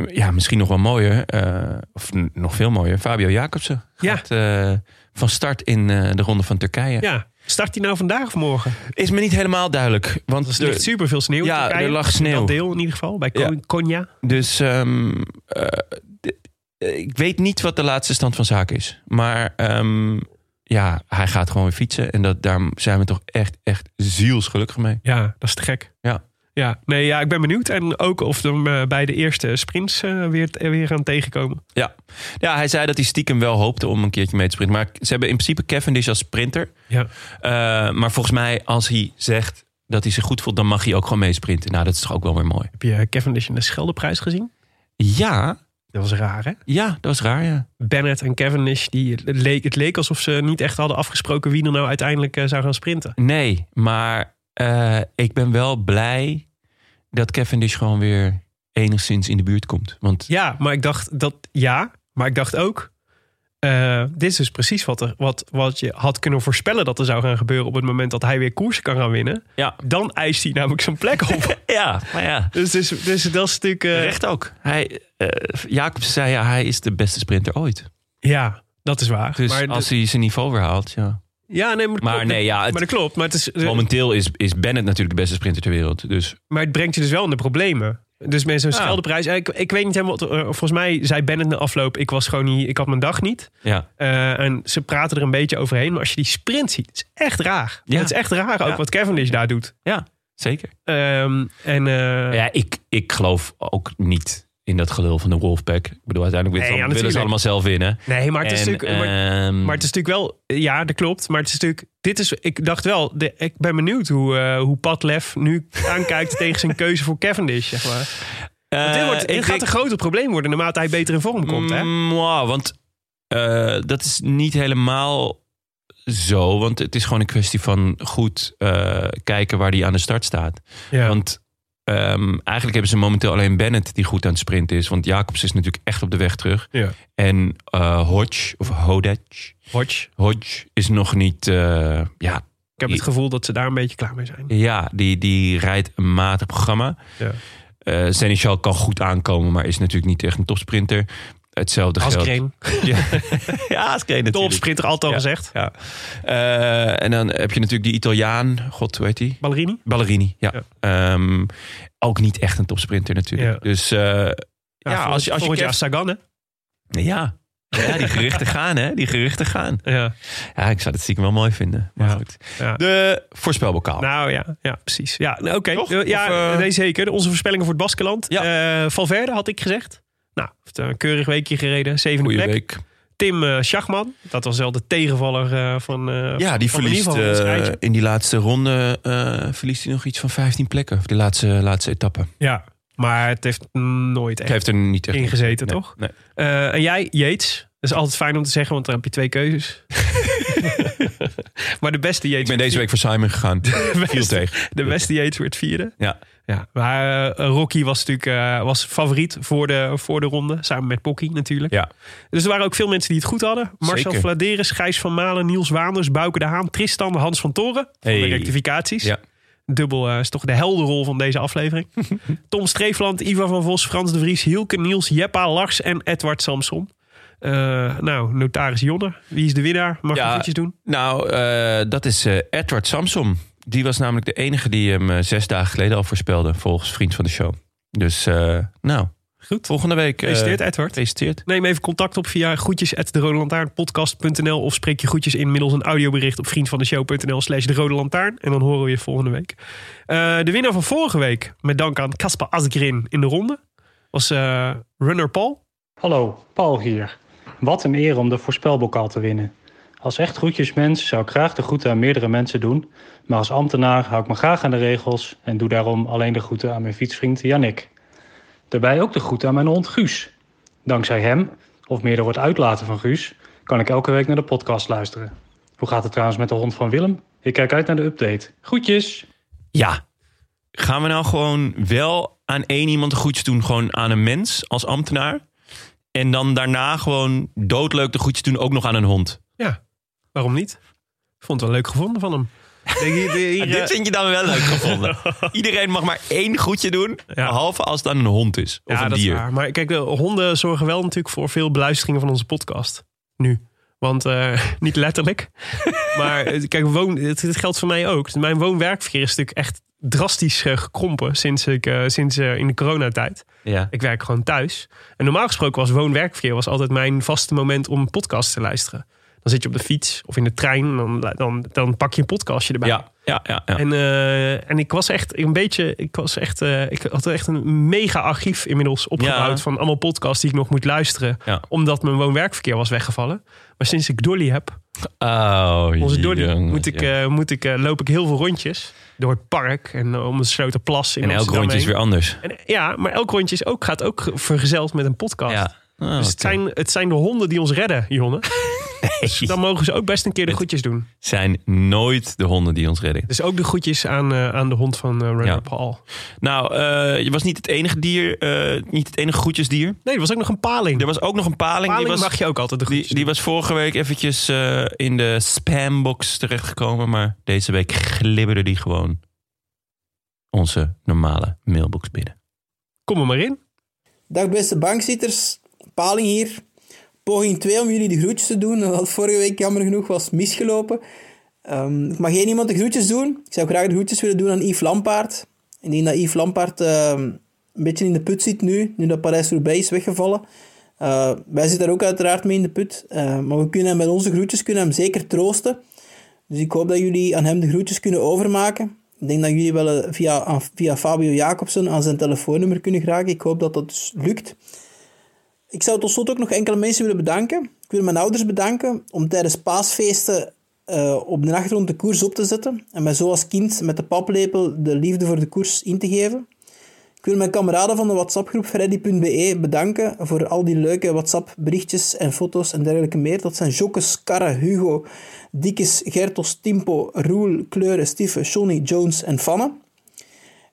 S1: ja, misschien nog wel mooier. eh, of n- nog veel mooier. Fabio Jacobsen
S2: Ja.
S1: gaat eh, van start in eh, de ronde van Turkije.
S2: Ja. Start hij nou vandaag of morgen?
S1: Is me niet helemaal duidelijk.
S2: Er
S1: Want dus,
S2: ligt
S1: de-
S2: super veel sneeuw. in
S1: Ja,
S2: Turkije.
S1: er lag sneeuw.
S2: In Dat deel in ieder geval, bij
S1: Ja.
S2: Kon- Konya.
S1: Dus ehm, eh, d- eh, ik weet niet wat de laatste stand van zaken is. Maar ehm, ja, hij gaat gewoon weer fietsen. En dat, daar zijn we toch echt, echt zielsgelukkig mee.
S2: Ja, dat is te gek.
S1: Ja.
S2: Ja, nee, ja, ik ben benieuwd. En ook of we hem eh, bij de eerste sprints eh, weer, eh, weer gaan tegenkomen.
S1: Ja. ja, hij zei dat hij stiekem wel hoopte om een keertje mee te sprinten. Maar ze hebben in principe Cavendish als sprinter.
S2: Ja.
S1: Eh, maar volgens mij, als hij zegt dat hij zich goed voelt, dan mag hij ook gewoon meesprinten. Nou, dat is toch ook wel weer mooi.
S2: Heb je eh, Cavendish in de Scheldeprijs gezien?
S1: Ja,
S2: Dat was raar, hè?
S1: ja, dat was raar, ja.
S2: Bennett en Cavendish, die, het, leek, het leek alsof ze niet echt hadden afgesproken wie er nou uiteindelijk eh, zou gaan sprinten.
S1: Nee, maar eh, ik ben wel blij dat Cavendish gewoon weer enigszins in de buurt komt. Want
S2: Ja, maar ik dacht dat ja, maar ik dacht ook. eh, dit is dus precies wat, er, wat, wat je had kunnen voorspellen dat er zou gaan gebeuren op het moment dat hij weer koersen kan gaan winnen.
S1: ja,
S2: Dan eist hij namelijk zijn plek op.
S1: ja maar ja.
S2: dus, dus, dus dat is natuurlijk. eh,
S1: Recht ook. Hij, eh Jacobs zei ja, hij is de beste sprinter ooit.
S2: ja, dat is waar.
S1: Dus
S2: maar,
S1: als hij zijn niveau weer haalt, ja.
S2: ja, nee, maar, dat
S1: Maar
S2: klopt.
S1: nee, ja, het-
S2: maar dat klopt. Maar het, is,
S1: Momenteel is, is Bennett natuurlijk de beste sprinter ter wereld. Dus
S2: Maar het brengt je dus wel in de problemen. Dus mensen, zo'n
S1: Ja.
S2: scheldeprijs. eh, Ik, ik weet niet helemaal. wat- eh, volgens mij zei Bennett na afloop: ik was gewoon niet. Ik had mijn dag niet.
S1: ja,
S2: Eh, en ze praten er een beetje overheen. Maar als je die sprint ziet, het is echt raar.
S1: Ja.
S2: Het is echt raar ook
S1: Ja.
S2: wat Cavendish daar doet.
S1: ja zeker.
S2: Ehm, en, eh,
S1: Ja, ik, ik geloof ook niet in dat gelul van de Wolfpack. Ik bedoel, uiteindelijk
S2: Nee,
S1: willen,
S2: ja,
S1: ze, willen ze
S2: natuurlijk.
S1: allemaal zelf winnen.
S2: Nee, maar het is
S1: En,
S2: natuurlijk... maar,
S1: ehm,
S2: maar het is natuurlijk wel... Ja, dat klopt. Maar het is natuurlijk... Dit is, ik dacht wel... de- ik ben benieuwd hoe, eh, hoe Pat Lef nu aankijkt tegen zijn keuze voor Cavendish, zeg maar. Want dit
S1: eh,
S2: wordt, dit
S1: ik
S2: gaat
S1: denk- Mm,
S2: een groter probleem worden naarmate hij beter in vorm komt, hè?
S1: Mwah, want eh, dat is niet helemaal zo. Want het is gewoon een kwestie van goed eh, kijken waar die aan de start staat.
S2: Ja.
S1: Want ehm, eigenlijk hebben ze momenteel alleen Bennett die goed aan het sprinten is. Want Jacobs is natuurlijk echt op de weg terug.
S2: Ja.
S1: En eh, Hodge, of Hodge,
S2: Hodge.
S1: Hodge is nog niet... eh, ja,
S2: Ik heb het gevoel dat ze daar een beetje klaar mee zijn.
S1: ja die, die rijdt een matig programma.
S2: Ja.
S1: Eh Seneschal kan goed aankomen, maar is natuurlijk niet echt een topsprinter. Hetzelfde geldt...
S2: Askreen.
S1: Ja, ja Askreen natuurlijk.
S2: Topsprinter, altijd al
S1: Ja.
S2: gezegd.
S1: Ja. Eh, en dan heb je natuurlijk die Italiaan, god, hoe heet die?
S2: Ballerini?
S1: Ballerini, ja. Ehm, ook niet echt een topsprinter natuurlijk.
S2: Ja.
S1: Dus eh, ja, als, je- als je...
S2: volgend Nou, jaar
S1: Kev-
S2: Sagan, hè?
S1: Ja, Ja, die geruchten gaan, hè? Die geruchten gaan.
S2: Ja,
S1: Ja, ik zou dat stiekem wel mooi vinden. Maar
S2: Ja.
S1: goed.
S2: ja.
S1: De voorspelbokaal.
S2: Nou ja, ja precies. Ja, nou, oké.
S1: Toch?
S2: Eh, Ja,
S1: Of, eh,
S2: nee, zeker. Onze voorspellingen voor het Baskeland. Eh, Valverde had ik gezegd. Nou, heeft een keurig weekje gereden. Zevende
S1: Goeie
S2: plek.
S1: week.
S2: Tim eh Schachman. Dat was wel de tegenvaller eh, van... eh,
S1: Ja, die
S2: van in
S1: verliest
S2: ieder geval ons
S1: eh,
S2: rijtje.
S1: in die laatste ronde eh, verliest hij nog iets van 15 plekken. Of de laatste, laatste etappe.
S2: Ja, maar het heeft
S1: Ik
S2: nooit echt
S1: heeft er niet echt
S2: ingezeten,
S1: Nee,
S2: toch?
S1: nee.
S2: Eh, en jij, Jeets. Dat is altijd fijn om te zeggen, want dan heb je twee keuzes. maar de beste Jeets...
S1: Ik ben deze week voor Simon gegaan. Viel tegen.
S2: De beste Yates werd vierde.
S1: Ja.
S2: ja. Maar eh, Rocky was natuurlijk eh, was favoriet voor de, voor de ronde. Samen met Pocky natuurlijk.
S1: Ja.
S2: Dus er waren ook veel mensen die het goed hadden. Marcel
S1: Zeker.
S2: Vladeres, Gijs van Malen, Niels Waanders, Bouke de Haan, Tristan, Hans van Toren. Van de
S1: Hey.
S2: rectificaties.
S1: Ja.
S2: Dubbel eh, is toch de helde rol van deze aflevering. Tom Streefland, Ivar van Vos, Frans de Vries, Hielke, Niels, Jeppa, Lars en Edward Samson. Eh, nou, notaris Jonne. Wie is de winnaar? Mag ik
S1: Ja.
S2: eventjes doen?
S1: Nou, eh, dat is eh, Edward Samsom. Die was namelijk de enige die hem eh, zes dagen geleden al voorspelde. Volgens Vriend van de Show. Dus, eh, nou. Goed. Volgende week. eh,
S2: Gefeliciteerd, Edward.
S1: Gefeliciteerd.
S2: Neem even contact op via groetjes de Rode of spreek je groetjes in middels een audiobericht op vriendvandeshow.nl slash de Rode Lantaarn. En dan horen we je volgende week. Eh, de winnaar van vorige week, met dank aan Kasper Asgrin in de ronde, was eh, runner Paul.
S5: Hallo, Paul hier. Wat een eer om de voorspelbokaal te winnen. Als echt groetjesmens zou ik graag de groeten aan meerdere mensen doen, maar als ambtenaar hou ik me graag aan de regels en doe daarom alleen de groeten aan mijn fietsvriend Jannik. Daarbij ook de groeten aan mijn hond Guus. Dankzij hem, of meer door het uitlaten van Guus, kan ik elke week naar de podcast luisteren. Hoe gaat het trouwens met de hond van Willem? Ik kijk uit naar de update. Groetjes!
S1: Ja. Gaan we nou gewoon wel aan één iemand de groetjes doen? Gewoon aan een mens als ambtenaar. En dan daarna gewoon doodleuk de groetjes doen ook nog aan een hond.
S2: Ja, waarom niet? Vond het wel leuk gevonden van hem. Denk je- de- hier,
S1: Ja,
S2: eh,
S1: Ah, dit vind je dan wel leuk gevonden. Iedereen mag maar één groetje doen.
S2: Ja.
S1: Behalve als het aan een hond is. Of
S2: ja,
S1: een
S2: dat
S1: dier.
S2: is waar. Maar kijk, de honden zorgen wel natuurlijk voor veel beluisteringen van onze podcast. Nu. Want eh, niet letterlijk. maar eh, kijk, woon, het, het geldt voor mij ook. Dus Mijn woon-werkverkeer is natuurlijk echt drastisch eh, gekrompen sinds, ik, eh, sinds eh, in de coronatijd.
S1: Ja.
S2: Ik werk gewoon thuis. En normaal gesproken was woon-werkverkeer was altijd mijn vaste moment om een podcast te luisteren. Dan zit je op de fiets of in de trein en dan, dan, dan pak je een podcastje erbij.
S1: Ja, ja, ja, ja.
S2: En, eh, en ik was echt een beetje, ik was echt, eh, ik had echt een mega archief inmiddels opgebouwd
S1: Ja.
S2: van allemaal podcasts die ik nog moet luisteren,
S1: Ja.
S2: omdat mijn woon-werkverkeer was weggevallen. Maar sinds ik Dolly heb,
S1: Oh,
S2: onze Dolly,
S1: jong,
S2: moet ik,
S1: ja.
S2: eh, moet ik, eh, loop ik heel veel rondjes door het park en eh, om de Sloterplas in
S1: en elk
S2: Amsterdam
S1: rondje is
S2: heen.
S1: weer anders.
S2: En, eh, ja, maar elk rondje is ook, gaat ook ge- vergezeld met een podcast.
S1: Ja. Oh,
S2: Dus het
S1: oké.
S2: zijn, het zijn de honden die ons redden, Jonne. Dus dan mogen ze ook best een keer de
S1: Het-
S2: goedjes doen.
S1: zijn nooit de honden die ons redden.
S2: Dus ook de goedjes aan, eh, aan de hond van eh Runner
S1: Ja.
S2: Paul.
S1: Nou, eh, je was niet het enige dier, eh, niet het enige groetjesdier.
S2: Nee, er was ook nog een paling.
S1: Er was ook nog een paling.
S2: Paling
S1: die was,
S2: mag je ook altijd de
S1: die,
S2: groetjes
S1: die was vorige week eventjes eh, in de spambox terechtgekomen. Maar deze week glibberde die gewoon onze normale mailbox binnen.
S2: Kom er maar in.
S6: Dag beste bankzitters, Paling hier. Poging 2 om jullie de groetjes te doen, want vorige week jammer genoeg was misgelopen. Ehm, ik mag geen iemand de groetjes doen. Ik zou graag de groetjes willen doen aan Yves Lampaard. Ik denk dat Yves Lampaard ehm, een beetje in de put zit nu, nu dat Parijs-Roubaix is weggevallen. Eh, wij zitten daar ook uiteraard mee in de put, eh, maar we kunnen hem met onze groetjes kunnen hem zeker troosten. Dus ik hoop dat jullie aan hem de groetjes kunnen overmaken. Ik denk dat jullie wel eh, via, aan- via Fabio Jacobsen aan zijn telefoonnummer kunnen geraken. Ik hoop dat dat dus lukt. Ik zou tot slot ook nog enkele mensen willen bedanken. Ik wil mijn ouders bedanken om tijdens paasfeesten eh, op de achtergrond de koers op te zetten. En mij zo als kind met de paplepel de liefde voor de koers in te geven. Ik wil mijn kameraden van de WhatsApp-groep freddy.be bedanken voor al die leuke WhatsApp-berichtjes en foto's en dergelijke meer. Dat zijn Jokkes, Karre, Hugo, Dikkes, Gertos, Timpo, Roel, Kleuren, Stieffe, Johnny, Jones en Fanne.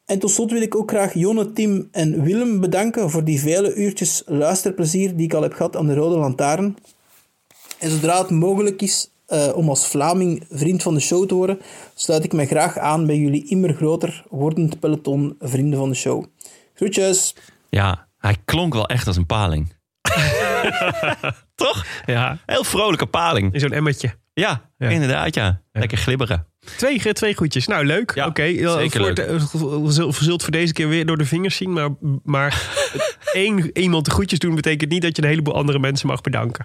S6: En tot slot wil ik ook graag Jonne, Tim en Willem bedanken voor die vele uurtjes luisterplezier die ik al heb gehad aan de Rode Lantaarn. En zodra het mogelijk is eh, om als Vlaming vriend van de show te worden, sluit ik mij graag aan bij jullie immer groter wordend peloton vrienden van de show. Groetjes!
S1: Ja, hij klonk wel echt als een paling. Toch?
S2: Ja,
S1: Heel vrolijke paling.
S2: in zo'n emmertje.
S1: Ja,
S2: Ja.
S1: inderdaad, ja. Lekker glibberen.
S2: Twee, twee groetjes. Nou, leuk.
S1: Ja,
S2: Oké. eh,
S1: zeker
S2: voor het- eh, zult- Zult voor deze keer weer door de vingers zien, maar, maar één iemand de groetjes doen betekent niet dat je een heleboel andere mensen mag bedanken.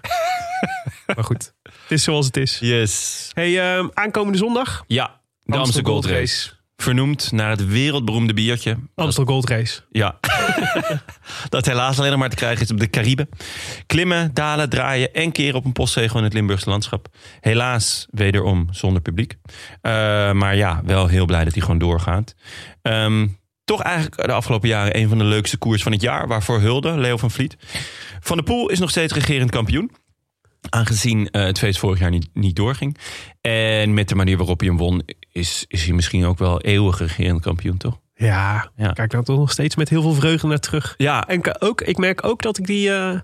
S2: maar goed, het is zoals het is.
S1: Yes.
S2: Hey, eh, aankomende zondag.
S1: Ja, de Amstel Gold Race. Vernoemd naar het wereldberoemde biertje.
S2: Amstel Gold Race.
S1: Ja. dat helaas alleen nog maar te krijgen is op de Cariben. Klimmen, dalen, draaien en keren op een postzegel in het Limburgse landschap. Helaas wederom zonder publiek. Eh, maar ja, wel heel blij dat hij gewoon doorgaat. Ehm, toch eigenlijk de afgelopen jaren een van de leukste koers van het jaar. Waarvoor hulde, Leo van Vliet. Van der Poel is nog steeds regerend kampioen. Aangezien eh, het feest vorig jaar niet, niet doorging. En met de manier waarop hij hem won, is, is hij misschien ook wel eeuwig regerend kampioen, toch?
S2: Ja,
S1: Ja.
S2: kijk daar toch nog steeds met heel veel vreugde naar terug.
S1: Ja,
S2: En ka- ook, ik merk ook dat ik die, eh,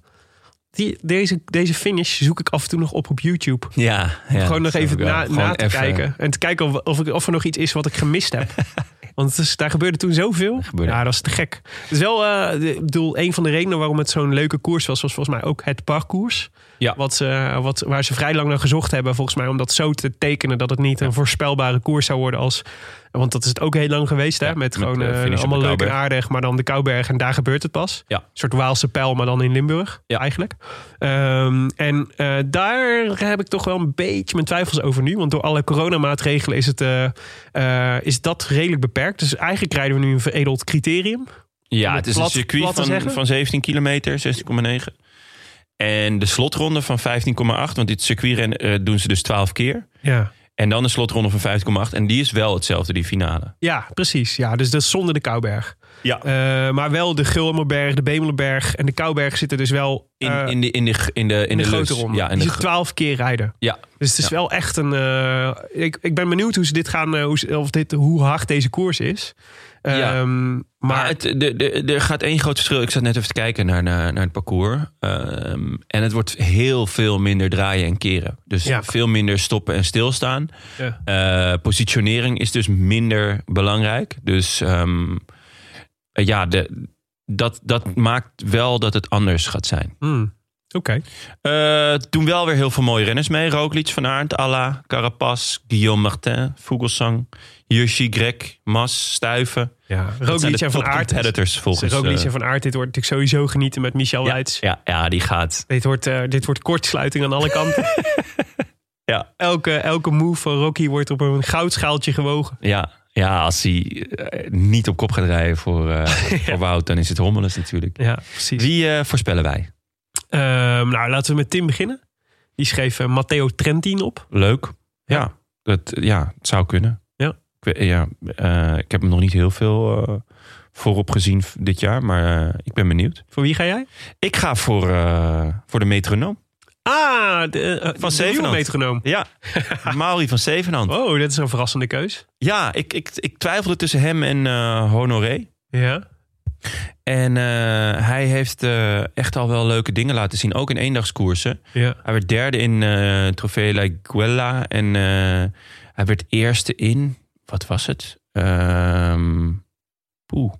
S2: die deze, deze finish zoek ik af en toe nog op op YouTube.
S1: Ja, ja,
S2: gewoon nog
S1: dat
S2: even
S1: snap ik wel.
S2: na,
S1: Gewoon
S2: na te
S1: even- eh,
S2: kijken. En te kijken of, of, ik- of er nog iets is wat ik gemist heb. Want het is, daar gebeurde toen zoveel.
S1: gebeurde-
S2: Ja, dat is te gek. Het is wel, eh, de- ik bedoel, een van de redenen waarom het zo'n leuke koers was, was volgens mij ook het parcours.
S1: Ja.
S2: Wat ze, wat, waar ze vrij lang naar gezocht hebben, volgens mij, om dat zo te tekenen dat het niet een voorspelbare koers zou worden als. Want dat is het ook heel lang geweest, hè?
S1: Ja,
S2: Met,
S1: met,
S2: gewoon
S1: eh,
S2: eh,
S1: finish op
S2: allemaal
S1: de
S2: leuk en
S1: Kouwberg.
S2: aardig, maar dan de Kouberg en daar gebeurt het pas.
S1: Ja.
S2: Een soort Waalse pijl, maar dan in Limburg
S1: Ja.
S2: eigenlijk. Ehm, en eh, daar heb ik toch wel een beetje mijn twijfels over nu. Want door alle coronamaatregelen is, het, eh, eh, is dat redelijk beperkt. Dus eigenlijk krijgen we nu een veredeld criterium.
S1: Ja,
S2: Om
S1: het is
S2: het plat-
S1: een circuit
S2: plat te
S1: van,
S2: zeggen.
S1: van 17 kilometer, 16,9. En de slotronde van 15,8. Want dit circuitren eh, doen ze dus 12 keer.
S2: Ja.
S1: En dan de slotronde van 5,8. En die is wel hetzelfde, die finale.
S2: Ja, precies. Ja, dus dat is zonder de Kouberg.
S1: Ja.
S2: Eh, maar wel de Gulmerberg, de Bemelenberg en de Kouberg zitten dus wel
S1: In,
S2: eh,
S1: in, de, in, de, g- in de, in
S2: in de,
S1: de
S2: grote
S1: lus.
S2: ronde.
S1: Ja, in de,
S2: dus
S1: gro-
S2: 12 keer rijden.
S1: ja,
S2: Dus het is
S1: Ja.
S2: wel echt een. eh, ik, ik ben benieuwd hoe ze dit gaan, eh, hoe, ze- of dit, hoe hard deze koers is.
S1: Ja.
S2: Ehm,
S1: Maar
S2: maar
S1: het, de, de, er gaat één groot verschil. Ik zat net even te kijken naar, naar, naar het parcours. Ehm, en het wordt heel veel minder draaien en keren. Dus
S2: Ja.
S1: veel minder stoppen en stilstaan.
S2: Ja.
S1: Eh, positionering is dus minder belangrijk. Dus ehm, eh, ja, de, dat, dat maakt wel dat het anders gaat zijn.
S2: hmm, Oké.
S1: Eh, doen wel weer heel veel mooie renners mee. Roglic, Van Aert, Alla, Carapaz, Guillaume Martin, Vogelsang, Hirschi, Greg, Mas, Stuiven.
S2: Ja,
S1: Dat zijn
S2: Roglic
S1: de
S2: en Van
S1: top
S2: Aert.
S1: competitors volgens eh,
S2: Roglic en Van Aert, dit wordt natuurlijk sowieso genieten met Michel
S1: ja,
S2: Leids.
S1: ja, ja, die gaat.
S2: Dit wordt, eh, dit wordt kortsluiting aan alle kanten.
S1: Ja.
S2: Elke, elke move van Rocky wordt op een goudschaaltje gewogen.
S1: Ja, ja als hij eh, niet op kop gaat rijden voor, eh, voor Wout, dan is het hommeles natuurlijk.
S2: Ja, precies.
S1: Wie eh, voorspellen wij?
S2: Ehm, nou, laten we met Tim beginnen. Die schreef eh, Matteo Trentin op.
S1: Leuk. Ja,
S2: Ja.
S1: Dat, ja het zou kunnen.
S2: Ja.
S1: Ik, weet- ja, eh, ik heb hem nog niet heel veel eh, voorop gezien v- dit jaar, maar eh, ik ben benieuwd.
S2: Voor wie ga jij?
S1: Ik ga voor, eh, voor de metronoom.
S2: Ah, de, eh, de nieuwe
S1: Zevenhand.
S2: metronoom.
S1: Ja, Mauri van Zevenhand.
S2: Oh, dat is een verrassende keus.
S1: Ja, ik, ik, ik twijfelde tussen hem en eh, Honoré.
S2: Ja.
S1: En eh, hij heeft eh, echt al wel leuke dingen laten zien. Ook in eendagskoersen.
S2: ja.
S1: Hij werd derde in eh Trofeo La Guella. En eh, hij werd eerste in... Wat was het? Ehm poeh.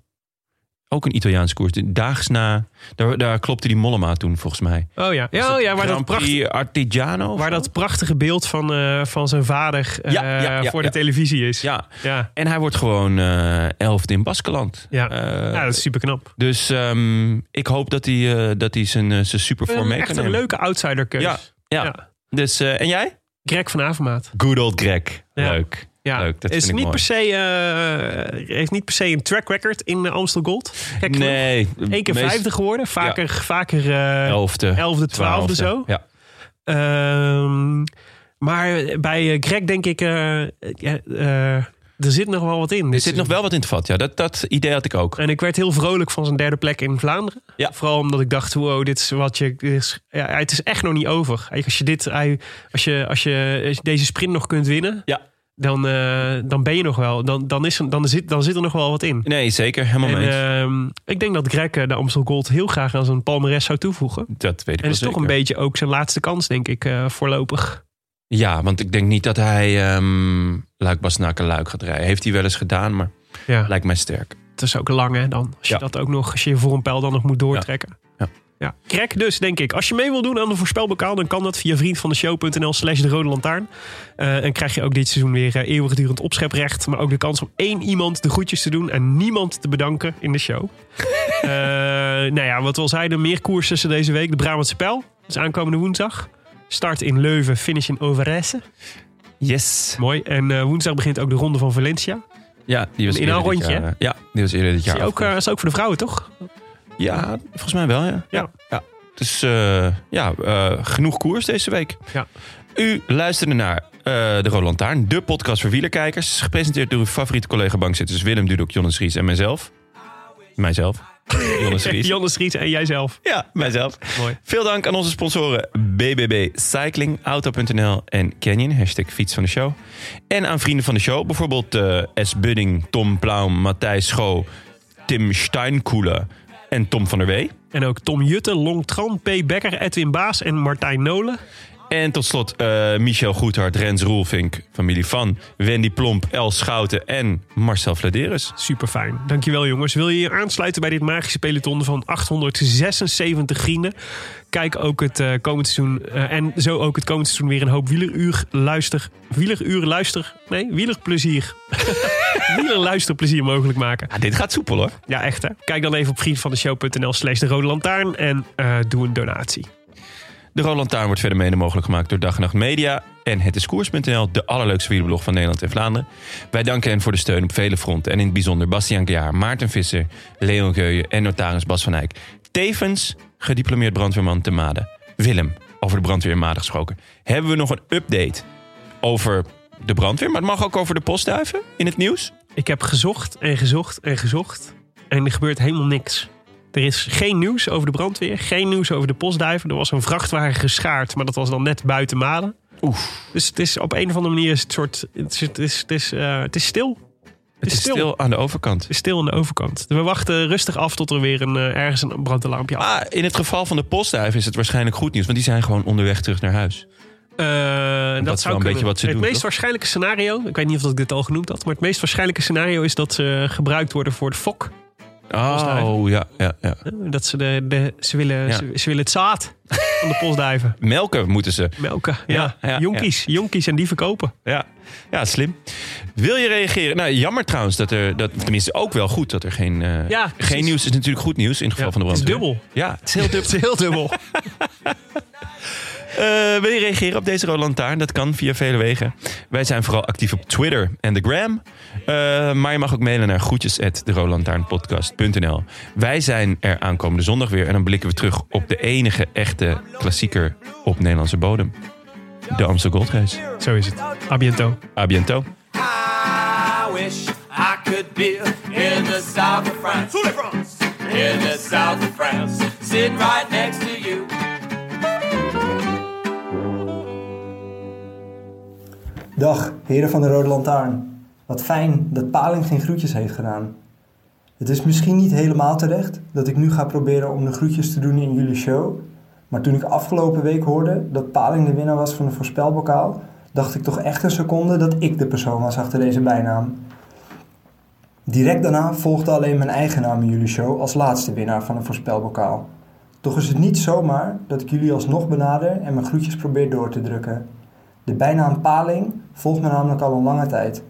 S1: Ook een Italiaans koers. De Daags na... Daar, daar klopte die Mollema toen volgens mij.
S2: Oh ja.
S1: Was
S2: Ja, oh,
S1: het
S2: ja waar, dat
S1: Grand Prix
S2: prachtig,
S1: Artigiano? of
S2: waar
S1: zo?
S2: dat prachtige beeld van, eh, van zijn vader eh,
S1: Ja, ja, ja,
S2: voor
S1: ja.
S2: de televisie is.
S1: Ja,
S2: ja.
S1: en hij wordt gewoon eh elfde in Baskeland.
S2: Ja.
S1: Eh,
S2: Ja, dat is super knap.
S1: Dus ehm, ik hoop dat hij, eh, dat hij zijn, eh, zijn supervorm mee
S2: Echt
S1: kan
S2: een
S1: nemen.
S2: leuke outsiderkeus.
S1: Ja, ja. Dus, eh, en jij?
S2: Greg van Avermaat.
S1: Good old Greg.
S2: Ja.
S1: Leuk.
S2: Ja.
S1: Leuk, dat
S2: is
S1: vind ik
S2: niet
S1: mooi.
S2: per se, eh, heeft niet per se een track record in eh, Amstel Gold. Gek genoeg.
S1: nee.
S2: Eén keer
S1: meest-
S2: vijfde geworden. Vaker, vaker eh,
S1: Elfde.
S2: elfde, twaalfde zo.
S1: Ja.
S2: Ehm, maar bij eh, Greg denk ik, eh, eh, eh, er zit nog wel wat in.
S1: Er zit nog wel wat in het vat. Ja, dat, dat idee had ik ook.
S2: En ik werd heel vrolijk van zijn derde plek in Vlaanderen.
S1: Ja.
S2: Vooral omdat ik dacht, wow, dit is wat je... dit is- ja, het is echt nog niet over. Eigenlijk Als je, dit, hij- als, je, als, je, als je deze sprint nog kunt winnen,
S1: Ja.
S2: dan, eh, dan ben je nog wel. Dan, dan, is, er- dan, zit, dan zit er nog wel wat in.
S1: Nee, zeker. Helemaal
S2: En,
S1: mee. eens.
S2: ehm, ik denk dat Greg eh, de Amstel Gold heel graag aan zijn palmares zou toevoegen.
S1: dat weet ik wel
S2: En het is toch
S1: zeker.
S2: een beetje ook zijn laatste kans, denk ik, eh, voorlopig.
S1: Ja, want ik denk niet dat hij ehm Luik Basnaken Luik gaat rijden. Heeft hij wel eens gedaan, maar
S2: Ja.
S1: lijkt mij sterk.
S2: Het is ook lang, hè, dan. Als je
S1: Ja.
S2: dat ook nog, als je je voor een pijl dan nog moet doortrekken.
S1: Ja.
S7: Ja.
S2: Krek dus, denk ik. Als je mee wil doen aan de voorspelbokaal, dan kan dat via vriendvandeshow.nl slash de rode lantaarn. Eh, en krijg je ook dit seizoen weer eh, eeuwigdurend opscheprecht. Maar ook de kans om één iemand de groetjes te doen en niemand te bedanken in de show. Eh, nou ja, wat we al zeiden, meer koers tussen deze week. De Brabantse Pijl, dat is aankomende woensdag. Start in Leuven, finish in Overijse.
S1: Yes.
S2: Mooi. En eh, woensdag begint ook de ronde van Valencia.
S1: Ja, die was
S2: In een
S1: eerder dit
S2: rondje,
S1: jaar, eh, Ja, die was eerder dit
S2: Ja,
S1: jaar.
S2: ook, eh,
S1: afgerond.
S2: dat is ook voor de vrouwen, toch?
S1: ja, volgens mij wel, ja.
S2: Ja.
S1: Dus eh, ja, eh, genoeg koers deze week.
S2: Ja.
S1: U luisterde naar eh, De Rode Lantaarn, de podcast voor wielerkijkers. Gepresenteerd door uw favoriete collega-bankzitters Willem Dudok, Jonas Ries en mijzelf. Mijzelf. Jonas Ries.
S2: Janne Ries en jijzelf.
S1: Ja, mijzelf.
S2: Mooi.
S1: Veel dank aan onze sponsoren BBB Cycling, Auto.nl en Canyon. Hashtag fiets van de show. En aan vrienden van de show. Bijvoorbeeld eh, S. Budding, Tom Plaum, Matthijs Schoo, Tim Steinkoelen en Tom van der Wee.
S2: En ook Tom Jutte, Long Tran, P. Becker, Edwin Baas en Martijn Nolen.
S1: En tot slot eh, Michel Goethart, Rens Roelvink, familie van Wendy Plomp, El Schouten en Marcel Vladeres.
S2: Super fijn. Dankjewel jongens. Wil je je aansluiten bij dit magische peloton van 876 vrienden? Kijk ook het eh komend seizoen eh, en zo ook het komend seizoen weer een hoop wieleruur luister. Wieleruur luister. Nee, wielerplezier. Wielerluisterplezier mogelijk maken.
S1: Ah, dit gaat soepel hoor.
S2: Ja, echt hè. Kijk dan even op vriendvandeshow.nl slash de rode lantaarn en eh, doe een donatie.
S1: De Roland Taarn wordt verder mede mogelijk gemaakt door Dag en Nacht Media en Het is Koers.nl, de allerleukste wielerblog van Nederland en Vlaanderen. Wij danken hen voor de steun op vele fronten en in het bijzonder Bastiaan Klaar, Maarten Visser, Leon Geuyen en notaris Bas van Eyck. Tevens gediplomeerd brandweerman te Maden. Willem, over de brandweer in Maden gesproken. Hebben we nog een update over de brandweer, maar het mag ook over de postduiven in het nieuws?
S2: Ik heb gezocht en gezocht en gezocht. En er gebeurt helemaal niks. Er is geen nieuws over de brandweer, geen nieuws over de postduiven. Er was een vrachtwagen geschaard, maar dat was dan net buiten Malen. Oef. Dus het is op een of andere manier is het soort. Het is, het is, het is, eh, het is stil. Het
S1: Het is stil aan de overkant.
S2: Het is stil aan de overkant. We wachten rustig af tot er weer een, eh, ergens een brandalarmpje af.
S1: Maar in het geval van de postduiven is het waarschijnlijk goed nieuws, want die zijn gewoon onderweg terug naar huis.
S2: Eh, dat,
S1: is wel
S2: zou
S1: een
S2: kunnen.
S1: beetje wat ze
S2: het
S1: doen,
S2: meest
S1: toch?
S2: waarschijnlijke scenario, ik weet niet of ik dit al genoemd had, maar het meest waarschijnlijke scenario is dat ze gebruikt worden voor het fok.
S1: Oh, ja, ja, ja.
S2: Dat ze, de, de, ze, willen,
S1: Ja.
S2: ze, ze willen het zaad van de postduiven
S1: Melken moeten ze.
S2: melken. Ja,
S1: ja,
S2: jonkies. Jonkies en die verkopen.
S1: Ja, ja slim. Wil je reageren? Nou, jammer trouwens dat er, dat, tenminste ook wel goed dat er geen, eh,
S2: Ja, precies.
S1: geen nieuws is. Natuurlijk goed nieuws in het geval
S2: Ja,
S1: van de
S2: het is
S1: brandweer.
S2: dubbel.
S1: Ja, het is heel dubbel.
S2: Het is heel dubbel.
S1: Eh, wil je reageren op deze Rode Lantaarn? Dat kan via vele wegen. Wij zijn vooral actief op Twitter en de Gram. Eh, maar je mag ook mailen naar groetjes Wij zijn er aankomende zondag weer. En dan blikken we terug op de enige echte klassieker op Nederlandse bodem. De Amsterdam Gold Race.
S2: Zo is het. A biento.
S1: A bientôt.
S4: I wish I could be in the south of France. In the south of France. Sitting right next to you.
S6: Dag, heren van de Rode Lantaarn. Wat fijn dat Paling geen groetjes heeft gedaan. Het is misschien niet helemaal terecht dat ik nu ga proberen om de groetjes te doen in jullie show. Maar toen ik afgelopen week hoorde dat Paling de winnaar was van de voorspelbokaal, dacht ik toch echt een seconde dat ik de persoon was achter deze bijnaam. Direct daarna volgde alleen mijn eigen naam in jullie show als laatste winnaar van de voorspelbokaal. Toch is het niet zomaar dat ik jullie alsnog benader en mijn groetjes probeer door te drukken. De bijnaam Paling volgt me namelijk al een lange tijd.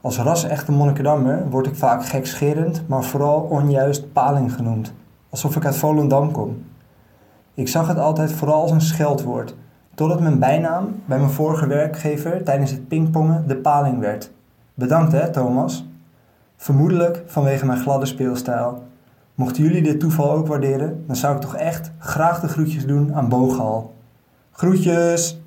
S6: Als ras-echte Monnikendammer word ik vaak gekscherend, maar vooral onjuist Paling genoemd. Alsof ik uit Volendam kom. Ik zag het altijd vooral als een scheldwoord, totdat mijn bijnaam bij mijn vorige werkgever tijdens het pingpongen de Paling werd. Bedankt hè, Thomas. Vermoedelijk vanwege mijn gladde speelstijl. Mochten jullie dit toeval ook waarderen, dan zou ik toch echt graag de groetjes doen aan Bogal. Groetjes!